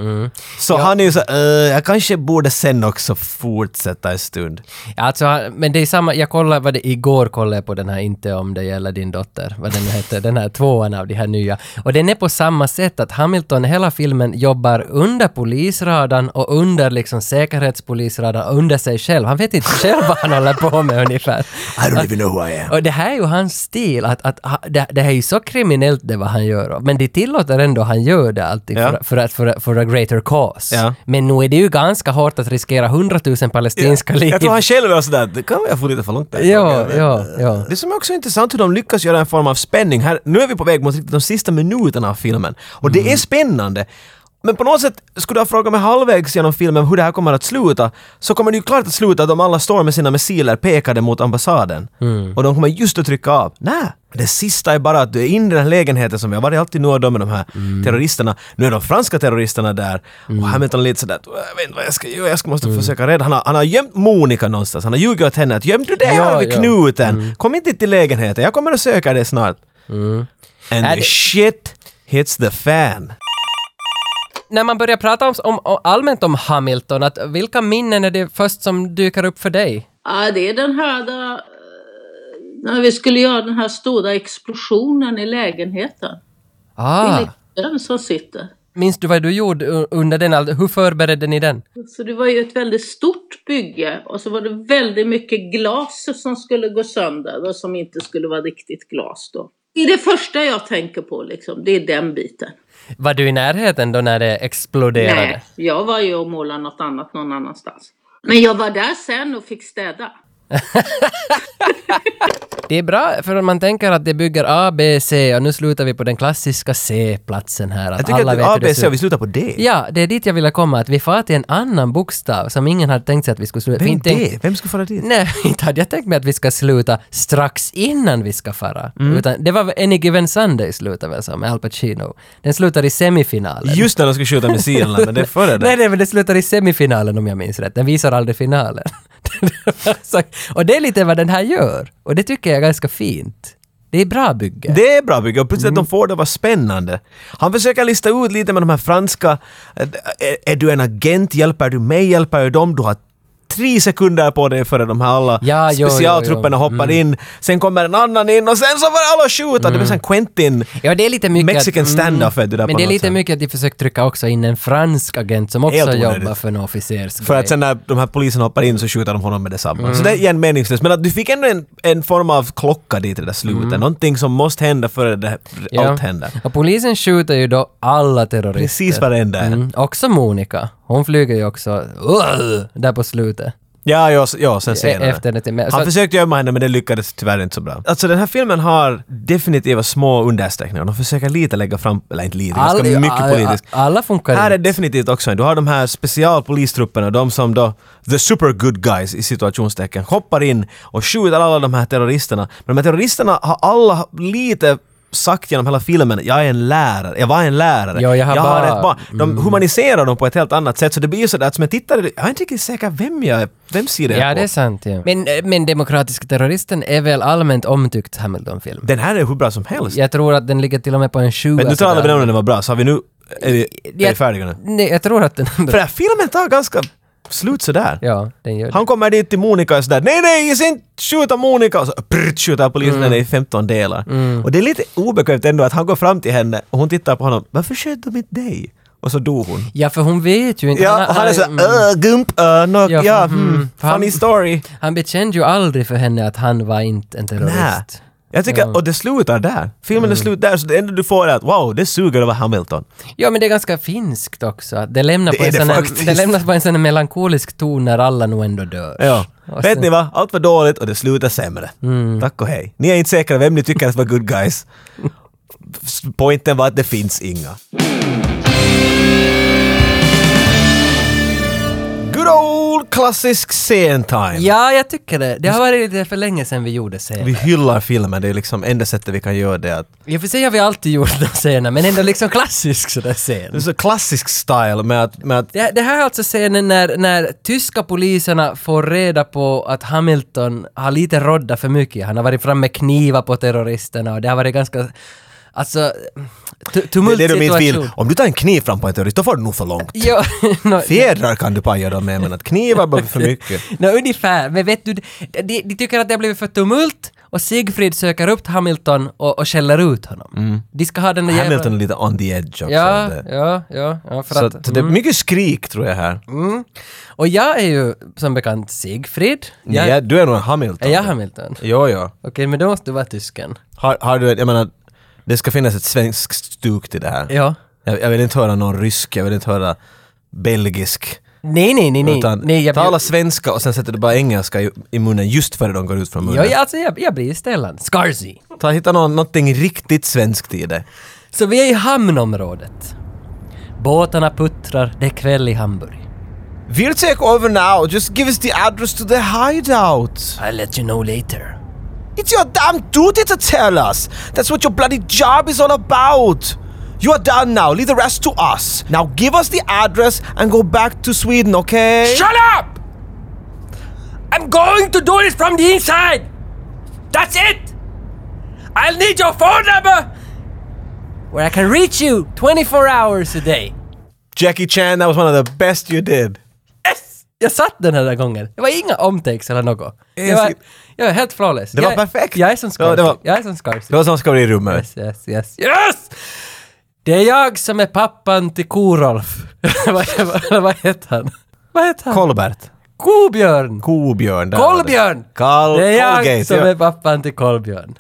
[SPEAKER 1] Så han är ju så uh, jag kanske borde sen också fortsätta en stund.
[SPEAKER 2] Ja, Alltså, men det är samma, jag kollade, vad det, igår kollade jag på den här Inte om det gäller din dotter, vad den nu heter, den här tvåan av de här nya. Och den är på samma sätt att Hamilton hela filmen jobbar under polisradarn och under liksom säkerhetspolisradarn, och under sig själv. Han vet inte själv vad han håller på med ungefär.
[SPEAKER 1] I don't even know who I am.
[SPEAKER 2] Och det här är ju hans stil, att, att ha- det, det här är ju så kriminellt det vad han gör. Men de tillåter ändå han gör det alltid
[SPEAKER 1] Ja.
[SPEAKER 2] för, för, att, för, för a greater cause.
[SPEAKER 1] Ja.
[SPEAKER 2] Men nu är det ju ganska hårt att riskera hundratusen palestinska liv.
[SPEAKER 1] Jag tror han själv var sådär, det kan jag få lite för långt där.
[SPEAKER 2] Ja, ja, ja.
[SPEAKER 1] Det som är också intressant hur de lyckas göra en form av spänning här. Nu är vi på väg mot riktigt de sista minuterna av filmen. Och
[SPEAKER 2] Mm.
[SPEAKER 1] det är spännande. Men på något sätt, skulle jag fråga mig halvvägs genom filmen hur det här kommer att sluta, så kommer det ju klart att sluta att de alla står med sina missiler pekade mot ambassaden.
[SPEAKER 2] Mm.
[SPEAKER 1] Och de kommer just att trycka av. Nej, det sista är bara att du är inne i den här lägenheten som vi har varit alltid nu och då med de här
[SPEAKER 2] Mm.
[SPEAKER 1] terroristerna. Nu är de franska terroristerna där. Och Hamilton är lite sådär, "Äh, jag vet inte vad jag ska göra, jag ska måste
[SPEAKER 2] Mm.
[SPEAKER 1] försöka rädda. Han har, han har gömt Monica någonstans, han har ljugit åt henne att gömde du det här
[SPEAKER 2] Ja,
[SPEAKER 1] vid
[SPEAKER 2] ja.
[SPEAKER 1] knuten?
[SPEAKER 2] Mm.
[SPEAKER 1] Kom inte till lägenheten, jag kommer att söka dig snart. And
[SPEAKER 2] Är
[SPEAKER 1] the
[SPEAKER 2] det-
[SPEAKER 1] shit hits the fan.
[SPEAKER 2] när man börjar prata om, om, om allmänt om Hamilton, att vilka minnen är det först som dyker upp för dig?
[SPEAKER 3] Ja, det är den här då, eh, när vi skulle göra den här stora explosionen i lägenheten. Det är
[SPEAKER 2] Ah,
[SPEAKER 3] lite den som sitter.
[SPEAKER 2] minns du vad du gjorde u- under den? all- Hur förberedde ni den?
[SPEAKER 3] Så det var ju ett väldigt stort bygge och så var det väldigt mycket glas som skulle gå sönder och som inte skulle vara riktigt glas då. Det är det första jag tänker på liksom, det är den biten.
[SPEAKER 2] Var du i närheten då när det exploderade?
[SPEAKER 3] Nej, jag var ju och målade något annat någon annanstans. Men jag var där sen och fick städa.
[SPEAKER 2] Det är bra, för om man tänker att det bygger A, B, C och nu slutar vi på den klassiska C-platsen här. Att
[SPEAKER 1] Jag tycker
[SPEAKER 2] alla
[SPEAKER 1] att
[SPEAKER 2] vet hur det
[SPEAKER 1] ABC,
[SPEAKER 2] ser ut.
[SPEAKER 1] vi slutar på D.
[SPEAKER 2] Ja, det är dit jag ville komma, att vi far till en annan bokstav som ingen hade tänkt sig att vi skulle sluta.
[SPEAKER 1] Vem är
[SPEAKER 2] inte tänkt-
[SPEAKER 1] det? Vem ska fara dit?
[SPEAKER 2] Nej, inte hade jag tänkt mig att vi ska sluta strax innan vi ska fara.
[SPEAKER 1] Mm.
[SPEAKER 2] Utan det var Any Given Sunday slutade väl som med Al Pacino. Den slutar i semifinalen.
[SPEAKER 1] Just när de ska skjuta missilerna, men det är före
[SPEAKER 2] Nej,
[SPEAKER 1] det.
[SPEAKER 2] nej, men det slutar i semifinalen om jag minns rätt. Den visar aldrig finalen. Så- och det är lite vad den här gör. Och det tycker jag är ganska fint. Det är bra bygge.
[SPEAKER 1] Det är bra bygge och plötsligt
[SPEAKER 2] Mm.
[SPEAKER 1] att de får det var spännande. Han försöker lista ut lite med de här franska, eh, är, är du en agent, hjälper du mig, hjälper du dem? Du har tre sekunder på dig före de här alla
[SPEAKER 2] Ja, jo, Mm. jo,
[SPEAKER 1] specialtrupperna
[SPEAKER 2] jo.
[SPEAKER 1] hoppar in. Sen kommer en annan in och sen så var alla skjuta. Det var
[SPEAKER 2] Mm.
[SPEAKER 1] sen Quentin.
[SPEAKER 2] Ja, det är lite mycket...
[SPEAKER 1] Mexican
[SPEAKER 2] att- mm.
[SPEAKER 1] standoff är det där
[SPEAKER 2] Men
[SPEAKER 1] på
[SPEAKER 2] det är
[SPEAKER 1] något
[SPEAKER 2] lite
[SPEAKER 1] sätt.
[SPEAKER 2] mycket att de försökt trycka också in en fransk agent som också
[SPEAKER 1] Helt onödigt.
[SPEAKER 2] jobbar för en officers
[SPEAKER 1] För att sen när de här poliserna hoppar in så skjuter de honom med detsamma. Så det är igen meningslöst. Men att du fick ändå en, en form av klocka dit i det där slutet. Någonting som måste hända före det, här-
[SPEAKER 2] Ja.
[SPEAKER 1] allt händer.
[SPEAKER 2] Och polisen skjuter ju då alla terrorister.
[SPEAKER 1] Precis varenda en.
[SPEAKER 2] Mm, också Monica. Hon flyger ju också uh, där på slutet.
[SPEAKER 1] Ja, ja, s- ja sen senare.
[SPEAKER 2] efter det till- men- så
[SPEAKER 1] Han
[SPEAKER 2] att-
[SPEAKER 1] försökte gömma henne men det lyckades tyvärr inte så bra. Alltså den här filmen har definitiva små understreckningar. De försöker lite lägga fram, eller inte lite,
[SPEAKER 2] All-
[SPEAKER 1] ganska mycket
[SPEAKER 2] all-
[SPEAKER 1] politiskt.
[SPEAKER 2] Alla funkar
[SPEAKER 1] Här är
[SPEAKER 2] inte.
[SPEAKER 1] definitivt också en. Du har de här specialpolistrupperna, de som då, the super good guys i situationstecken, hoppar in och skjuter alla de här terroristerna. Men de här terroristerna har alla lite sagt genom hela filmen, jag är en lärare, jag var en lärare.
[SPEAKER 2] Ja, jag har bara- Mm.
[SPEAKER 1] ett barn. De humaniserar dem på ett helt annat sätt, så det blir ju sådär att som jag tittar, jag är inte riktigt säker vem jag är, vem sida jag
[SPEAKER 2] Ja,
[SPEAKER 1] på.
[SPEAKER 2] det är sant. Ja. Men, eh, men Demokratiska Terroristen är väl allmänt omtyckt Hamilton-film?
[SPEAKER 1] Den här är hur bra som helst.
[SPEAKER 2] Jag tror att den ligger till och med på en 20.
[SPEAKER 1] Men nu talar vi om den var bra, så har vi nu Är vi, är vi färdiga nu?
[SPEAKER 2] Nej, jag tror att den
[SPEAKER 1] För
[SPEAKER 2] andra...
[SPEAKER 1] den här filmen tar ganska slut sådär.
[SPEAKER 2] Ja, den gör det.
[SPEAKER 1] Han kommer dit till Monica och sådär nej nej, jag ska inte skjuta Monica! Och så prrt, skjuter polisen
[SPEAKER 2] Mm.
[SPEAKER 1] henne i 15 delar. Och det är lite obekvämt ändå att han går fram till henne och hon tittar på honom, varför sköt de inte dig? Och så dog hon.
[SPEAKER 2] Ja, för hon vet ju inte.
[SPEAKER 1] Ja, och han är
[SPEAKER 2] mm.
[SPEAKER 1] såhär, äh, gump, äh, no,
[SPEAKER 2] Ja,
[SPEAKER 1] ja,
[SPEAKER 2] mm,
[SPEAKER 1] hmm,
[SPEAKER 2] för han-
[SPEAKER 1] funny story.
[SPEAKER 2] Han bekände ju aldrig för henne att han var inte en terrorist.
[SPEAKER 1] Nä. Jag tycker, och det slutar där. Filmen
[SPEAKER 2] Mm.
[SPEAKER 1] är slut där, så det enda du får är att wow, det suger att vara Hamilton.
[SPEAKER 2] Ja, men det är ganska finskt också. att Det lämnar,
[SPEAKER 1] Det
[SPEAKER 2] på
[SPEAKER 1] är
[SPEAKER 2] en
[SPEAKER 1] det
[SPEAKER 2] sån
[SPEAKER 1] faktiskt.
[SPEAKER 2] en, det lämnar på en sån här melankolisk ton när alla nog ändå dör.
[SPEAKER 1] Ja.
[SPEAKER 2] Och
[SPEAKER 1] Vet
[SPEAKER 2] sen-
[SPEAKER 1] ni vad? Allt var dåligt och det slutar sämre.
[SPEAKER 2] Mm.
[SPEAKER 1] Tack och hej. Ni är inte säkra vem ni tycker att var good guys. S- Pointen var att det finns inga. Good old klassisk scentime.
[SPEAKER 2] Ja, jag tycker det. Det har varit lite för länge sedan vi gjorde scener.
[SPEAKER 1] Vi hyllar filmen, det är liksom enda sättet vi kan göra det. Att,
[SPEAKER 2] I och för sig har vi alltid gjort den scenen, men ändå liksom klassisk sådär scen.
[SPEAKER 1] det är så klassisk style med att, med att
[SPEAKER 2] Det, det här är alltså scenen när, när tyska poliserna får reda på att Hamilton har lite rodda för mycket. Han har varit framme med knivar på terroristerna och det har varit ganska... Alltså... tu-
[SPEAKER 1] det är det de inte
[SPEAKER 2] Tumultsituation.
[SPEAKER 1] vill. Om du tar en kniv fram på en terrorist, då får du nog för långt.
[SPEAKER 2] Ja, nå-
[SPEAKER 1] Fjädrar kan du paja dem med, men att knivar bara för mycket.
[SPEAKER 2] nå, ungefär. Men vet du, de, de, de tycker att det har blivit för tumult och Sigfrid söker upp Hamilton och, och skäller ut honom. De ska ha den där jävla-
[SPEAKER 1] Mm. Hamilton är lite on the edge också.
[SPEAKER 2] Ja,
[SPEAKER 1] Det-
[SPEAKER 2] ja, ja, ja, för
[SPEAKER 1] Så
[SPEAKER 2] att...
[SPEAKER 1] att det är mycket skrik tror jag här.
[SPEAKER 2] Mm. Och jag är ju som bekant Sigfrid. Jag,
[SPEAKER 1] Ja, du är nog en Hamilton.
[SPEAKER 2] Är jag Hamilton?
[SPEAKER 1] Jo, jo.
[SPEAKER 2] Okej, men då måste du vara tysken.
[SPEAKER 1] Har, har du, jag menar, det ska finnas ett svenskt stuk till det här.
[SPEAKER 2] Ja.
[SPEAKER 1] Jag, jag vill inte höra någon rysk, jag vill inte höra belgisk.
[SPEAKER 2] Nej, nej, nej, nej.
[SPEAKER 1] utan
[SPEAKER 2] nej jag,
[SPEAKER 1] tala svenska och sen sätter du bara engelska i, i munnen just före de går ut från
[SPEAKER 2] ja,
[SPEAKER 1] munnen.
[SPEAKER 2] ja, alltså, jag, jag blir Stellan. Scarzy.
[SPEAKER 1] Ta, hitta någon, någonting riktigt svenskt i det.
[SPEAKER 2] Så vi är i hamnområdet. Båtarna puttrar, det är kväll i Hamburg.
[SPEAKER 1] We'll take over now, just give us the address to the hideout.
[SPEAKER 2] I'll let you know later.
[SPEAKER 1] It's your damn duty to tell us. That's what your bloody job is all about. You are done now. Leave the rest to us. Now give us the address and go back to Sweden, okay?
[SPEAKER 2] Shut up! I'm going to do this from the inside! That's it! I'll need your phone number! Where I can reach you 24 hours a day.
[SPEAKER 1] Jackie Chan, that was one of the best you did.
[SPEAKER 2] Yes! Jag satt den här gången. Det var inga omtakes eller något. Jag var, jag var helt flawless.
[SPEAKER 1] Det var
[SPEAKER 2] jag,
[SPEAKER 1] perfekt.
[SPEAKER 2] Jag är som
[SPEAKER 1] Ja,
[SPEAKER 2] Scarsy.
[SPEAKER 1] det var-
[SPEAKER 2] Jag är som Scarsy.
[SPEAKER 1] Det var som ska bli i rummet.
[SPEAKER 2] Yes, yes, yes. Yes! Det är jag som är pappan till Korolf. vad, vad, vad heter han? Vad heter han?
[SPEAKER 1] Kolbert.
[SPEAKER 2] Kobjörn!
[SPEAKER 1] Kobjörn. där var det.
[SPEAKER 2] Kolbjörn!
[SPEAKER 1] Kal-
[SPEAKER 2] det är jag
[SPEAKER 1] Colgate,
[SPEAKER 2] som
[SPEAKER 1] ja.
[SPEAKER 2] är pappan till Kolbjörn.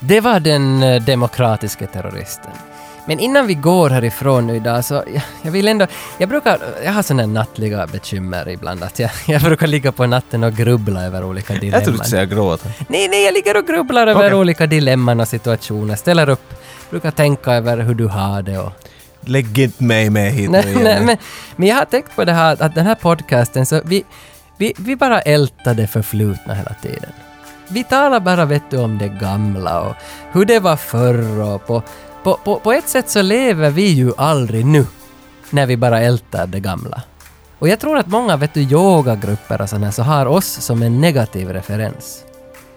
[SPEAKER 2] Det var den eh, demokratiska terroristen. Men innan vi går härifrån nu idag så jag, jag vill ändå... Jag brukar... Jag har såna här nattliga bekymmer ibland att jag, jag brukar ligga på natten och grubbla över olika dilemman.
[SPEAKER 1] Jag trodde du skulle säga gråta.
[SPEAKER 2] Nej, nej, jag ligger och grubblar över
[SPEAKER 1] Okej.
[SPEAKER 2] olika dilemman och situationer, ställer upp, brukar tänka över hur du har det och...
[SPEAKER 1] Lägg inte mig med hit
[SPEAKER 2] Nej,
[SPEAKER 1] nu igen.
[SPEAKER 2] nej, men, men jag har tänkt på det här att den här podcasten, så vi, vi, vi bara ältar det förflutna hela tiden. Vi talar bara, vet du, om det gamla och hur det var förr och på, på, på, på ett sätt så lever vi ju aldrig nu, när vi bara ältar det gamla. Och jag tror att många, vet du, yogagrupper och sådana så har oss som en negativ referens.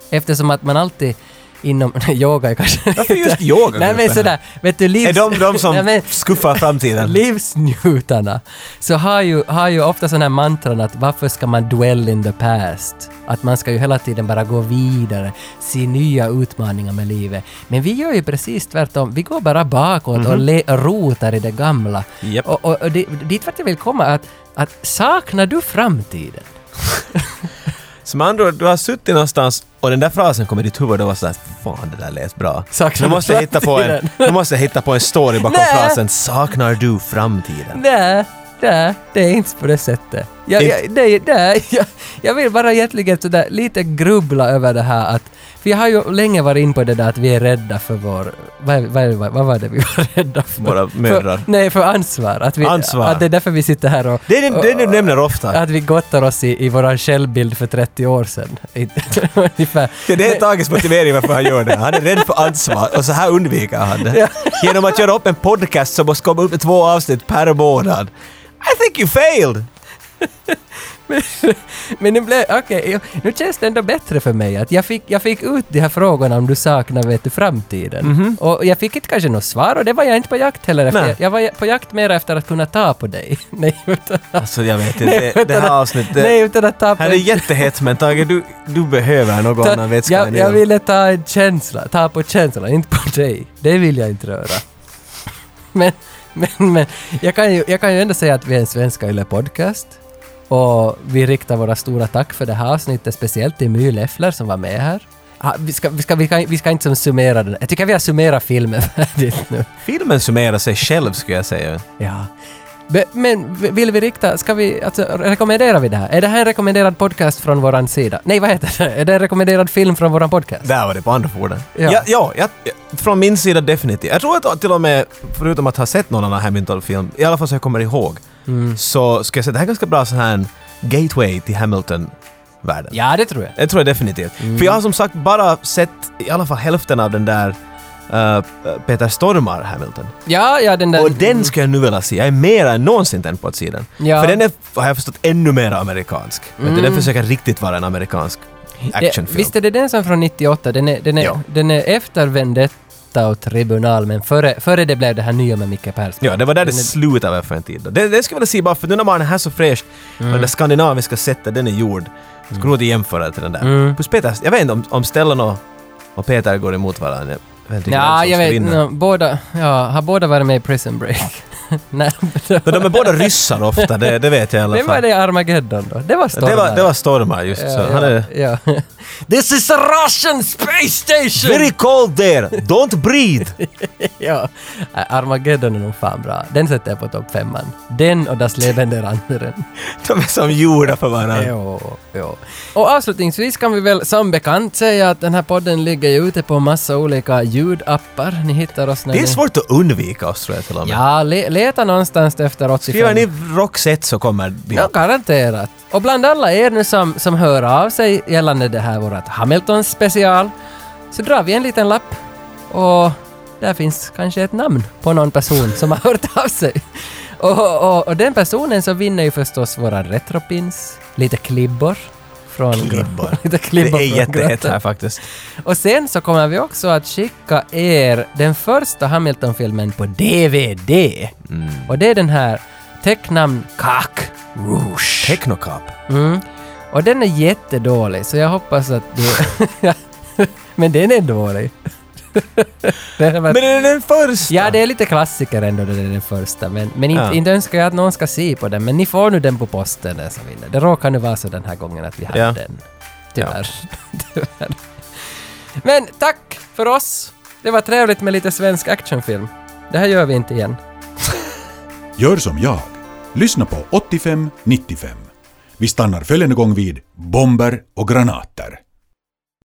[SPEAKER 2] Eftersom att man alltid inom yoga är kanske...
[SPEAKER 1] Varför just
[SPEAKER 2] Nej
[SPEAKER 1] yogagrupper?
[SPEAKER 2] men sådär, vet du, livs...
[SPEAKER 1] Är de de
[SPEAKER 2] Nej,
[SPEAKER 1] som
[SPEAKER 2] men-
[SPEAKER 1] skuffar framtiden?
[SPEAKER 2] livsnjutarna så har ju, har ju ofta sådana här mantran att varför ska man dwell in the past? Att man ska ju hela tiden bara gå vidare, se nya utmaningar med livet. Men vi gör ju precis tvärtom. Vi går bara bakåt och le- rotar i det gamla.
[SPEAKER 1] Japp.
[SPEAKER 2] Och, och, och det, dit vart jag vill komma är att, att saknar du framtiden?
[SPEAKER 1] Som andra ord, du har suttit någonstans och den där frasen kommer i ditt huvud och var sådär Fan, det där lät bra. nu,
[SPEAKER 2] Saknar du
[SPEAKER 1] måste jag hitta på en,
[SPEAKER 2] framtiden?
[SPEAKER 1] nu måste jag hitta på en story bakom
[SPEAKER 2] Nej.
[SPEAKER 1] frasen Saknar du framtiden?
[SPEAKER 2] Nej, nej, det är inte på det sättet. Jag, jag, nej, nej, jag, jag vill bara egentligen sådär lite grubbla över det här att för jag har ju länge varit in på det där att vi är rädda för vår... Vad, är- vad, är- vad, vad var det vi var rädda för?
[SPEAKER 1] Våra mödrar.
[SPEAKER 2] För, nej, för ansvar. Att, vi,
[SPEAKER 1] Ansvar.
[SPEAKER 2] att det är därför vi sitter här och...
[SPEAKER 1] Det är det, det, är det du nämner ofta.
[SPEAKER 2] Att vi gottar oss i, i vår självbild för 30 år sedan. I- Ungefär.
[SPEAKER 1] Ja, det är Tages motivering varför han gör det. Han är rädd för ansvar och så här undviker han det. Genom att göra upp en podcast som måste komma upp med två avsnitt per månad. I think you failed!
[SPEAKER 2] Men nu blev, okej, jag- nu känns det ändå bättre för mig att jag fick, jag fick ut de här frågorna om du saknar vet du, framtiden. Och jag fick inte kanske något svar och det var jag inte på jakt heller efter.
[SPEAKER 1] Mhm. Nej.
[SPEAKER 2] Jag var på jakt mer efter att kunna ta på dig. Nej, utan,
[SPEAKER 1] Alltså jag vet inte, det,
[SPEAKER 2] utan
[SPEAKER 1] det här
[SPEAKER 2] att-
[SPEAKER 1] avsnittet...
[SPEAKER 2] Nej, utan att ta på
[SPEAKER 1] här är jättehett men Tage, du, du behöver någon annan
[SPEAKER 2] Ta,
[SPEAKER 1] vätska än
[SPEAKER 2] jag, jag
[SPEAKER 1] öl.
[SPEAKER 2] ville ta en känsla, ta på känslan, inte på dig. Det vill jag inte röra. Men, men, men jag, kan ju, jag kan ju ändå säga att vi är en svenska ylle podcast och vi riktar våra stora tack för det här avsnittet, speciellt till My Leffler som var med här. Ah, Vi ska, vi, ska, vi, kan, vi ska inte som summera den. Jag tycker vi har summerat filmen färdigt nu.
[SPEAKER 1] Filmen summerar sig själv skulle jag säga.
[SPEAKER 2] Ja. Be- Men v- vill vi rikta, ska vi, alltså rekommenderar vi det här? Är det här en rekommenderad podcast från våran sida? Nej, vad heter det? Är det en rekommenderad film från våran podcast?
[SPEAKER 1] Där var det på andra fordon.
[SPEAKER 2] Ja.
[SPEAKER 1] Ja, ja, jag, från min sida definitivt. Jag tror att till och med, förutom att ha sett någon annan Hamilton-film, i alla fall så jag kommer ihåg,
[SPEAKER 2] Mm.
[SPEAKER 1] så ska jag säga att det här är ganska bra sån här en gateway till Hamilton-världen.
[SPEAKER 2] Ja, Mm. det tror jag.
[SPEAKER 1] Det tror jag definitivt. För jag har som sagt bara sett i alla fall hälften av den där eh, Peter Stormar Hamilton.
[SPEAKER 2] Ja, ja, den där...
[SPEAKER 1] Och den ska jag nu vilja se. Jag är mer än någonsin tänd på att se den.
[SPEAKER 2] Ja.
[SPEAKER 1] För den är, har jag förstått, ännu mer amerikansk. Mm. Den försöker riktigt vara en amerikansk actionfilm.
[SPEAKER 2] Det, visst är det den som är från 98? Den är, den är,
[SPEAKER 1] Ja.
[SPEAKER 2] den är efter Vendetta och Tribunal, men före, före det blev det här nya med Micke Persson.
[SPEAKER 1] Ja, det var där det
[SPEAKER 2] Den är-
[SPEAKER 1] slutade för en tid. då. Det, det skulle jag vilja se bara för nu när man är här så fräsch,
[SPEAKER 2] Mm.
[SPEAKER 1] men det skandinaviska sättet den är gjord, skulle nog inte jämföra det till den där.
[SPEAKER 2] Mm.
[SPEAKER 1] Plus Peter, jag vet inte om, om Stellan och, och Peter går emot varandra. Jag vet inte vem
[SPEAKER 2] Ja,
[SPEAKER 1] som ska
[SPEAKER 2] jag vet
[SPEAKER 1] vinna.
[SPEAKER 2] no, båda, ja, Har båda varit med i Prison Break? Nej,
[SPEAKER 1] Men de är båda ryssar ofta, det, det vet jag i alla
[SPEAKER 2] vem var
[SPEAKER 1] fall.
[SPEAKER 2] det i Armageddon då? Det var Stormare.
[SPEAKER 1] det, var, det var Stormar just, så
[SPEAKER 2] ja,
[SPEAKER 1] han är...
[SPEAKER 2] ja, ja. This is a Russian space station!
[SPEAKER 1] Very cold there! Don't breathe!
[SPEAKER 2] ja. Nej, Armageddon är nog fan bra. Den sätter jag på topp femman. Den och Das Leben der anderen.
[SPEAKER 1] De är som gjorda för varandra.
[SPEAKER 2] Jo, jo. Och avslutningsvis kan vi väl som bekant säga att den här podden ligger ju ute på massa olika ljudappar. Ni hittar oss när
[SPEAKER 1] Det är
[SPEAKER 2] ni...
[SPEAKER 1] svårt att undvika oss tror jag till och med.
[SPEAKER 2] Ja, le- leta någonstans efter 85.
[SPEAKER 1] Skriver ni Roxette så kommer vi
[SPEAKER 2] Ja, garanterat. Och bland alla er nu som, som hör av sig gällande det här vårat Hamilton-special så drar vi en liten lapp och där finns kanske ett namn på någon person som har hört av sig. Och, och, och den personen så vinner ju förstås våra retropins, lite klibbor från...
[SPEAKER 1] Klibbor.
[SPEAKER 2] lite
[SPEAKER 1] Det
[SPEAKER 2] klibbor
[SPEAKER 1] är
[SPEAKER 2] från
[SPEAKER 1] jättehett
[SPEAKER 2] grottan.
[SPEAKER 1] här faktiskt.
[SPEAKER 2] Och sen så kommer vi också att skicka er den första Hamilton-filmen på DVD.
[SPEAKER 1] Mm.
[SPEAKER 2] Och det är den här tecknamn Cock Rouge.
[SPEAKER 1] Technocop.
[SPEAKER 2] Och den är jättedålig, så jag hoppas att du... Men den är dålig. Den är bara-
[SPEAKER 1] Men är det den första?
[SPEAKER 2] Ja, det är lite klassiker ändå, det är den första. Men, men inte,
[SPEAKER 1] Ja.
[SPEAKER 2] inte önskar jag att någon ska se på den, men ni får nu den på posten, den som vinner. Det råkar nu vara så den här gången att vi hade
[SPEAKER 1] Ja.
[SPEAKER 2] den. Tyvärr. Tyvärr. Men tack för oss! Det var trevligt med lite svensk actionfilm. Det här gör vi inte igen.
[SPEAKER 8] Gör som jag. Lyssna på 85-95. Vi stannar följande gång vid bomber och granater.